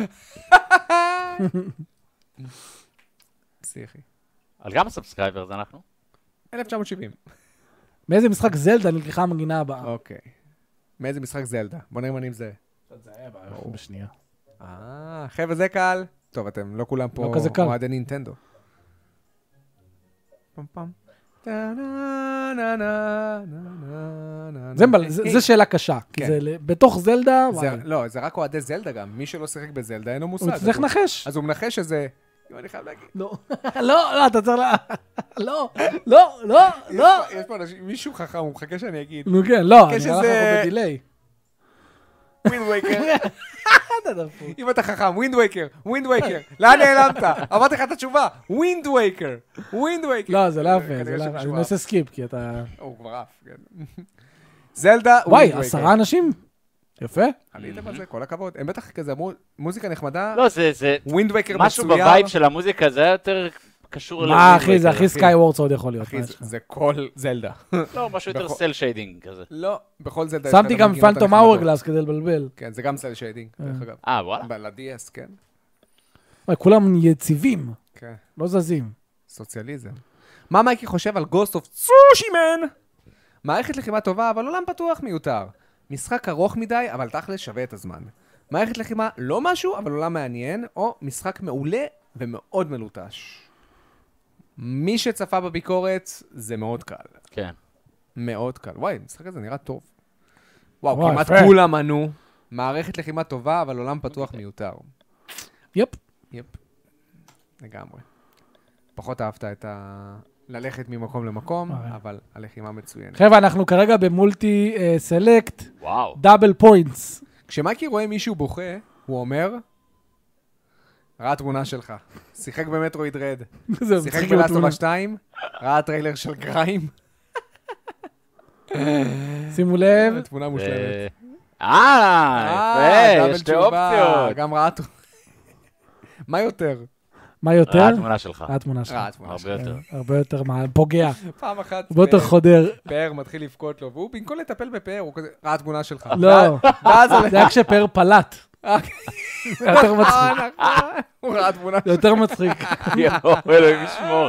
פסיכי. על כמה סאבסקרייברס אנחנו? 1970. מאיזה משחק זלדה נלקחה המנגינה הבאה? אוקיי. מאיזה משחק זלדה? בוא נראה אם אני מזהה. בשנייה. אה, חבר'ה, זה קל. טוב, אתם לא כולם פה לא כזה קל. אוהדי נינטנדו. פם פם. טה נה נה נה נה נה נה. זה מבל- אה, זה אה, זה שאלה קשה. כי כן. זה ל- בתוך זלדה, זה- וואי. לא, זה רק אוהדי זלדה גם. מי שלא שיחק בזלדה, אין לו מושג. הוא צריך אז הוא- לנחש. אז הוא מנחש שזה... יואו, אני חייב להגיד. לא, לא, לא, אתה צריך ל... לא, לא, לא, לא. יש פה אנשים, מישהו חכם, הוא מחכה שאני אגיד. נו כן, לא, אני חכה נראה לך שזה- פה בדיליי. ווינד וייקר. אתה דפוק. אם אה, אתה חכם, ווינד וייקר, ווינד וייקר, לאן נעלמת? אמרתי לך את התשובה, ווינד וייקר, ווינד וייקר. לא, זה לא יפה, זה כנראה לא יפה. שמישהו אני עף. עושה סקיפ, כי אתה... הוא כבר עף, כן. זלדה, וואי, ווינד וייקר. עשרה אנשים? יפה. עליתם על זה, כל הכבוד. הם בטח כזה אמרו, מוזיקה נחמדה, לא, זה... זה- ווינד וייקר משהו מצויר. בווייב של המוזיקה זה היה יותר לא, קשור מה, לווינד אחי, זה וייבר. הכי סקייוורדס עוד יכול להיות. כן, אחי, מה זה- יש לך? זה כל זלדה. לא, משהו יותר בכל- סל שיידינג כזה. לא, בכל זלדה יש לך את שמתי גם המנגינות פנטום הנחמדות. אאורגלאס כדי לבלבל. כן, זה גם סל שיידינג, דרך אגב. אה, וואלה. בלדיאס, כן. וואי, כולם יציבים, כן, לא זזים. סוציאליזם. מה מייקי חושב על גוסט אוף צושימן? מערכת לחימה טובה, אבל עולם פתוח מיותר. משחק ארוך מדי, אבל תכל'ס שווה את הזמן. מערכת לחימה לא משהו, אבל עולם מעניין, או משחק מעולה ומאוד מלוטש. מי שצפה בביקורת, זה מאוד קל. כן. מאוד קל. וואי, המשחק הזה נראה טוב. וואו, וואי, כמעט יפה. כולם ענו. מערכת לחימה טובה, אבל עולם פתוח מיותר. יופ. יפ. לגמרי. פחות אהבת את ה... ללכת ממקום למקום, אוקיי. כן. אבל הלחימה מצוינת. חבר'ה, אנחנו כרגע במולטי אה, סלקט, וואו. דאבל פוינטס. כשמייקי רואה מישהו בוכה, הוא אומר, ראה תמונה שלך. שיחק במטרואיד רד. שיחק בלאסטובה 2, ראה טריילר של גריים. שימו לב, תמונה מושלמת. אה, אה, יפה, דאבל יש שתי תשובה, אופציות. גם ראה... ת- מה יותר? מה יותר? ראה תמונה אה, שלך. אה, ראה תמונה שלך. ראה תמונה. הרבה יותר. כן, הרבה יותר מה- פוגע, פעם אחת הרבה יותר חודר. פאר מתחיל לבכות לו, והוא במקום לטפל בפאר, הוא כזה, ראה תמונה שלך. לא, ואז זה היה כשפאר פלט. אה, זה יותר מצחיק. נכון. הוא ראה תמונה זה יותר מצחיק. יואו, אלוהים ישמור.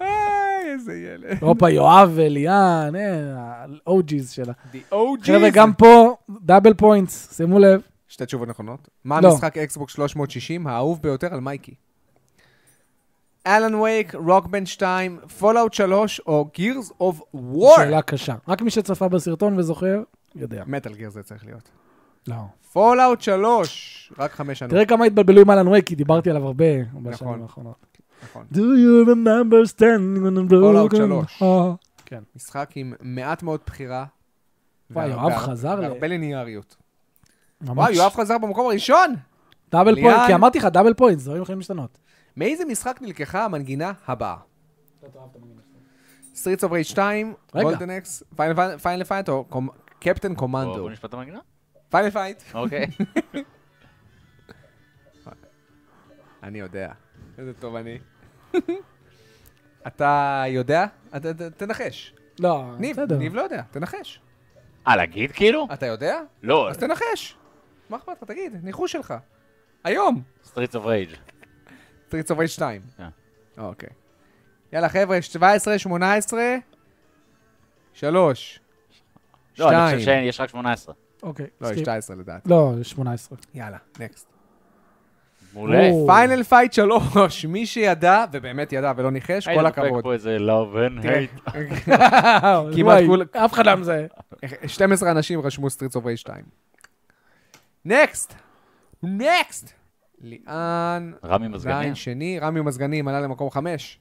איי, איזה ילד. הופה, יואב וליאן, ה-OG's שלה. The OG's. חבר'ה, גם פה, דאבל פוינטס, שימו לב. Oh, שתי תשובות נכונות. מה לא. המשחק אקסבוק 360 האהוב ביותר על מייקי? אלן וייק, רוקבן 2, פולאאוט 3 או גירס אוף וור? שאלה קשה. רק מי שצפה בסרטון וזוכר, יודע. מת על גירס זה צריך להיות. לא. פולאאוט 3, רק חמש שנים. תראה כמה התבלבלו עם אלן וייק, כי דיברתי עליו הרבה בשנים נכון. האחרונות. נכון. Do you remember standing on a Fallout broken שלוש. heart? כן. משחק עם מעט מאוד בחירה. וואי, והרבה- יואב חזר ל- והרבה ליניאריות. וואי, ממש. יואב חזר במקום הראשון! דאבל ליאן. פוינט, כי אמרתי לך, דאבל פוינט, דברים יכולים להשתנות. מאיזה משחק נלקחה המנגינה הבאה? סטריטס אוף רייד 2, רגע. גולדן אקס, פיינל פייט או קפטן בוא קומנדו? בוא נשפט את המנגינה. פיינל פייט. אוקיי. אני יודע. איזה טוב אני. אתה יודע? אתה- ת- תנחש. לא, ניב, בסדר. ניב לא יודע, תנחש. אה, להגיד כאילו? אתה יודע? לא, אז תנחש. מה אכפת לך? תגיד, ניחוש שלך. היום. סטריטס אוף רייג'. סטריטס אוף רייד 2. אה. אוקיי. יאללה חבר'ה, 17, 18, 3. לא, אני שתיים. חושב שיש רק 18. אוקיי, לא, יש סקיפ. 19 לדעתי. לא, יש 18. יאללה, נקסט. מעולה. או, פיינל פייט 3, מי שידע, ובאמת ידע ולא ניחש, הייתי כל דופק הכבוד. פה איזה love and hate. כמעט וואי, כול- אף אחד לא מזהה. 12 אה, אנשים רשמו סטריטס אוף רייד 2. נקסט! נקסט! ליאן, רמי מזגניה. זין שני, רמי מזגנים עלה למקום חמש.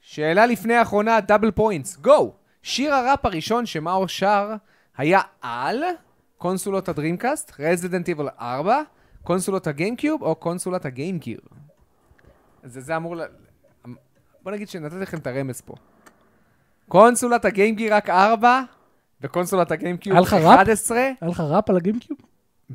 שאלה לפני האחרונה, דאבל פוינטס, גו! שיר הראפ הראשון שמאור שר היה על קונסולות הדרימקאסט, רזידנט איבל 4, קונסולות הגיימקיוב או קונסולת הגיימקיר. זה, זה אמור ל... אמ, בוא נגיד שנתתי לכם את הרמז פה. קונסולת הגיימקיר רק 4, וקונסולת הגיימקיוב היה לך ראפ? 11. היה לך ראפ על הגימקיוב?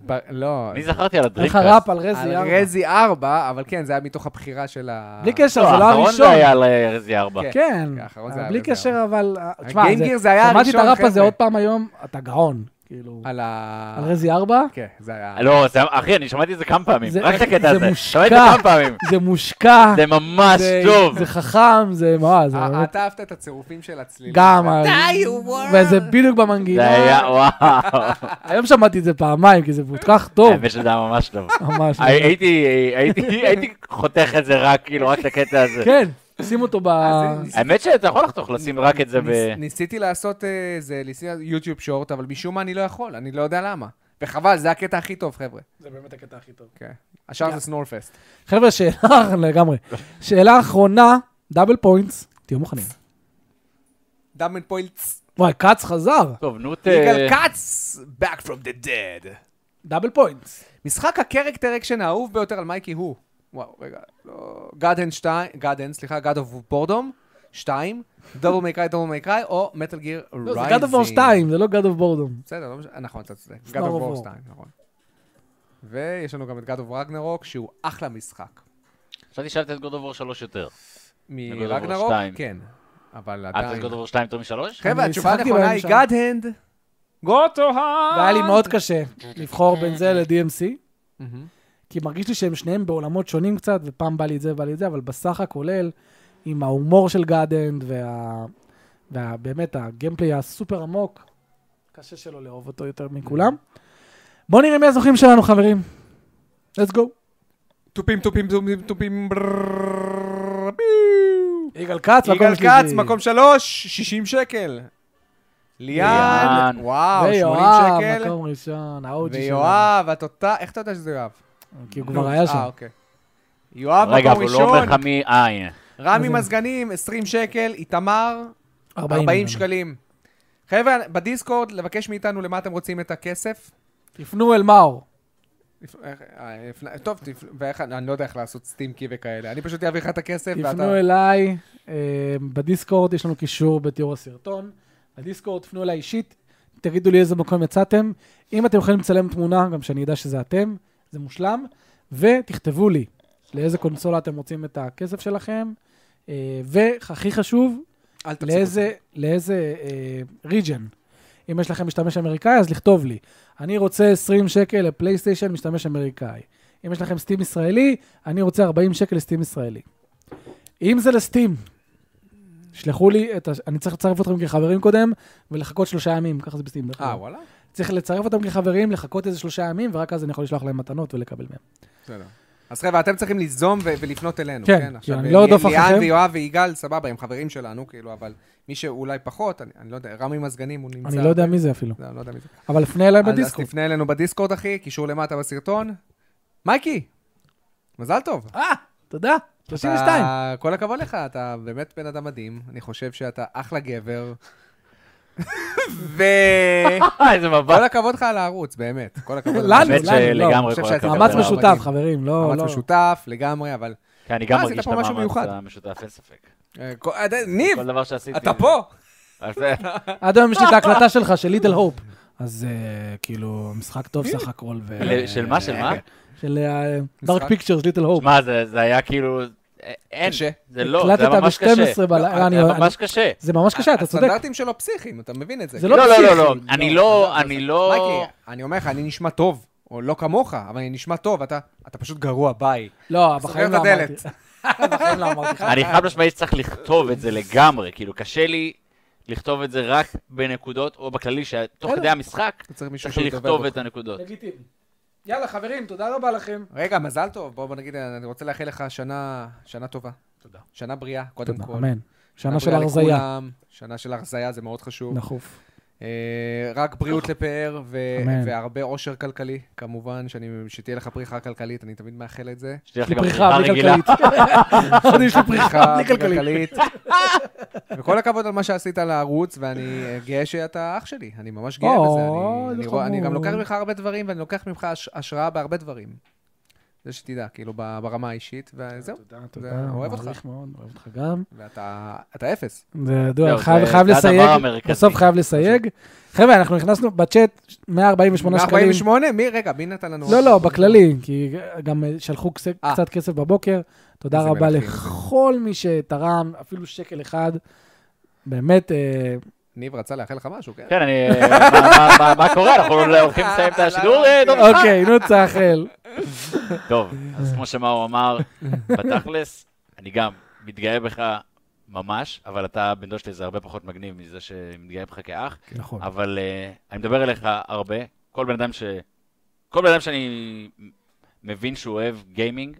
ב... לא, אני זכרתי על היה לך הדרינקאסט. ראפ על רזי על ארבע. רזי 4, אבל כן, זה היה מתוך הבחירה של ה... בלי קשר, לא, זה לא האחרון הראשון. זה היה על אה, רזי ארבע. כן. כן, האחרון זה היה בלי רזי קשר, אבל... תשמע, הגיים זה- גיר זה אה. היה שמעתי את הראשון, הראפ הזה חבר'ה. עוד פעם היום, אתה גאון. כאילו, על ה... על רזי ארבע? כן, זה היה... לא, זה- אחי, אני שמעתי את זה כמה פעמים. זה- רק את הקטע זה הזה. מושקע. שמעתי את זה כמה פעמים. זה מושקע, זה ממש זה- טוב. זה חכם, זה מה, זה אה, באמת... אתה אהבת את הצירופים של הצלילים. גם, ה- די, וואו. וזה בדיוק אה, זה במנגינה. היה, וואו. היום שמעתי את זה פעמיים, כי זה כל כך טוב. האמת שזה היה ממש טוב. ממש. הי- הייתי, הייתי, הייתי חותך את זה רק, כאילו, רק את הקטע הזה. כן, שים אותו ב... אז ניס- האמת שאתה יכול לחתוך, לשים רק את זה ב... ניס- ניסיתי לעשות אה, זה, ניסיתי לעשות יוטיוב שורט, אבל משום מה אני לא יכול, אני לא יודע למה. וחבל, זה הקטע הכי טוב, חבר'ה. זה באמת הקטע הכי טוב. כן. השאר זה סנורפסט. חבר'ה, שאלה לגמרי. שאלה אחרונה, דאבל פוינטס, תהיו מוכנים. דאמן פוילץ. וואי, כץ חזר. טוב, נו, ת... יגאל כץ, back from the dead. דאבל פוינטס. משחק הקרקטר אקשן האהוב ביותר על מייקי הוא. וואו, רגע, לא... גאדן 2, גאדן, סליחה, God of Boredom 2, דובל מייקראי, דובל מייקראי, או מטל גיר לא, רייזינג. זה God of War 2, זה לא God of Boredom. בסדר, לא משנה, נכון, אתה צודק. God Star of War of War. 2, נכון. ויש לנו גם את God of Ragnarok, שהוא אחלה משחק. חשבתי שאלת את גוד אובור 3 יותר. God of War מרגנרוק, 2. כן. אבל אהבת את עדיין... גוד אובור 2 יותר משלוש? חבר'ה, אני התשובה משחקתי הנכונה בהם היא שם. גאדהנד. גוטו-האנד! והיה לי מאוד קשה כן, לבחור בין זה ל-DMC, כי מרגיש לי שהם שניהם בעולמות שונים קצת, ופעם בא לי את זה ובא לי את זה, אבל בסך הכולל, עם ההומור של גאדנד, וה... ובאמת הגיימפליי הסופר עמוק, קשה שלא לאהוב אותו יותר מכולם. בואו נראה מי הזוכים שלנו, חברים. let's go. תופים, תופים, תופים, תופים, ברררררררררר, ביו. יגאל כץ, מקום יגאל שלישי. כץ, מקום שלוש, 60 שקל. ליאן, ליאן. וואו, 80 ויואב, אה, שקל. מקום ראשון, האוג'י שלנו. ויואב, התותח, איך אתה יודע שזה יואב? כי הוא כבר היה אה, שם. אוקיי. יואב, רגע, מקום אבל הוא לא אומר ראשון. לך מי... אה, הנה. רמי מה זה? מזגנים, 20 שקל, איתמר, 40 40 שקלים. חבר'ה, בדיסקורד, לבקש מאיתנו למה אתם רוצים את הכסף. תפנו אל מאור. אה, אה, טוב, תפ- ואיך- אני לא יודע איך לעשות סטימקי וכאלה. אני פשוט אעביר לך את הכסף ואתה... תפנו אליי, אה, בדיסקורד יש לנו קישור בתיאור הסרטון. בדיסקורד תפנו אליי אישית, תגידו לי איזה מקום יצאתם. אם אתם יכולים לצלם תמונה, גם שאני אדע שזה אתם, זה מושלם. ותכתבו לי לאיזה קונסולה אתם רוצים את הכסף שלכם. אה, והכי חשוב, אל תפסיקו. לאיזה, לאיזה אה, ריג'ן. אם יש לכם משתמש אמריקאי, אז לכתוב לי. אני רוצה 20 שקל לפלייסטיישן משתמש אמריקאי. אם יש לכם סטים ישראלי, אני רוצה 40 שקל לסטים ישראלי. אם זה לסטים, שלחו לי את ה... אני צריך לצרף אתכם כחברים קודם, ולחכות שלושה ימים, ככה זה בסטים. דרך אה, אגב. וואלה? צריך לצרף אותם כחברים, לחכות איזה שלושה ימים, ורק אז אני יכול לשלוח להם מתנות ולקבל מהם. בסדר. אז חבר'ה, אתם צריכים ליזום ו- ולפנות אלינו, כן, כן? כן, עכשיו, אני לא לי- ארדוף ליאן אחריכם. ויואב ויגאל, סבבה, הם חברים שלנו, כאילו, אבל מי שאולי פחות, אני- אני לא יודע, רמי מזגנים, הוא נמצא... אני לא יודע מי זה אפילו. לא, אני לא יודע מי זה. אבל לפני אליי אז- אז אה, בדיסקורד. תפנה אלינו בדיסקורד, אחי, קישור למטה בסרטון. מייקי, מזל טוב. אה, תודה. 32. אתה- כל הכבוד לך, אתה באמת בן אדם מדהים. אני חושב שאתה אחלה גבר. ו... אה, איזה מבט. כל הכבוד לך על הערוץ, באמת. כל הכבוד. על לנו, הערוץ. האמת לנו, לא. אני שלגמרי חושב כל שאתה הכבוד. מאמץ אתה- משותף, מדהים. חברים, לא... מאמץ לא- משותף לגמרי, אבל... כן, אני גם אה, מרגיש את עשית פה משהו המאמץ מיוחד. המשותף, אין ספק. אה, כל- אה, ניב, כל דבר שעשיתי... אתה פה? אז זה- עד היום יש לי את ההקלטה שלך, של ליטל הופ. אז אה, כאילו, משחק טוב סך הכל. ו- ל- של מה, אה, של מה? של אה, משחק. דארק פיקצ'רס, ליטל הופ. שמע, זה- זה היה כאילו... אה, אין. קשה. זה לא, זה הקלטת ממש ב- 12 קשה. בלילה, לא, אני- זה אני- ממש קשה. זה ממש קשה, אתה צודק. הסטנדרטים שלו פסיכיים, אתה מבין את זה. זה לא, לא, פסיכי. לא, לא. אני לא, אני לא... מייקי, אני אומר לך, אני נשמע טוב, או לא כמוך, אבל אני נשמע טוב, אתה אתה פשוט גרוע, ביי. לא, סוגר בחיים את לא אמרתי. הדלת. בחיים לא אמרתי לך. אה, אני חד משמעית שצריך לכתוב את זה לגמרי. כאילו, קשה לי לכתוב את זה רק בנקודות, או בכללי, שתוך בסדר. כדי המשחק, אתה צריך מישהו צריך שידבר לכתוב בו. את הנקודות. לגיטימי. יאללה, חברים, תודה רבה לכם. רגע, מזל טוב, בוא בוא נגיד, אני רוצה לאחל לך שנה שנה טובה. תודה. שנה בריאה, קודם תודה, כל. אמן. שנה של בריאה הרזייה. נכון. לכולם, שנה של הרזייה, זה מאוד חשוב. דחוף. אה, רק בריאות נכון. לפאר ו- אמן. והרבה אושר כלכלי, כמובן, שאני- שתהיה לך פריחה כלכלית, אני תמיד מאחל את זה. שתהיה לך בלי גם פריחה, פריחה בלי רגילה. כלכלית. אני יש לי פריחה, בלי כלכלית. וכל הכבוד על מה שעשית לערוץ, ואני אה, גאה שאתה אח שלי, אני ממש גאה או, בזה. אני- איזה אני רוא- אני גם חמוד. לוקח ממך הרבה דברים, ואני לוקח ממך הש- השראה בהרבה דברים. זה שתדע, כאילו, ב- ברמה האישית, וזהו. תודה, זה- תודה. אוהב אותך. מעריך מאוד, אוהב אותך גם. ואתה אתה אפס. זה ידוע, זהו, חייב זה- חייב זה הדבר לסייג, המרכזי. בסוף חייב לסייג. חבר'ה, אנחנו נכנסנו בצ'אט 148 שקלים. 148? מי? רגע, מי נתן לנו? לא, לא, בכללי, כי גם שלחו קצת- אה. קצת כסף בבוקר. תודה איזה רבה מלכים. לכל מי שתרם, אפילו שקל אחד. באמת, אה, ניב רצה לאחל לך משהו, כן? כן, אני... מה- מה- מה- מה קורה? אנחנו הולכים לסיים את השידור? אה, טוב, אוקיי, נו צחל. טוב, אז כמו שמאור אמר, בתכלס, אני גם מתגאה בך ממש, אבל אתה, בן דוד שלי, זה הרבה פחות מגניב מזה שמתגאה בך כאח, נכון. אבל אה, אני מדבר אליך הרבה. כל בן אדם ש... כל בן אדם שאני מבין שהוא אוהב גיימינג,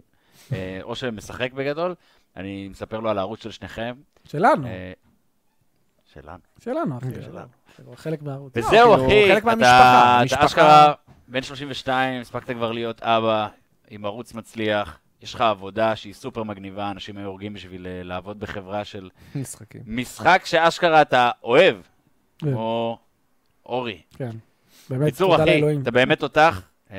אה, או שמשחק בגדול, אני מספר לו על הערוץ של שניכם. שלנו, אה, שלנו. שלנו, אחי. שלנו. הוא חלק מהערוץ. לא, וזהו, כאילו, אחי, חלק אתה- מהמשפחה, אתה המשפחה. אשכרה בן 32, הספקת כבר להיות אבא, עם ערוץ מצליח, יש לך עבודה שהיא סופר מגניבה, אנשים היו הורגים בשביל אה, לעבוד בחברה של משחקים. משחק שאשכרה אתה אוהב, כן. כמו אורי. כן. באמת, בקיצור, תודה אחי, לאלוהים. אתה באמת תותח, אה,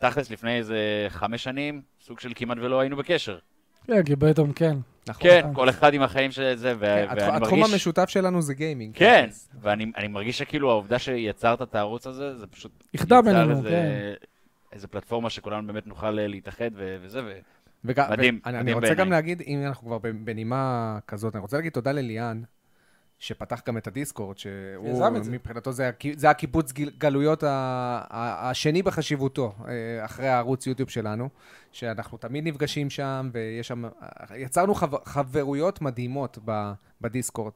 ותכלס לפני איזה חמש שנים, סוג של כמעט ולא היינו בקשר. כן, כי פתאום כן. נכון. כן, כל אחד עם החיים של זה, ו- כן, התח- ואני התחום מרגיש... המשותף שלנו זה גיימינג. כן, ואני אני מרגיש שכאילו העובדה שיצרת את הערוץ הזה, זה פשוט יחדה יצר בינינו, איזה- כן. איזה פלטפורמה שכולנו באמת נוכל אה, להתאחד ו- וזה, ו- וגם, מדהים, ואני, אני מדהים רוצה גם בעיניי. להגיד, אם אנחנו כבר בנימה כזאת, אני רוצה להגיד תודה לליאן, שפתח גם את הדיסקורד, שהוא, שיזם את זה. מבחינתו זה, הכי- זה הקיבוץ גיל- גלויות ה- ה- השני בחשיבותו, אה, אחרי הערוץ יוטיוב שלנו, שאנחנו תמיד נפגשים שם, ויש שם, יצרנו חב- חברויות מדהימות ב- בדיסקורד,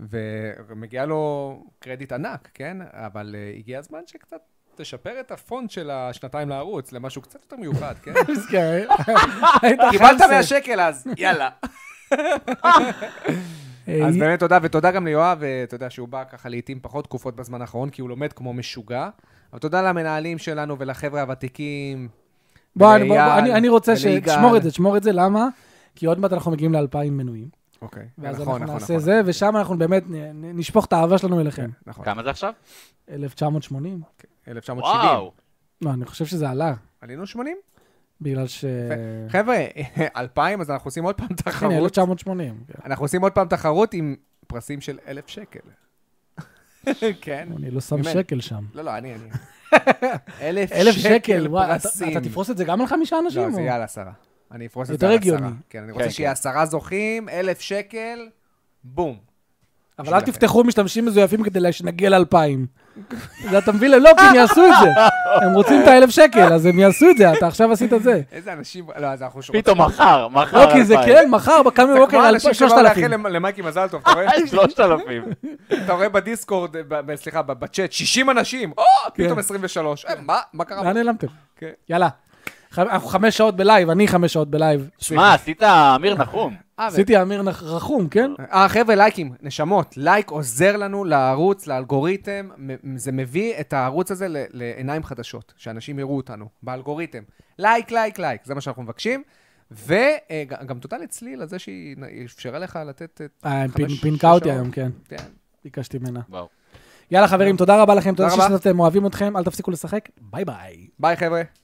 ומגיע לו קרדיט ענק, כן? אבל אה, הגיע הזמן שקצת... תשפר את הפונט של השנתיים לערוץ למשהו קצת יותר מיוחד, כן? מסכן. היית קיבלת חמסה. 100 שקל אז, יאללה. אה, אז באמת תודה, ותודה גם ליואב, אה, אתה יודע שהוא בא ככה לעיתים פחות תקופות בזמן האחרון, כי הוא לומד כמו משוגע. אבל תודה למנהלים שלנו ולחבר'ה הוותיקים. בוא, אני- בוא, בוא, לאייל, אני- אני רוצה ש... וליגאל. תשמור את זה, תשמור את זה, למה? כי עוד מעט אנחנו מגיעים לאלפיים מנויים. אוקיי, ואז נכון, אנחנו נכון, נעשה נכון. זה, ושם אנחנו באמת נ- נ- נשפוך את האהבה שלנו אליכם. נכון. אוקיי. כמה זה עכשיו? כן. 1980? 1970. וואו. לא, אני חושב שזה עלה, עלינו 80? בגלל ש... חבר'ה, 2000, אז אנחנו עושים עוד פעם כן. הנה, תחרות. 1980. אנחנו עושים עוד פעם תחרות עם פרסים של 1,000 שקל. כן. אני לא שם ממני. שקל שם. לא, לא, אני, אני. 1,000 אלף שקל שקל, וואי, אתה- פרסים. אתה תפרוס את זה גם על חמישה אנשים? לא, זה או? יהיה על עשרה. אני אפרוס את יותר זה על עשרה. הגיוני. כן, אני כן, רוצה כן. שיהיה עשרה זוכים, אלף שקל, בום. אבל אל שלכם. תפתחו משתמשים מזויפים כדי שנגיע לאלפיים. זה אתה מבין? לא, כי הם יעשו את זה. הם רוצים את האלף שקל, אז הם יעשו את זה, אתה עכשיו עשית את זה. איזה אנשים... לא, אז אנחנו שוב... פתאום מחר, מחר. לא, כי זה אלפיים. כן, מחר, קם זה בבוקר, כמו אנשים אלפיים, שלושת שבאו לאחל אלפים. למ- למייקי מזל טוב, אתה רואה? כן? שלושת אלפים. אתה רואה בדיסקורד, ב- ב- סליחה, ב- בצ'אט, 60 אנשים, או, פתאום כן. 23. אה, מה? מה קרה? לאן נעלמתם? כן. יאללה. ח- אנחנו חמש שעות בלייב, אני חמש שעות בלייב. מה, עשית אמיר נחום? עשיתי אמיר נח- רחום, כן? אה, חבר'ה, לייקים, נשמות. לייק עוזר לנו לערוץ, לאלגוריתם. מ- זה מביא את הערוץ הזה ל- לעיניים חדשות, שאנשים יראו אותנו, באלגוריתם. לייק, לייק, לייק, זה מה שאנחנו מבקשים. וגם תודה לצליל על זה שהיא היא אפשרה לך לתת את... אה, הם פין- חמש פינקה אותי שעות. היום, כן. כן. ביקשתי ממנה. וואו. יאללה, חברים, תודה רבה לכם, תודה תודה רבה. שהשתתפתם, אוהבים אתכם, אל תפסיקו לשחק, ביי ביי. ביי, חבר'ה.